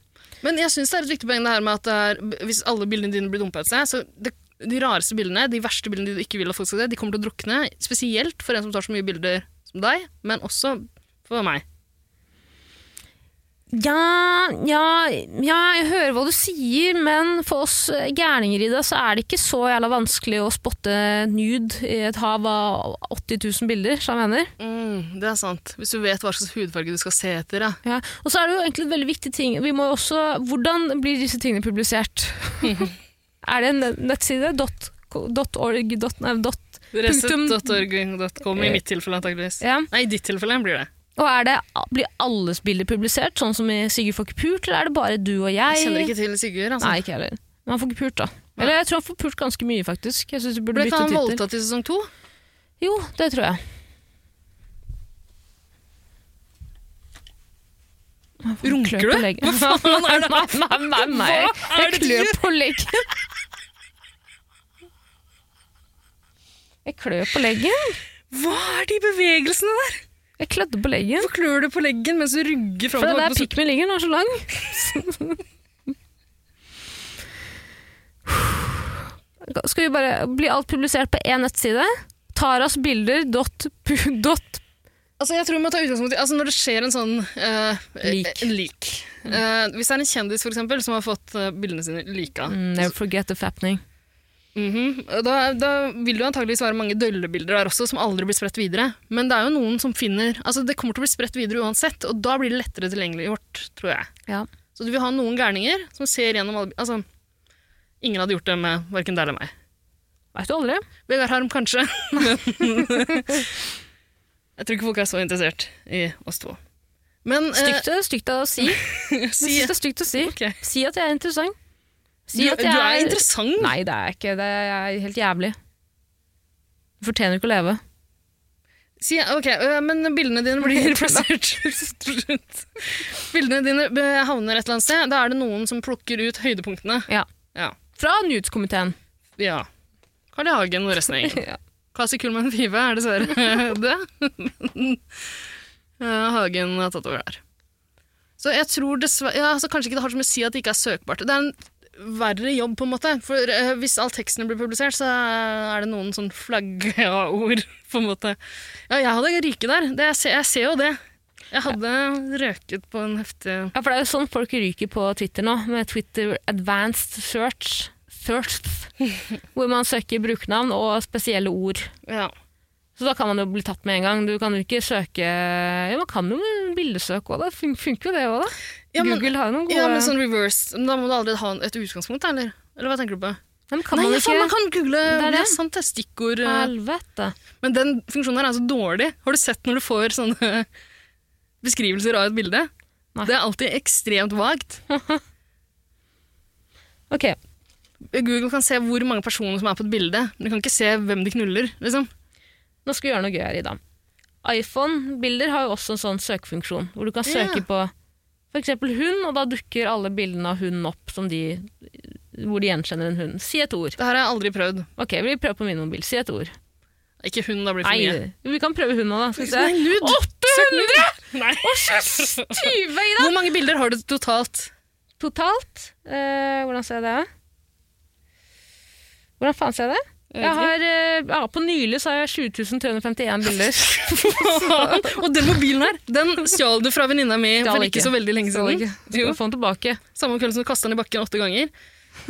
Speaker 3: Men jeg syns det er et viktig poeng det her med at det er, hvis alle bildene dine blir dumpa et sted, så det, de rareste bildene, de verste bildene du ikke vil at folk skal se, de kommer til å drukne. Spesielt for en som tar så mye bilder som deg, men også for meg.
Speaker 2: Ja, ja, ja, jeg hører hva du sier, men for oss eh, gærninger i det, så er det ikke så jævla vanskelig å spotte nude i et hav av 80 000 bilder, som jeg mener.
Speaker 3: Mm, det er sant. Hvis du vet hva slags hudfarge du skal se etter, ja.
Speaker 2: Ja. Og så er det jo egentlig et veldig viktig ting. Vi må jo også, hvordan blir disse tingene
Speaker 3: (laughs)
Speaker 2: publisert? er det en nettside? Dot, dot org, dot, nei, dot,
Speaker 3: Reset.org.com i mitt tilfelle, antakeligvis.
Speaker 2: ja.
Speaker 3: Nei, i ditt tilfelle blir det.
Speaker 2: Og er det, blir alles bilder publisert, sånn som i Sigurd får ikke pult, eller er det bare du og jeg?
Speaker 3: Jeg kjenner ikke til Sigurd. Altså.
Speaker 2: Nei, ikke heller. Men han får ikke pult, da. Eller jeg tror han får pult ganske mye, faktisk. Jeg synes vi burde
Speaker 3: Ble ikke
Speaker 2: bytte
Speaker 3: han
Speaker 2: tittel.
Speaker 3: voldtatt i sesong to?
Speaker 2: Jo, det tror jeg.
Speaker 3: Runker
Speaker 2: Klør på
Speaker 3: du?
Speaker 2: leggen. Nei, nei, nei, nei, nei.
Speaker 3: Hva er
Speaker 2: Jeg
Speaker 3: det du
Speaker 2: klør på leggen. Jeg klør på leggen.
Speaker 3: Hva er de bevegelsene der?
Speaker 2: Jeg klødde på leggen.
Speaker 3: Hvorfor klør du på leggen mens du rugger fram
Speaker 2: For det
Speaker 3: og
Speaker 2: der
Speaker 3: tilbake?
Speaker 2: pikken min ligger, den er så lang. Skal vi bare bli alt publisert på én nettside? Tarasbilder.pu...
Speaker 3: Altså, jeg tror vi må ta utgangspunkt i altså, Når det skjer en sånn eh,
Speaker 2: Lik.
Speaker 3: eh, lik. Eh, hvis det er en kjendis for eksempel, som har fått eh, bildene sine lika,
Speaker 2: Never forget the fappening.
Speaker 3: Mhm. da, da vil det jo antageligvis være mange døllebilder der også, som aldri blir spredt videre. Men det er jo noen som finner Altså, det kommer til å bli spredt videre uansett, og da blir det lettere tilgjengeliggjort, tror jeg.
Speaker 2: Ja.
Speaker 3: Så du vil ha noen gærninger som ser gjennom alle Altså, ingen hadde gjort det med verken deg eller meg.
Speaker 2: Veit du aldri?
Speaker 3: Vegard Harm kanskje, (laughs) men Jeg tror ikke folk er så interessert i oss to. Men
Speaker 2: Stygt, det er stygt å
Speaker 3: (laughs)
Speaker 2: si. Jeg
Speaker 3: eh, si,
Speaker 2: synes det er stygt å si.
Speaker 3: Ok.
Speaker 2: Si at jeg er interessant. Si
Speaker 3: du,
Speaker 2: at
Speaker 3: du
Speaker 2: jeg
Speaker 3: er interessant.
Speaker 2: Nei, det er jeg ikke. Det er jeg er helt jævlig. Du fortjener ikke å leve.
Speaker 3: Si, ok, øh, men bildene dine (laughs) blir plassert rundt. Bildene dine øh, havner et eller annet sted. Da er det noen som plukker ut høydepunktene.
Speaker 2: Ja.
Speaker 3: Ja.
Speaker 2: Fra
Speaker 3: (laughs)
Speaker 2: Nudes-komiteen.
Speaker 3: ja. Carl I. Hagen og resten av gjengen.
Speaker 2: Ja.
Speaker 3: Kasi Kullmann Five er dessverre (laughs) det. Øh, Hagen har tatt over der. Så jeg tror dessverre ja, altså Kanskje ikke det har så mye å si at det ikke er søkbart. Det er en verre jobb, på en måte. For øh, hvis all teksten blir publisert, så er det noen sånn flagga-ord, på en måte. Ja, jeg hadde ryket der. Det, jeg, ser, jeg ser jo det. Jeg hadde røket på en heftig
Speaker 2: Ja, for det er jo sånn folk ryker på Twitter nå, med Twitter Advanced Search. Search. Hvor man søker brukernavn og spesielle ord.
Speaker 3: Ja.
Speaker 2: Så da kan man jo bli tatt med en gang. Du kan jo ikke søke Jo, man kan jo bildesøke òg, da. Fun funker jo det òg, da.
Speaker 3: Ja, men-
Speaker 2: Google har jo noen gode
Speaker 3: ja, men sånn reverse Da må du aldri ha en- et utgangspunkt, eller? Eller hva tenker du på?
Speaker 2: Nei, men kan man
Speaker 3: faen,
Speaker 2: ikke
Speaker 3: man kan google
Speaker 2: Det
Speaker 3: det
Speaker 2: er
Speaker 3: er,
Speaker 2: det.
Speaker 3: sant, det er stikkord. eh.
Speaker 2: Helvete.
Speaker 3: Men den funksjonen her er så dårlig. Har du sett når du får sånne (laughs) beskrivelser av et bilde?
Speaker 2: Nei.
Speaker 3: Det er alltid ekstremt vagt.
Speaker 2: Ok.
Speaker 3: Google kan se hvor mange personer som er på et bilde, men du kan ikke se hvem de knuller. liksom.
Speaker 2: Nå skal vi gjøre noe gøy her, Ida. iPhone-bilder har jo også en sånn søkefunksjon, hvor du kan søke
Speaker 3: Ja.
Speaker 2: på f.eks. hund, og da dukker alle bildene av hunden opp som de, hvor de gjenkjenner en hund. Si et ord.
Speaker 3: Det her har jeg aldri prøvd.
Speaker 2: Ok, vi prøver på min mobil. Si et ord.
Speaker 3: Ikke hun, da blir det for mye.
Speaker 2: Nei, vi kan prøve hunden òg, da. Skal vi
Speaker 3: Nei,
Speaker 2: se.
Speaker 3: nude.
Speaker 2: 800!
Speaker 3: Nei.
Speaker 2: Tyve, Ida!
Speaker 3: Hvor mange bilder har du totalt?
Speaker 2: (laughs) Totalt. eh, hvordan ser jeg det? Hvordan faen ser jeg det?
Speaker 3: Jeg
Speaker 2: Jeg
Speaker 3: vet
Speaker 2: har, eh, ja, på nylig så har jeg 20.351 bilder.
Speaker 3: (laughs) Og den mobilen her, den stjal du fra venninna mi
Speaker 2: Stjal (laughs)
Speaker 3: for
Speaker 2: ikke.
Speaker 3: ikke så veldig lenge
Speaker 2: Så
Speaker 3: siden. Jo,
Speaker 2: skal få den tilbake.
Speaker 3: Samme kveld som du kasta den i bakken åtte
Speaker 2: (laughs)
Speaker 3: ganger.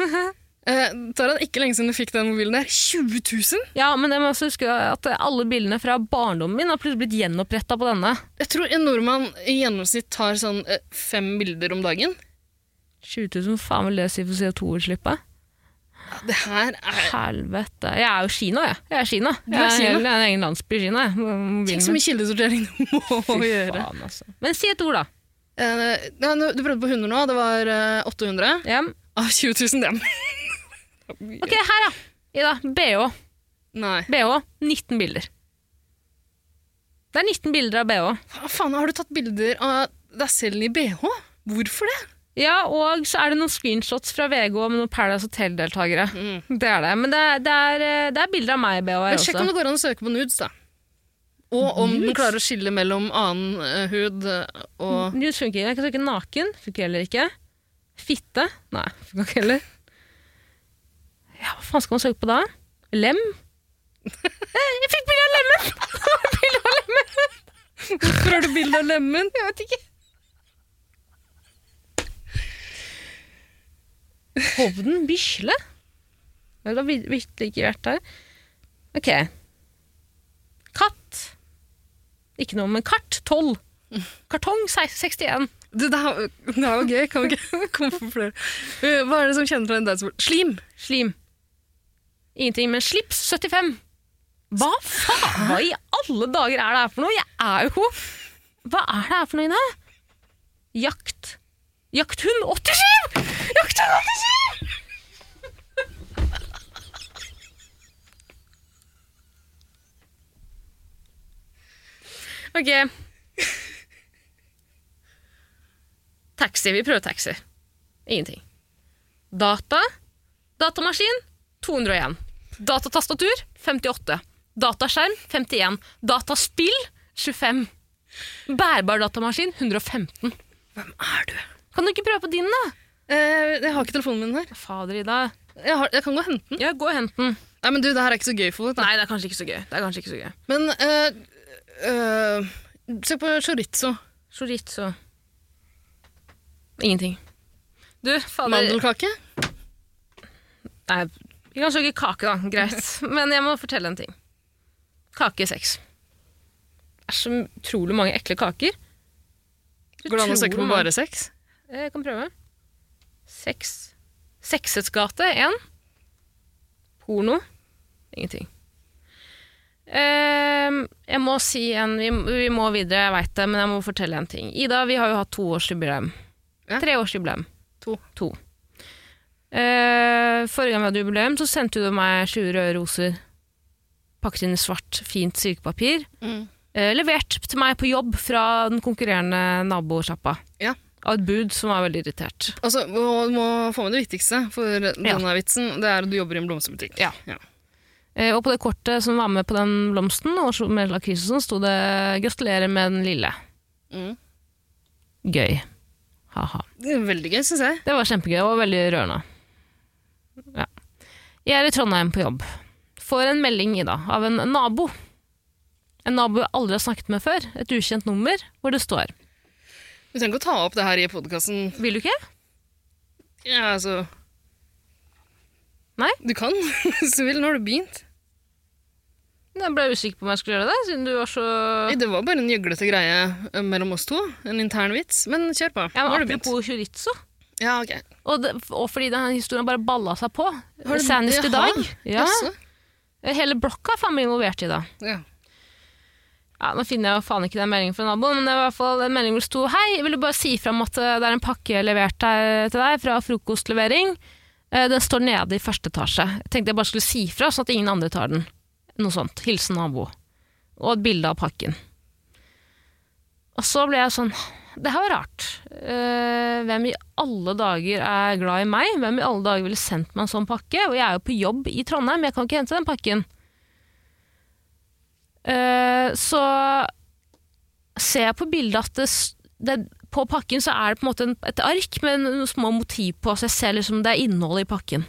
Speaker 3: Eh, Taran, ikke lenge siden du fikk den mobilen der. 20 000?
Speaker 2: Ja, men jeg må også huske at alle bildene fra barndommen min har plutselig blitt gjenoppretta på denne.
Speaker 3: Jeg tror en nordmann i gjennomsnitt tar sånn eh, fem bilder om dagen.
Speaker 2: 20 000, faen vil det si for CO2-utslippet?
Speaker 3: Det her er
Speaker 2: Helvete. Jeg er jo Kina, jeg. Jeg er Kina.
Speaker 3: er
Speaker 2: Jeg
Speaker 3: Kina.
Speaker 2: Jeg er en egen landsby i Kina, jeg. Mobilen
Speaker 3: Tenk så
Speaker 2: min.
Speaker 3: mye kildesortering du må
Speaker 2: Fy
Speaker 3: gjøre.
Speaker 2: faen, altså. Men si et ord, da.
Speaker 3: Eh, ja, nå- du prøvde på hunder nå. Det var eh, 800
Speaker 2: Ja.
Speaker 3: av 20 000. Dem. (laughs)
Speaker 2: Ok, her, da. Ida. BH.
Speaker 3: Nei.
Speaker 2: BH. 19 bilder. Det er 19 bilder av BH.
Speaker 3: Hva faen, har du tatt bilder av deg selv i bh? Hvorfor det?
Speaker 2: Ja, og så er det noen screenshots fra VG med noen Paradise Hotel-deltakere.
Speaker 3: Mm.
Speaker 2: Det er det. Men det er, det er, eh, det er bilder av meg i BH her
Speaker 3: Men sjekk
Speaker 2: også.
Speaker 3: om det går an å søke på nudes, da. Og om den klarer å skille mellom annen eh, hud eh, og
Speaker 2: Nudes funker ikke. Jeg kan søke naken. Funker heller ikke. Fitte. Nei, funker ikke heller. Ja, hva faen skal man søke på da?
Speaker 3: (laughs)
Speaker 2: Lem? Eh, Jeg fikk bilde av lemmen! (laughs) bilde av lemmen!
Speaker 3: Hvorfor har du bilde av lemmen? Jeg vet ikke.
Speaker 2: Hovden Bisle? Det har vir- virkelig ikke vært der. Ok. Katt. Ikke noe, men kart. 12. Kartong 61.
Speaker 3: Det, det, er, det er jo gøy. Kan vi ikke (laughs) komme på flere? Eh, Hva er det som kjennetegner deg som Slim!
Speaker 2: Slim. Ingenting, men slips 75. Hva faen? Hva i alle dager er det her for noe? Jeg er jo Hva er det her for noe, Ina? Jakt. Jakthund 87! Jakthund 87! Ok. Taxi. Vi prøver taxi. Ingenting. Data. Datamaskin 201. Datatastatur 58. Dataskjerm 51. Dataspill 25. Bærbar datamaskin 115.
Speaker 3: Hvem er du?
Speaker 2: Kan du ikke prøve på din, da?
Speaker 3: Eh, jeg har ikke telefonen min her.
Speaker 2: Fader, Ida.
Speaker 3: Jeg, har, jeg kan gå og hente den.
Speaker 2: Ja, gå og hent den.
Speaker 3: Nei, men du, det her er ikke så gøy for deg.
Speaker 2: Nei, det er kanskje ikke så gøy. Det er kanskje ikke så gøy.
Speaker 3: Men eh, eh, se på chorizo.
Speaker 2: Chorizo. Ingenting. Du, fader
Speaker 3: Mandelkake.
Speaker 2: Nei, vi kan søke kake, da.
Speaker 3: (laughs)
Speaker 2: Greit. Men jeg må fortelle en ting. Kake seks. Det er så utrolig mange ekle kaker.
Speaker 3: Går det an å søke på
Speaker 2: Utrolig
Speaker 3: bare sex?
Speaker 2: mange. Jeg Eh, kan prøve. Seks. Seksets gate, én. Porno. Ingenting. Ehm, jeg må si en Vi, vi må videre, jeg veit det, men jeg må fortelle en ting. Ida, vi har jo hatt toårsjubileum.
Speaker 3: Ja.
Speaker 2: Treårsjubileum.
Speaker 3: To.
Speaker 2: To. Eh, forrige gang vi hadde jubileum, så sendte du meg 20 røde roser pakket inn i svart, fint silkepapir.
Speaker 3: Mm.
Speaker 2: Eh, levert til meg på jobb fra den konkurrerende nabosjappa.
Speaker 3: Ja.
Speaker 2: Av et bud som var veldig irritert.
Speaker 3: Altså, og du må få med det viktigste for denne vitsen. Det er at du jobber i en blomsterbutikk.
Speaker 2: Ja. Eh, og på det kortet som var med på den blomsten, og så- med lakris og sånn, sto det 'Gratulerer med den lille'.
Speaker 3: Mm.
Speaker 2: Gøy. Ha-ha.
Speaker 3: Det er veldig gøy, syns jeg.
Speaker 2: Det var kjempegøy og veldig rørende. Ja. Jeg er i Trondheim på jobb. Får en melding i dag av en nabo. En nabo jeg aldri har snakket med før. Et ukjent nummer hvor det står
Speaker 3: Du trenger ikke å ta opp det her i podkasten.
Speaker 2: Vil du ikke?
Speaker 3: Ja, altså
Speaker 2: Nei?
Speaker 3: Du kan (laughs) hvis du vil. Nå har du begynt.
Speaker 2: Jeg ble usikker på om jeg skulle gjøre det, siden du var så
Speaker 3: Nei, Det var bare en gjøglete greie eh, mellom oss to. En intern vits. Men kjør på.
Speaker 2: ja,
Speaker 3: Nå har
Speaker 2: men
Speaker 3: du begynt.
Speaker 2: Apropos chorizo.
Speaker 3: Ja, ok.
Speaker 2: Og, det, og fordi den historien bare balla seg på.
Speaker 3: Har du-
Speaker 2: Senest i dag.
Speaker 3: Jaha.
Speaker 2: Ja.
Speaker 3: Jaså?
Speaker 2: Hele blokka er faen meg involvert i det.
Speaker 3: Ja.
Speaker 2: Ja, nå finner jeg jo faen ikke den meldingen fra naboen, men det var i hvert fall en melding hvor det sto Hei, jeg ville bare si frem at eh, det er en pakke levert her til deg fra frokostlevering. Eh, Den står nede i første etasje. Jeg tenkte jeg bare skulle si fra, sånn at ingen andre tar den. Noe sånt. Hilsen nabo. Og et bilde av pakken. Og så ble jeg sånn Det her var rart. Eh, Hvem i alle dager er glad i meg? Hvem i alle dager ville sendt meg en sånn pakke? Og jeg er jo på jobb i Trondheim, jeg kan ikke hente den pakken. Eh, så ser jeg på bildet at det, s- det, på pakken så er det på en måte en, et ark med noen små motiv på, så jeg ser liksom det er innholdet i pakken.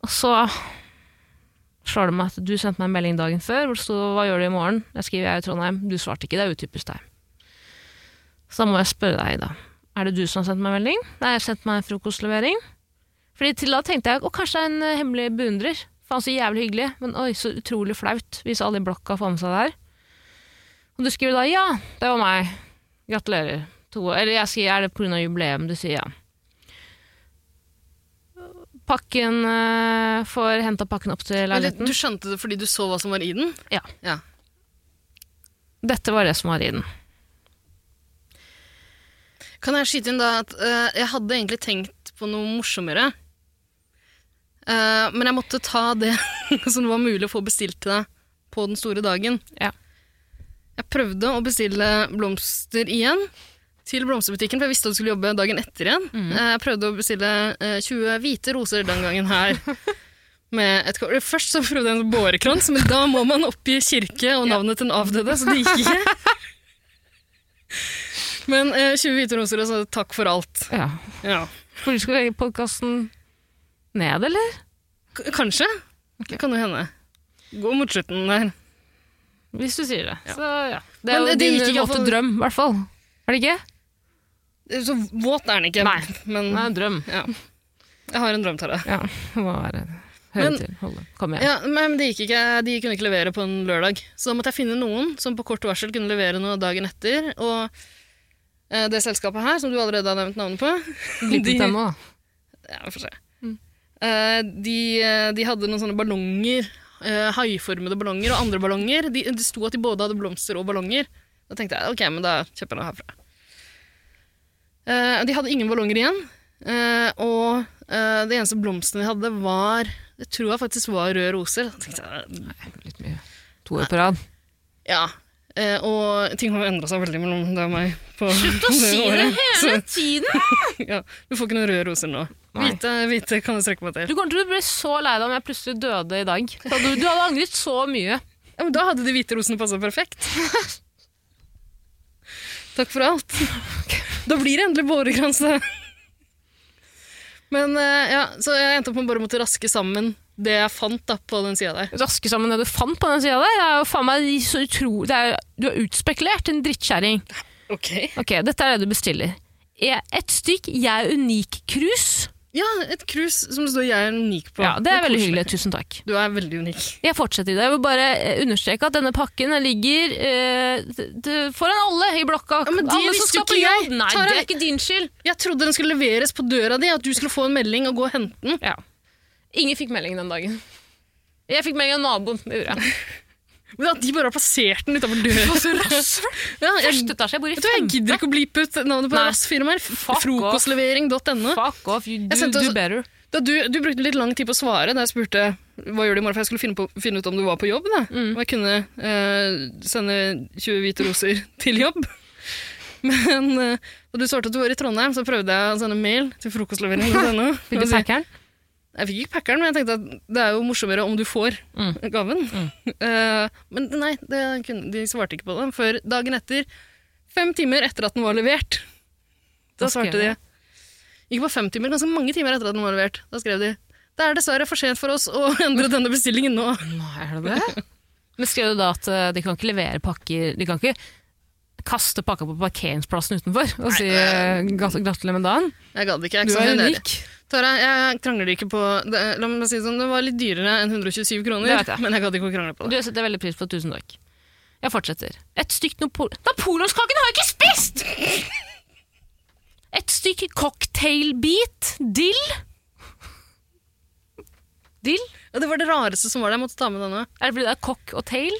Speaker 2: Og så slår det meg at du sendte meg en melding dagen før hvor det sto 'hva gjør du i morgen'? Jeg skriver 'jeg er i Trondheim'. Du svarte ikke, det er utypisk deg. Så da må jeg spørre deg, da. Er det du som har sendt meg melding? Nei, jeg har sendt meg en frokostlevering. Fordi til da tenkte jeg å, kanskje det er en eh, hemmelig beundrer. Faen, så jævlig hyggelig, men oi, så utrolig flaut hvis alle i blokka får med seg det her. Og du skriver da 'ja, det var meg'. Gratulerer. To år. Eller jeg sier 'er det pga. jubileum'? Du sier ja. Pakken eh, Får henta pakken opp til
Speaker 3: Eller,
Speaker 2: leiligheten.
Speaker 3: du skjønte det fordi du så hva som var i den?
Speaker 2: Ja.
Speaker 3: ja.
Speaker 2: Dette var det som var i den.
Speaker 3: Kan jeg skyte inn da at eh, jeg hadde egentlig tenkt på noe morsommere. Eh, men jeg måtte ta det (laughs) som det var mulig å få bestilt til deg på den store dagen.
Speaker 2: Ja.
Speaker 3: Jeg prøvde å bestille blomster igjen til blomsterbutikken, for jeg visste at du skulle jobbe dagen etter igjen. Eh, jeg prøvde å bestille eh, 20 hvite roser den gangen her. (laughs) Med et, kor- først så prøvde jeg en bårekrans, men da må man oppgi kirke og navnet til den avdøde, så det gikk ikke. Men eh, 20 hvite roser, altså takk for alt.
Speaker 2: Ja.
Speaker 3: Ja.
Speaker 2: For du skal legge podkasten ned, eller?
Speaker 3: K kanskje? Det kan jo hende. Gå mot slutten der.
Speaker 2: Hvis du sier det. Så ja. Det
Speaker 3: Men
Speaker 2: er jo
Speaker 3: det
Speaker 2: din
Speaker 3: gikk ikke
Speaker 2: våte
Speaker 3: for-
Speaker 2: drøm, i hvert fall. Er det ikke?
Speaker 3: Eh, Så våt er den ikke.
Speaker 2: Nei.
Speaker 3: Men
Speaker 2: Mm. Nei, drøm.
Speaker 3: ja. Jeg har en drøm til deg.
Speaker 2: Ja, det må være Høre
Speaker 3: Men-
Speaker 2: til. Holde. Kom igjen.
Speaker 3: Ja, men de, gikk ikke, de kunne ikke levere på en lørdag. Så da måtte jeg finne noen som på kort varsel kunne levere noe dagen etter. Og eh, det selskapet her, som du allerede har nevnt navnet på
Speaker 2: Glipp ut
Speaker 3: de-
Speaker 2: ennå, da.
Speaker 3: Ja, vi får se.
Speaker 2: Mm.
Speaker 3: Eh, de, eh, de hadde noen sånne ballonger, eh, haiformede ballonger og andre ballonger. De, det sto at de både hadde blomster og ballonger. Da tenkte jeg ok, men da kjøper jeg noe herfra. Eh, de hadde ingen ballonger igjen, eh, og eh, det eneste blomstene de hadde, var Det tror jeg faktisk var røde roser. Da tenkte jeg,
Speaker 2: Litt mye. To år på rad.
Speaker 3: ja. Eh, og ting har jo endra seg veldig mellom deg og meg. På
Speaker 2: Slutt
Speaker 3: (laughs)
Speaker 2: å si (laughs) det
Speaker 3: året.
Speaker 2: hele tiden!
Speaker 3: Så, ja, du får ikke noen røde roser nå.
Speaker 2: Nei.
Speaker 3: Hvite, hvite kan jeg strekke meg til.
Speaker 2: Du kommer til å bli så lei deg om jeg plutselig døde i dag. Da Du, du hadde angret så mye.
Speaker 3: Ja, men da hadde de hvite rosene passa perfekt. Takk for alt. Da blir det endelig bårekrans, da. Men eh, ja, så jeg endte opp med å bare måtte raske sammen det jeg fant da, på den sida der.
Speaker 2: raske sammen det du fant på den sida der. Det er jo faen meg så utro... Det er, du er utspekulert, en drittkjerring.
Speaker 3: Ok.
Speaker 2: Ok, dette er det du bestiller. E- Et stykk Jeg er unik-krus.
Speaker 3: Ja, et krus som det står 'jeg er unik' på.
Speaker 2: Ja, det er veldig
Speaker 3: koselig.
Speaker 2: hyggelig. Tusen takk.
Speaker 3: Du er veldig unik.
Speaker 2: Jeg fortsetter i det. Jeg vil bare eh, understreke at denne pakken ligger eh, d- d- foran alle i blokka.
Speaker 3: Ja, men det
Speaker 2: alle
Speaker 3: visste jo
Speaker 2: skal på
Speaker 3: ikke jeg.
Speaker 2: jobb. Nei,
Speaker 3: Tara,
Speaker 2: det er ikke din skyld.
Speaker 3: Jeg trodde den skulle leveres på døra di, at du skulle få en melding og gå og hente den.
Speaker 2: Ja. Ingen fikk melding den dagen. Jeg fikk melding av naboen. Det gjorde
Speaker 3: (laughs)
Speaker 2: jeg.
Speaker 3: Men at de bare har plassert den utafor døra. ja, jeg,
Speaker 2: (laughs) Første etasje. Jeg bor i
Speaker 3: vet du, hva, jeg
Speaker 2: femte.
Speaker 3: gidder ikke å bleepe ut navnet på
Speaker 2: Nei.
Speaker 3: rassfirmaer.
Speaker 2: Fuck
Speaker 3: Frokostlevering.no.
Speaker 2: Fuck off, you
Speaker 3: Jeg
Speaker 2: do, do
Speaker 3: sendte også-
Speaker 2: better.
Speaker 3: Da du, du brukte litt lang tid på å svare da jeg spurte hva gjør du i morgen, for jeg skulle finne, på, finne ut om du var på jobb. Da.
Speaker 2: Mm.
Speaker 3: Og jeg kunne eh, sende 20 hvite roser (laughs) til jobb. Men eh, da du svarte at du var i Trondheim, så prøvde jeg å sende mail til frokostleveringen.no.
Speaker 2: (laughs) Vil du
Speaker 3: og si-
Speaker 2: packeren?
Speaker 3: Jeg fikk ikke packeren, men jeg tenkte at det er jo morsommere om du får
Speaker 2: Mm.
Speaker 3: gaven. (laughs) Eh, men nei, det kunne, de svarte ikke på det før dagen etter. Fem timer etter at den var levert. Da
Speaker 2: Da skrev
Speaker 3: svarte de. Ikke bare fem timer, ganske mange timer etter at den var levert. Da skrev de det er dessverre for sent for oss å (laughs) endre denne bestillingen nå.
Speaker 2: Nei, er det det? (laughs) Men skrev du da at eh, de kan ikke levere pakker De kan ikke kaste pakka på parkeringsplassen utenfor og si eh, gra- gratulerer med dagen?
Speaker 3: Jeg gadd ikke. Jeg er
Speaker 2: Du
Speaker 3: ikke
Speaker 2: er
Speaker 3: sånn
Speaker 2: unik.
Speaker 3: Tara, jeg krangler ikke på det, La meg si det sånn, det var litt dyrere enn 127 kroner,
Speaker 2: Det vet jeg.
Speaker 3: men jeg gadd ikke å krangle på
Speaker 2: Du
Speaker 3: det.
Speaker 2: jeg setter veldig pris på. Tusen takk. Jeg fortsetter. Et stykk Napol... Napoleonskaken har jeg ikke spist! Et stykk cocktailbit dill. Dill?
Speaker 3: Og det var det rareste som var der. Jeg måtte ta med denne.
Speaker 2: Er det fordi det er cock og tail?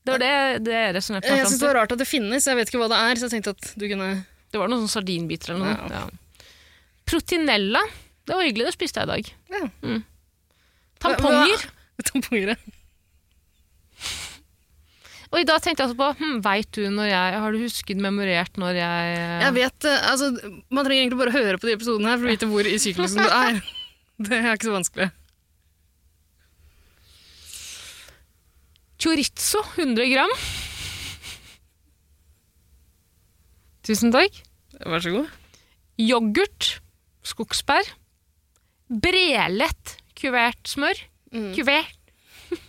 Speaker 2: Det var det, det resonnerte
Speaker 3: Jeg
Speaker 2: meg
Speaker 3: syns
Speaker 2: fram
Speaker 3: det
Speaker 2: til.
Speaker 3: var rart at det finnes, jeg vet ikke hva det er, så jeg tenkte at du kunne
Speaker 2: Det var noen sånne sardinbiter eller noe. Ja. Proteinella. Det var hyggelig, det spiste jeg i dag.
Speaker 3: Ja.
Speaker 2: Mm. Tamponger.
Speaker 3: Hva- Tamponger, ja.
Speaker 2: Og i dag tenkte jeg også på hm, Veit du når jeg Har du husket memorert når jeg
Speaker 3: Jeg vet, eh, altså, Man trenger egentlig bare høre på de episodene her for å vite hvor i syklusen du er. (laughs) Det er ikke så vanskelig.
Speaker 2: Chorizo, 100 gram. Tusen takk.
Speaker 3: Vær så god.
Speaker 2: Yoghurt, skogsbær. Brelett, kuvert smør.
Speaker 3: Mm.
Speaker 2: Kuvert. (laughs)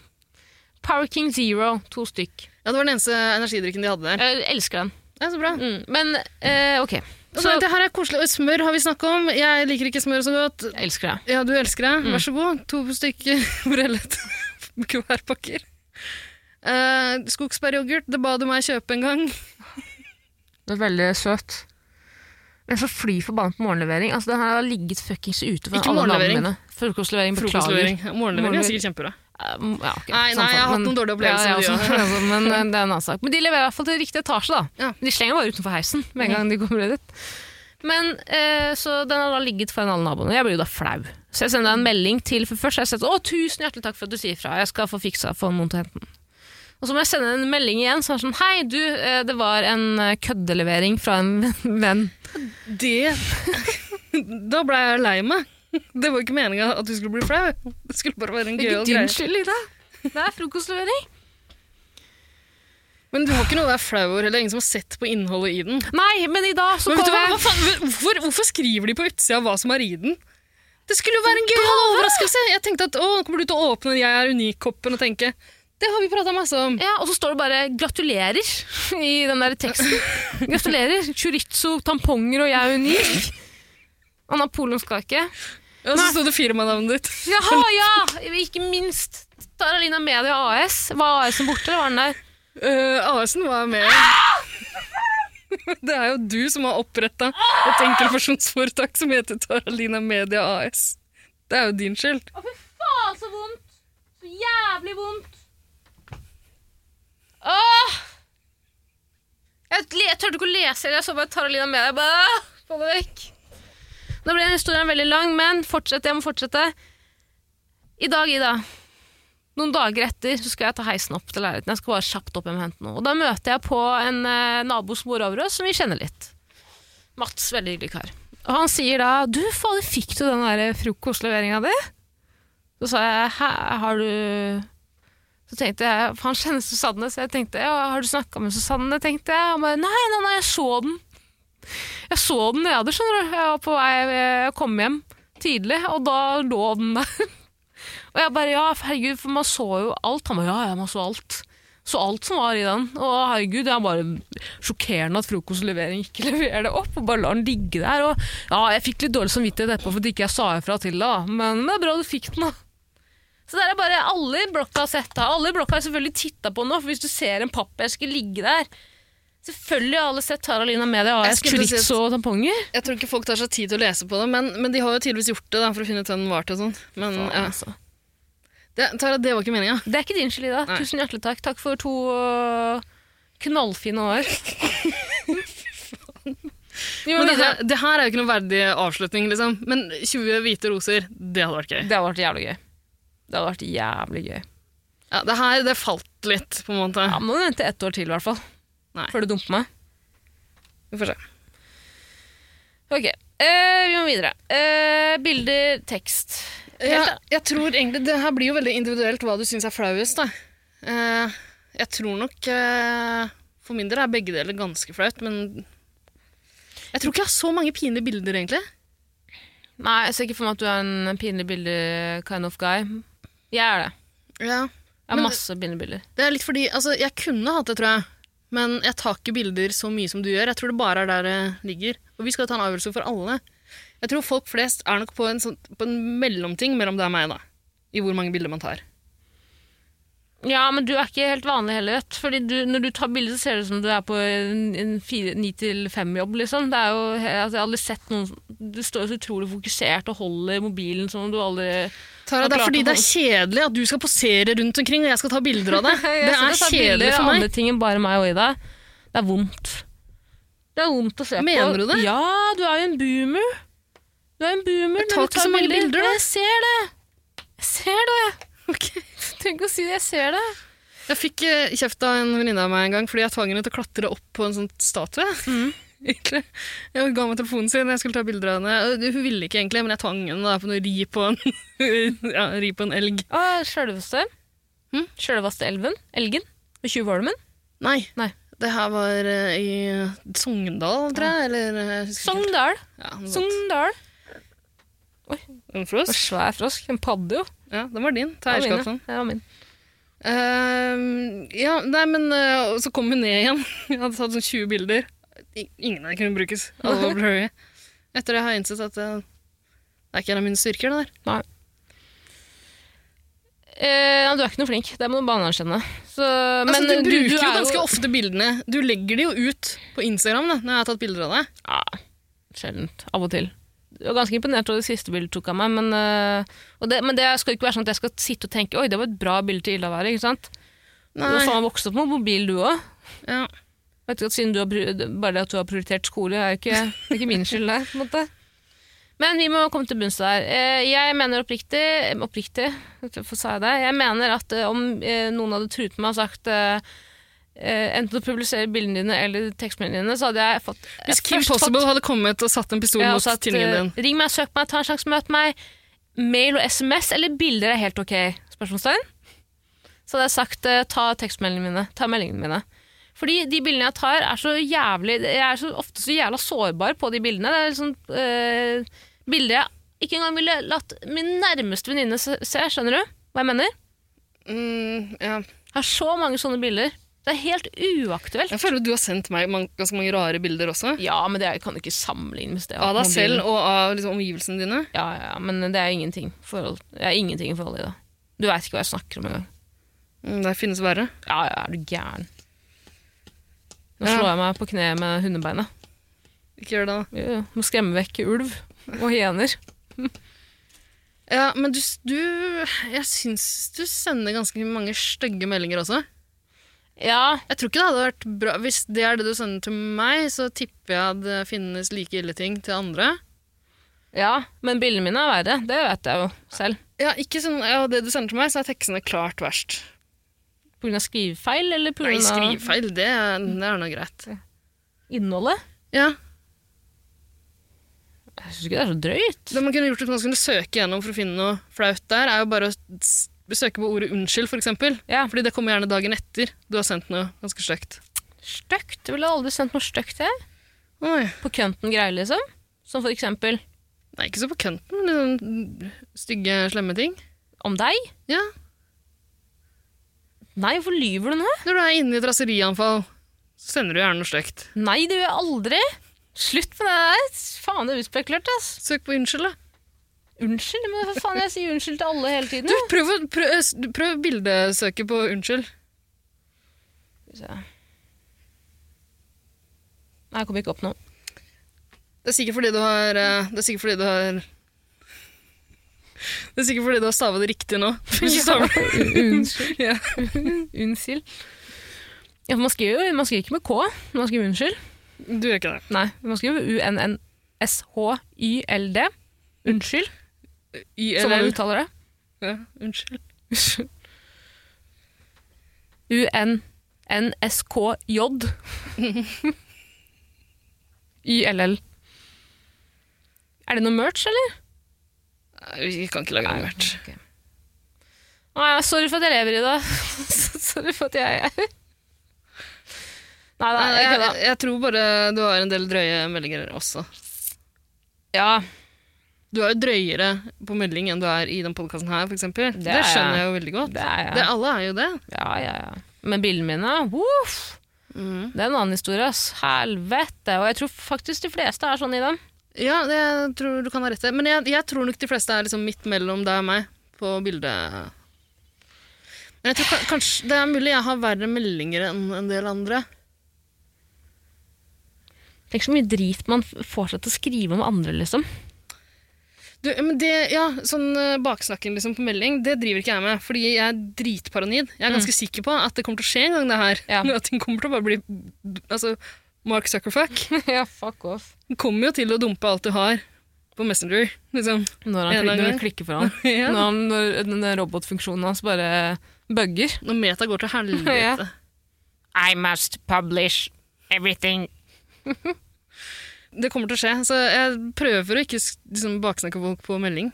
Speaker 2: Power King Zero, to stykk.
Speaker 3: Ja, Det var den eneste energidrikken de hadde der.
Speaker 2: Jeg elsker den.
Speaker 3: Ja, så bra.
Speaker 2: Mm. Men eh, ok,
Speaker 3: Og
Speaker 2: så
Speaker 3: så, det her er koselig. Og smør har vi snakka om. Jeg liker ikke smør så godt.
Speaker 2: jeg elsker det.
Speaker 3: Ja, du elsker det. Vær så god. To stykker (laughs) brellet kuvertpakker. Uh, Skogsbæryoghurt, det ba du meg kjøpe en gang.
Speaker 2: Det er veldig søt. Men så fly forbannet på morgenlevering. Altså, Den her har ligget fuckings ute for
Speaker 3: Ikke
Speaker 2: alle navnene
Speaker 3: morgenlevering.
Speaker 2: mine. Frokostlevering, beklager.
Speaker 3: Frokostlevering. Ja, Morgenlevering er sikkert kjempebra.
Speaker 2: Um, ja, ok,
Speaker 3: Nei, nei,
Speaker 2: sant,
Speaker 3: jeg har
Speaker 2: men-
Speaker 3: hatt noen dårlige opplevelser
Speaker 2: Ja,
Speaker 3: med
Speaker 2: jeg
Speaker 3: de,
Speaker 2: også, (laughs) altså, men eh, det er en annen sak. Men de leverer i hvert fall til riktig etasje, da.
Speaker 3: Ja. Mhm.
Speaker 2: De slenger bare utenfor heisen med en gang de kommer dit. Men, eh, så den har da ligget foran alle naboene. Jeg blir jo da flau. Så jeg sender deg en melding til for først. har Jeg sett, å, tusen hjertelig takk for at du sier fra. Jeg skal få fiksa, få noen til å hente den. Og så må jeg sende en melding igjen som er sånn Hei, du, eh, det var en eh, køddelevering fra en venn.
Speaker 3: Det (laughs) Da ble jeg lei meg. Det var ikke meninga at du skulle bli flau. Det skulle bare være en
Speaker 2: Det er
Speaker 3: gøyal
Speaker 2: ikke din
Speaker 3: greie.
Speaker 2: skyld, Ida. Det er frokostlevering.
Speaker 3: Men du har ikke noe å være flau over heller. Ingen som har sett på innholdet i den.
Speaker 2: Nei, men i dag så
Speaker 3: Men vet du
Speaker 2: kom
Speaker 3: hva,
Speaker 2: jeg
Speaker 3: hva faen, hvorfor, hvorfor skriver de på utsida hva som er i den? Det skulle jo være en gøyal overraskelse! Jeg tenkte at å, nå kommer du til å åpne den Jeg er unik-koppen og tenke Det har vi prata masse om.
Speaker 2: Ja, og så står det bare 'gratulerer' i den der teksten. Gratulerer. Chorizo, tamponger og jeg er unik. Og napoleonskake.
Speaker 3: Og så sto det firmanavnet ditt.
Speaker 2: Jaha, ja! Ikke minst. Taralina Media AS. Var AS-en borte, eller var den der?
Speaker 3: Eh, AS-en var med. (laughs) Det er jo du som har oppretta et enkeltpersonsforetak som heter Taralina Media AS. Det er jo din skyld.
Speaker 2: Å, fy faen, så vondt! Så jævlig vondt! Åh! Jeg, le- jeg tørte ikke å lese heller, jeg så bare Taralina med deg. Bare, «Åh, få det vekk. Nå ble den historien veldig lang, men fortsett, jeg må fortsette. I dag, Ida, noen dager etter, så skal jeg ta heisen opp til leiligheten. Jeg skal bare kjapt opp hjem og hente noe. Og da møter jeg på en eh, nabos mor over oss, som vi kjenner litt. Mats, veldig hyggelig kar. Og han sier da 'Du, fader, fikk du den der frokostleveringa di?' Så sa jeg, hæ, har du Så tenkte jeg, for han kjenner Susanne, så jeg tenkte, ja, har du snakka med Susanne? tenkte jeg. Han bare, nei, nei, nei, jeg så den. Jeg så den nede, skjønner du. Jeg var på vei, jeg kom hjem tidlig, og da lå den der. Og jeg bare ja, herregud, for man så jo alt. Han bare ja, ja, man så alt. Så alt som var i den. Og herregud, det er bare sjokkerende at frokostlevering ikke (laughs) leverer det opp, og bare lar den ligge der. Og ja, jeg fikk litt dårlig samvittighet etterpå for at ikke jeg sa ifra til deg, da. Men det er bra du fikk den, da. Så der er bare alle i blokka har sett det. Alle i blokka har selvfølgelig titta på den nå, for hvis du ser en pappeske ligge der Selvfølgelig har alle sett Taralina Media
Speaker 3: Jeg
Speaker 2: AS,
Speaker 3: skulle si at-
Speaker 2: chorizo og tamponger.
Speaker 3: Jeg tror ikke folk tar seg tid til å lese på det, men, men de har jo tydeligvis gjort det da, for å finne ut hvem den var til. og Sånn. Men ja.
Speaker 2: altså.
Speaker 3: det, Tara, det var ikke meninga.
Speaker 2: Det er ikke din skyld, Ida.
Speaker 3: Nei.
Speaker 2: Tusen hjertelig takk. Takk for to øh, knallfine (laughs) år. Jo,
Speaker 3: Men
Speaker 2: men altså, det,
Speaker 3: det, her- det her er jo ikke noen verdig avslutning, liksom. Men 20 hvite roser, det hadde vært gøy.
Speaker 2: det hadde vært jævlig gøy. Det hadde vært jævlig gøy.
Speaker 3: Ja, det her det falt litt, på en måte.
Speaker 2: Ja, men vente ett år til, i hvert fall.
Speaker 3: Nei.
Speaker 2: Før du dumper meg.
Speaker 3: Vi får se.
Speaker 2: Ok, eh, vi må videre. Eh, bilder, tekst. Helt,
Speaker 3: Ja, jeg tror egentlig, Det her blir jo veldig individuelt hva du syns er flauest. da. Eh, jeg tror nok eh, For min del er begge deler ganske flaut, men jeg tror ikke jeg har så mange pinlige bilder, egentlig.
Speaker 2: Nei, jeg ser ikke for meg at du er en pinlig bilder kind of guy. Jeg er det.
Speaker 3: Ja.
Speaker 2: Jeg har
Speaker 3: Men-
Speaker 2: masse pinlige bilder.
Speaker 3: Det er litt fordi, altså, Jeg kunne hatt det, tror jeg, men jeg tar ikke bilder så mye som du gjør. Jeg tror det bare er der det ligger. Og vi skal jo ta en avgjørelse for alle. Jeg tror folk flest er nok på en, sånn, på en mellomting mellom deg og meg, da. I hvor mange bilder man tar.
Speaker 2: Ja, men du er ikke helt vanlig heller, vet du. Fordi du, når du tar bilder, så ser det ut som du er på en en fire- ni til fem-jobb, liksom. Det er jo, altså, jeg har aldri sett noen som- Du står jo så utrolig fokusert og holder mobilen som om du aldri
Speaker 3: Tara, det er
Speaker 2: klart
Speaker 3: fordi
Speaker 2: å
Speaker 3: det er kjedelig at du skal posere rundt omkring, og jeg skal ta bilder
Speaker 2: (laughs)
Speaker 3: av deg.
Speaker 2: Jeg
Speaker 3: Det
Speaker 2: sitter og
Speaker 3: er
Speaker 2: tar
Speaker 3: kjedelig
Speaker 2: bilder av
Speaker 3: for meg. (laughs)
Speaker 2: Andre ting enn bare meg og Ida. Det er vondt. Det er vondt å se på.
Speaker 3: Mener du det?
Speaker 2: Ja, du er jo en boomer. Du er en boomer
Speaker 3: Jeg
Speaker 2: når
Speaker 3: tar
Speaker 2: du
Speaker 3: ikke så mange bilder, da.
Speaker 2: Jeg ser det. Jeg ser det.
Speaker 3: Ok.
Speaker 2: Du trenger ikke å si det. Jeg ser det.
Speaker 3: Jeg fikk eh, kjeft av en venninne av meg en gang fordi jeg tvang henne til å klatre opp på en sånn statue.
Speaker 2: Mm.
Speaker 3: (laughs) Egentlig. Jeg ga meg telefonen sin, jeg skulle ta bilder av henne. Og Hun ville ikke egentlig, men jeg tvang henne da, på noe ri på en, (laughs) ja, ri på en elg.
Speaker 2: Og sjølveste.
Speaker 3: Hm?
Speaker 2: Sjølveste elven. Elgen. Med tjuvholmen.
Speaker 3: Nei.
Speaker 2: Nei.
Speaker 3: Det her var eh, i Sogndal, tror jeg. Eller eh, jeg husker ikke helt.
Speaker 2: Sogndal.
Speaker 3: Ja, noe sånt.
Speaker 2: Sogndal.
Speaker 3: En
Speaker 2: Og
Speaker 3: frosk?
Speaker 2: svær frosk. En padde, jo.
Speaker 3: Ja, den var din. Ta
Speaker 2: Det var min,
Speaker 3: eierskap
Speaker 2: ja.
Speaker 3: sånn.
Speaker 2: Det var min.
Speaker 3: Ehm, ja, nei, men eh, og så kom hun ned igjen. (laughs) Jeg hadde tatt sånn 20 bilder. I- Ingen av dem kunne brukes. Alle
Speaker 2: (laughs)
Speaker 3: var blurry. Etter det har jeg innsett at eh, det er ikke en av mine styrker, det der.
Speaker 2: Eh, ja, du er ikke noe flink. Det må du bare anerkjenne. Så,
Speaker 3: altså,
Speaker 2: men,
Speaker 3: du bruker jo
Speaker 2: er
Speaker 3: ganske ofte bildene. Du legger de jo ut på Instagram da, når jeg har tatt bilder av deg.
Speaker 2: Ja, sjeldent. Av og til. Jeg var ganske imponert over det siste bildet du tok av meg, men, øh, og det, men det skal ikke være sånn at jeg skal sitte og tenke Oi, det var et bra bilde til Ida Være. ikke sant? Du har faen meg vokst sånn opp med mobil, du òg.
Speaker 3: Ja.
Speaker 2: Siden du har, pri- bare det at du har prioritert skole, er jo ikke, det er ikke min skyld, det. på en måte. Men vi må komme til bunns der. Eh, Jeg mener oppriktig, eh, oppriktig for sa jeg det, jeg mener at eh, om eh, noen hadde truet meg og sagt eh, eh, enten å publisere bildene dine eller tekstmeldingene dine, så hadde jeg fått
Speaker 3: Hvis
Speaker 2: jeg
Speaker 3: Kim
Speaker 2: først fått-
Speaker 3: Possible hadde kommet og satt en pistol
Speaker 2: Ja,
Speaker 3: mot
Speaker 2: også at,
Speaker 3: tinningen din.
Speaker 2: eh, Ring meg, søk meg, ta en sjanse, møt meg. Mail og SMS eller bilder er helt ok? Spørsmålstegn. Så hadde jeg sagt eh, ta tekstmeldingene mine. Ta meldingene mine. Fordi de bildene jeg tar, er så jævlig Jeg er så, ofte så jævla sårbar på de bildene. Det er liksom eh, bilder jeg ikke engang ville latt min nærmeste venninne se. se, Skjønner du hva jeg mener?
Speaker 3: Mm, ja.
Speaker 2: Jeg har så mange sånne bilder. Det er helt uaktuelt.
Speaker 3: Jeg føler at du har sendt meg man- ganske mange rare bilder også.
Speaker 2: Ja, men det er- kan ikke sammenlignes. det,
Speaker 3: Av deg
Speaker 2: mobilen.
Speaker 3: selv og av liksom, omgivelsene dine.
Speaker 2: Ja, ja, ja, men det er ingenting, i forhold, det er ingenting i forhold til det. Du veit ikke hva jeg snakker om engang.
Speaker 3: Mm, det finnes verre.
Speaker 2: Ja, ja, er du gæren. Nå
Speaker 3: Ja.
Speaker 2: slår jeg meg på kne med hundebeinet.
Speaker 3: Ikke gjør det, da.
Speaker 2: Jo, jo, Må skremme vekk ulv og hyener.
Speaker 3: Ja, men du, du Jeg syns du sender ganske mange stygge meldinger også.
Speaker 2: Ja,
Speaker 3: Jeg tror ikke det hadde vært bra Hvis det er det du sender til meg, så tipper jeg det finnes like ille ting til andre.
Speaker 2: ja, men bildene mine er verre. Det vet jeg jo selv.
Speaker 3: Ja, ikke sånn, ja, det du sender til meg, så er tekstene klart verst.
Speaker 2: Pga. skrivefeil eller
Speaker 3: Nei,
Speaker 2: pga.
Speaker 3: skrivefeil, det, er- det er nå greit.
Speaker 2: innholdet?
Speaker 3: Ja,
Speaker 2: Jeg syns ikke det er så drøyt.
Speaker 3: Det man kunne gjort hvis man skulle søke gjennom for å finne noe flaut der, er jo bare å s- søke på ordet unnskyld, for eksempel.
Speaker 2: Ja,
Speaker 3: Fordi det kommer gjerne dagen etter du har sendt noe ganske stygt.
Speaker 2: Støkt. Jeg ville aldri sendt noe støkt, jeg.
Speaker 3: Oi.
Speaker 2: På kønten-greier, liksom. Som for eksempel
Speaker 3: Nei, ikke så på kønten, men litt sånn stygge, slemme ting.
Speaker 2: Om deg?
Speaker 3: Ja,
Speaker 2: Nei, hvorfor lyver du nå?
Speaker 3: Når du er inne i et raserianfall, så sender du gjerne noe stygt.
Speaker 2: Nei, det gjør jeg aldri. Slutt med det der. Faen, det er utspekulert, ass.
Speaker 3: Søk på unnskyld, da.
Speaker 2: Unnskyld, men for faen, jeg sier unnskyld til alle hele tiden.
Speaker 3: Du,
Speaker 2: jo.
Speaker 3: prøv, å- prøv, s- prøv bildesøket på unnskyld.
Speaker 2: Skal vi se. Nei, jeg kom ikke opp nå.
Speaker 3: Det er sikkert fordi du har eh, Det er sikkert fordi du har Det er sikkert fordi du har stava det riktig (laughs) nå. Hvis du staver det.
Speaker 2: Unnskyld.
Speaker 3: Ja.
Speaker 2: (laughs) Unnskyld. Ja, for man skriver jo man skriver ikke med K, man skriver unnskyld.
Speaker 3: Du gjør ikke det.
Speaker 2: Nei, man skriver U-N-N-S-H-Y-L-D. Unnskyld, som man
Speaker 3: YLL.
Speaker 2: uttaler det.
Speaker 3: Ja, unnskyld.
Speaker 2: U-N-N-S-K-J. Y-L-L. Er det noe merch, eller?
Speaker 3: Nei, vi kan ikke lage animert.
Speaker 2: Å ja, sorry for at jeg lever i det. (laughs) sorry for at jeg er Nei, nei,
Speaker 3: Nei,
Speaker 2: jeg
Speaker 3: jeg,
Speaker 2: kødda.
Speaker 3: jeg tror bare du har en del drøye meldinger også.
Speaker 2: Ja,
Speaker 3: Du er jo drøyere på melding enn du er i den podkasten her, f.eks. Det, det
Speaker 2: er jeg.
Speaker 3: skjønner jeg jo veldig godt.
Speaker 2: det er jeg.
Speaker 3: Det, alle er jo det.
Speaker 2: Ja, ja, ja. Men bildene mine, woof, det er en annen historie, ass. Helvete. Og jeg tror faktisk de fleste er sånn i dem.
Speaker 3: Ja, det jeg tror du kan ha rett i. Men jeg, jeg tror nok de fleste er liksom midt mellom deg og meg på bildet. Men jeg tror ka- kanskje det er mulig jeg har verre meldinger enn en del andre.
Speaker 2: Tenk så mye drit man f- får seg til å skrive om andre, liksom.
Speaker 3: Du, men det, ja, sånn eh, baksnakken liksom på melding, det driver ikke jeg med. Fordi jeg er dritparanoid. Jeg er ganske sikker på at det kommer til å skje en gang, det her.
Speaker 2: Mm. Ja.
Speaker 3: (laughs) At ting kommer til å bare bli Altså, Mark Zuckerfuck
Speaker 2: (laughs) ja, fuck off.
Speaker 3: kommer jo til å dumpe alt du har på Messenger. Liksom. (laughs)
Speaker 2: Når han,
Speaker 3: En
Speaker 2: klik,
Speaker 3: gang.
Speaker 2: når han klikker for han.
Speaker 3: (laughs) Ja.
Speaker 2: Når, han, når den der robotfunksjonen hans bare bugger.
Speaker 3: Når meta går
Speaker 2: (laughs)
Speaker 3: til helvete.
Speaker 2: Ja. I must publish everything.
Speaker 3: Det kommer til å skje. Så jeg prøver å ikke s- liksom, baksnakke folk på melding.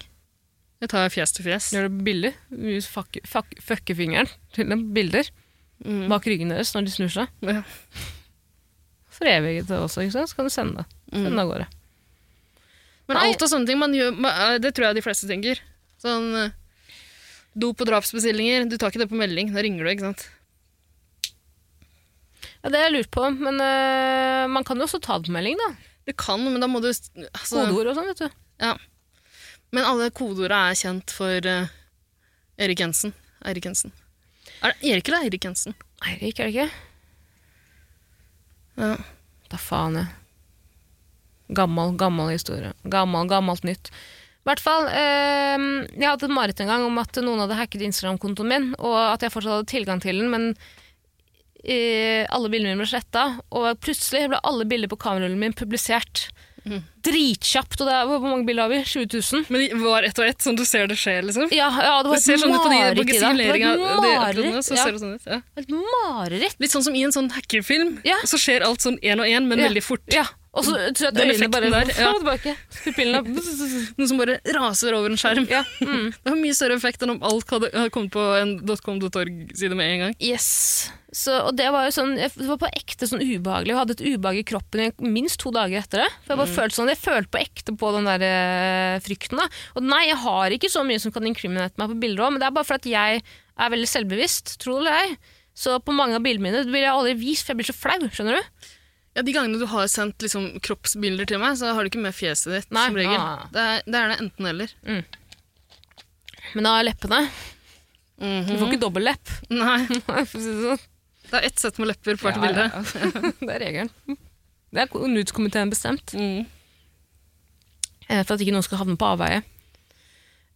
Speaker 3: Jeg tar fjes til fjes.
Speaker 2: Gjør det billig. Use fuck, fuck, fucke fingeren til dem. Bilder
Speaker 3: Mm.
Speaker 2: bak ryggen deres når de snur seg.
Speaker 3: Ja.
Speaker 2: For evig det også, ikke sant? Så kan du sende det. Send det av gårde.
Speaker 3: Men
Speaker 2: Nei.
Speaker 3: alt av sånne ting man gjør, ma- det tror jeg de fleste tenker. Sånn eh, dop- og drapsbestillinger. Du tar ikke det på melding. Da ringer du, ikke sant.
Speaker 2: Ja, det har jeg lurt på, men øh, man kan jo også ta det på melding, da.
Speaker 3: Du kan, men da må du s- altså,
Speaker 2: Kodeord og sånn, vet du.
Speaker 3: Men alle kodeordene er kjent for eh, Erik Jensen. Eirik Jensen. Er det Erik eller Eirik Jensen?
Speaker 2: Eirik, er det ikke?
Speaker 3: Ja.
Speaker 2: Da faen jeg. Gammel, gammel historie. Gammel, gammelt nytt. I hvert fall, øhm, jeg hadde et mareritt en gang om at noen hadde hacket Instagram-kontoen min, og at jeg fortsatt hadde tilgang til den, men eh, alle bildene mine ble sletta, og plutselig ble alle bilder på kamerarullen min publisert.
Speaker 3: Mhm.
Speaker 2: Dritkjapt. Og det er, hvor hvor mange bilder har vi? 20 000?
Speaker 3: Men de var ett og ett, sånn du ser det skje, liksom?
Speaker 2: Ja, ja, det var
Speaker 3: Du ser
Speaker 2: et
Speaker 3: sånn ut på de
Speaker 2: mareritt i dag. Det var
Speaker 3: magasinleringa.
Speaker 2: et mareritt.
Speaker 3: Så
Speaker 2: Ja,
Speaker 3: ser det sånn ut. Ja.
Speaker 2: et mareritt.
Speaker 3: Litt sånn som i en sånn hackerfilm,
Speaker 2: Ja.
Speaker 3: så skjer alt sånn én og én, men
Speaker 2: Ja.
Speaker 3: veldig fort.
Speaker 2: Ja, og så tror jeg at
Speaker 3: Den
Speaker 2: øynene bare
Speaker 3: effekten der,
Speaker 2: (laughs) Fram
Speaker 3: ja.
Speaker 2: og tilbake. Pupillene
Speaker 3: Noen som bare raser over en skjerm. (laughs)
Speaker 2: Ja. Mm.
Speaker 3: Det har mye større effekt enn om alt hadde hadde kommet på en .com.org-side med en gang.
Speaker 2: Yes. Så, og det var jo sånn, jeg- det var på ekte sånn ubehagelig. Jeg hadde et ubehag i kroppen i minst to dager etter det. For Jeg bare følte sånn, jeg følte på ekte på den der eh, frykten. da. Og nei, jeg har ikke så mye som kan inkriminere meg på bilder òg, men det er bare fordi jeg er veldig selvbevisst, tro det eller ei. Så på mange av bildene mine vil jeg aldri vise, for jeg blir så flau. skjønner du?
Speaker 3: Ja, De gangene du har sendt liksom, kroppsbilder til meg, så har du ikke med fjeset ditt.
Speaker 2: Nei,
Speaker 3: som regel.
Speaker 2: ja.
Speaker 3: Det, er, det er det enten eller.
Speaker 2: Men da er leppene
Speaker 3: Mhm.
Speaker 2: Du får ikke dobbel lepp. (laughs)
Speaker 3: (laughs) Nei,
Speaker 2: for å si det sånn.
Speaker 3: det er ett sett med lepper på hvert
Speaker 2: Ja,
Speaker 3: bilde.
Speaker 2: ja. det er regelen. Det er NUTS-komiteen bestemt.
Speaker 3: Mm.
Speaker 2: eh, For at ikke noen skal havne på avveie.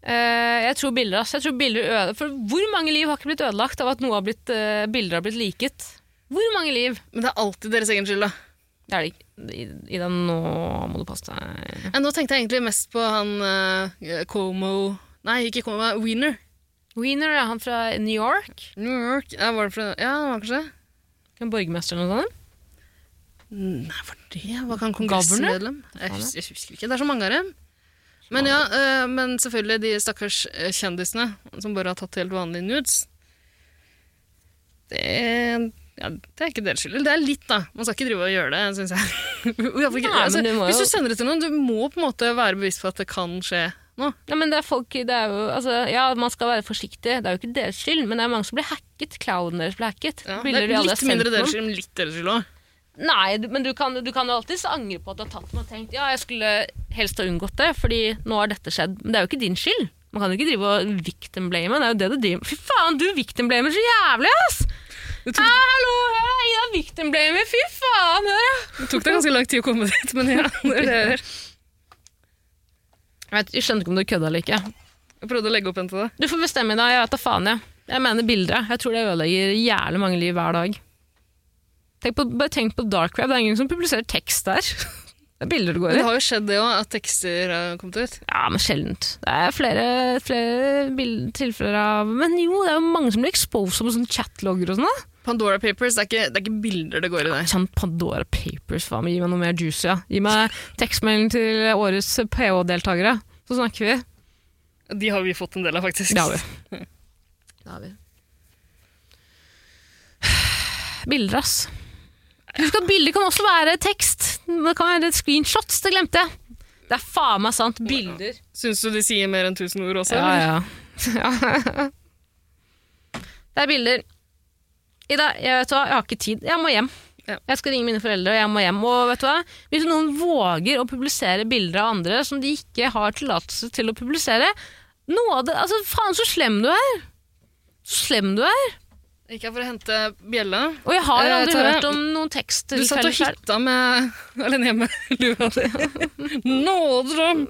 Speaker 2: Eh, Jeg tror bilder, ass. Jeg tror bilder øde. For hvor mange liv har ikke blitt ødelagt av at noe har blitt, eh, bilder har blitt liket? Hvor mange liv?
Speaker 3: Men det er alltid deres egen skyld, da.
Speaker 2: Det er det ikke. I, i den nå må du passe deg.
Speaker 3: Ja, nå tenkte jeg egentlig mest på han eh, Como Nei, ikke Como, men Wiener.
Speaker 2: Wiener, ja, han fra New York.
Speaker 3: New York. Ja, var det fra, ja, det var kanskje
Speaker 2: En borgermester eller noe sånt.
Speaker 3: Nei, for det var ikke han kongressmedlem? Jeg, hus- jeg husker ikke. Det er så mange av dem. Men ja, eh, men selvfølgelig de stakkars eh, kjendisene som bare har tatt helt vanlige nudes. Det, ja, det er ikke deres skyld. Eller Det er litt, da. Man skal ikke drive og gjøre det, syns jeg. (laughs) I hvert fall
Speaker 2: Nei,
Speaker 3: ikke-
Speaker 2: men
Speaker 3: altså,
Speaker 2: du må jo-
Speaker 3: Hvis du sender det til noen, du må på en måte være bevisst på at det kan skje nå.
Speaker 2: Nei, men det er folk, det er jo, altså, ja, man skal være forsiktig, det er jo ikke deres skyld, men det er mange som blir hacket. Clouden deres blir hacket.
Speaker 3: Ja, det
Speaker 2: Bilder
Speaker 3: er
Speaker 2: de aldri har
Speaker 3: litt
Speaker 2: sendt
Speaker 3: mindre
Speaker 2: noen.
Speaker 3: deres skyld, men litt deres skyld òg.
Speaker 2: Nei, du- men du kan, du kan jo alltids angre på at du har tatt den og tenkt ja, jeg skulle helst ha unngått det, fordi nå har dette skjedd. Men det er jo ikke din skyld. Man kan jo ikke drive og victim-blame. Det er jo det du driver Fy faen, du victim-blamer så jævlig, ass!
Speaker 3: Det
Speaker 2: Hæ,
Speaker 3: tok,
Speaker 2: hallo, hør, da, Ida victim-blamer. Fy faen, hør, ja!
Speaker 3: det tok deg ganske lang tid å komme dit, men ja. det er det jeg gjør.
Speaker 2: Jeg, vet, jeg skjønner ikke om du kødda eller ikke.
Speaker 3: Jeg prøvde å legge opp en til deg.
Speaker 2: Du får bestemme i dag. Jeg vet da faen, jeg. Jeg mener bilder. jeg. Jeg tror det ødelegger jævlig mange liv hver dag. Tenk på, bare tenk på dark web. Det er ingen som publiserer tekst der. (laughs) Det er bilder det går
Speaker 3: Men
Speaker 2: i.
Speaker 3: det har jo skjedd det òg, at tekster har kommet ut.
Speaker 2: Ja, men sjeldent. Det er flere, flere bild- tilfeller av Men jo, det er jo mange som blir exposed som sånn chatlogger og sånn. da.
Speaker 3: Pandora Papers, det er ikke, det er ikke bilder det går i der.
Speaker 2: Sånn Pandora Papers, faen meg. Gi meg noe mer juice, ja. Gi meg tekstmelding til årets PH-deltakere, så snakker vi.
Speaker 3: De har vi fått en del av, faktisk.
Speaker 2: Det har vi. (laughs) Det har vi. Bilder, ass. Husk at bilder kan også være tekst. Det kan være screenshots, det glemte jeg. Det er faen meg sant. Bilder.
Speaker 3: Syns du de sier mer enn tusen ord også? eller?
Speaker 2: Ja, ja. (laughs) det er bilder. Ida, jeg, vet du hva, jeg har ikke tid. Jeg må hjem.
Speaker 3: Ja.
Speaker 2: Jeg skal ringe mine foreldre, og jeg må hjem. Og vet du hva? Hvis noen våger å publisere bilder av andre som de ikke har tillatelse til å publisere noe av det, altså Faen, så slem du er! Så slem du er!
Speaker 3: Jeg Gikk jeg for å hente bjella?
Speaker 2: Og jeg har
Speaker 3: Eh,
Speaker 2: aldri
Speaker 3: Tara,
Speaker 2: hørt om noen tekst.
Speaker 3: Du satt og hytta med alene hjemme lua (laughs) di. Nådrom!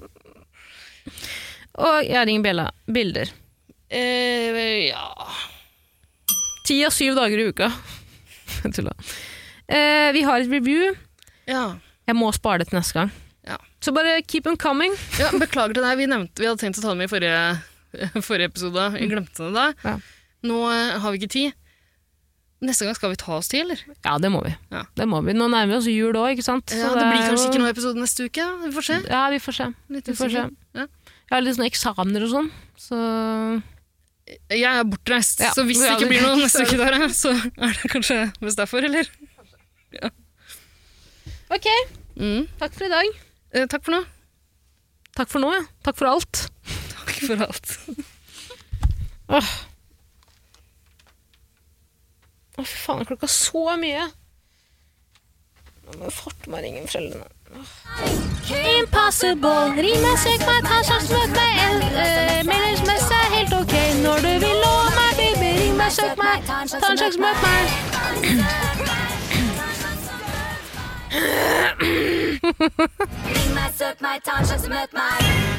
Speaker 2: og jeg ringer Bjella. Bilder.
Speaker 3: Eh, ja
Speaker 2: Ti av syv dager i uka. (laughs) Tulla. Eh, vi har et review.
Speaker 3: Ja.
Speaker 2: Jeg må spare det til neste gang.
Speaker 3: Ja.
Speaker 2: Så bare keep them coming.
Speaker 3: ja beklager til deg. Vi, nevnte, vi hadde tenkt å ta det med i forrige, forrige episode. Vi glemte det da.
Speaker 2: Ja.
Speaker 3: Nå eh, har vi ikke tid. Neste gang skal vi ta oss tid, eller?
Speaker 2: Ja, det må vi.
Speaker 3: Ja.
Speaker 2: Det må vi. Nå nærmer vi oss jul òg, ikke sant?
Speaker 3: Ja,
Speaker 2: Så
Speaker 3: det blir
Speaker 2: er
Speaker 3: kanskje
Speaker 2: jo-
Speaker 3: ikke noe episode neste uke. Vi får se.
Speaker 2: Ja, vi får se.
Speaker 3: Litt
Speaker 2: Vi får se.
Speaker 3: usikker. Ja.
Speaker 2: Jeg har litt sånne eksamener og sånn, så
Speaker 3: Jeg er bortreist,
Speaker 2: Ja,
Speaker 3: så hvis det
Speaker 2: ja,
Speaker 3: ikke
Speaker 2: det-
Speaker 3: blir noe (laughs) neste uke, der, så er det kanskje mest derfor, eller?
Speaker 2: Ok,
Speaker 3: Mm.
Speaker 2: takk for i dag.
Speaker 3: Eh, takk for nå.
Speaker 2: Takk for nå, ja. Takk for alt.
Speaker 3: Takk for alt.
Speaker 2: Åh. Å, fy faen, klokka er så mye. Nå må jeg forte meg å ringe foreldrene.
Speaker 4: Impossible. Rime, søk meg, ta sjansen, møt meg. Eh, Meningsmessig er helt ok når du vil nå meg, baby. Ring meg, søk meg, ta en sjanse, møt meg. Ring meg, søk meg, ta en sjanse, møt meg.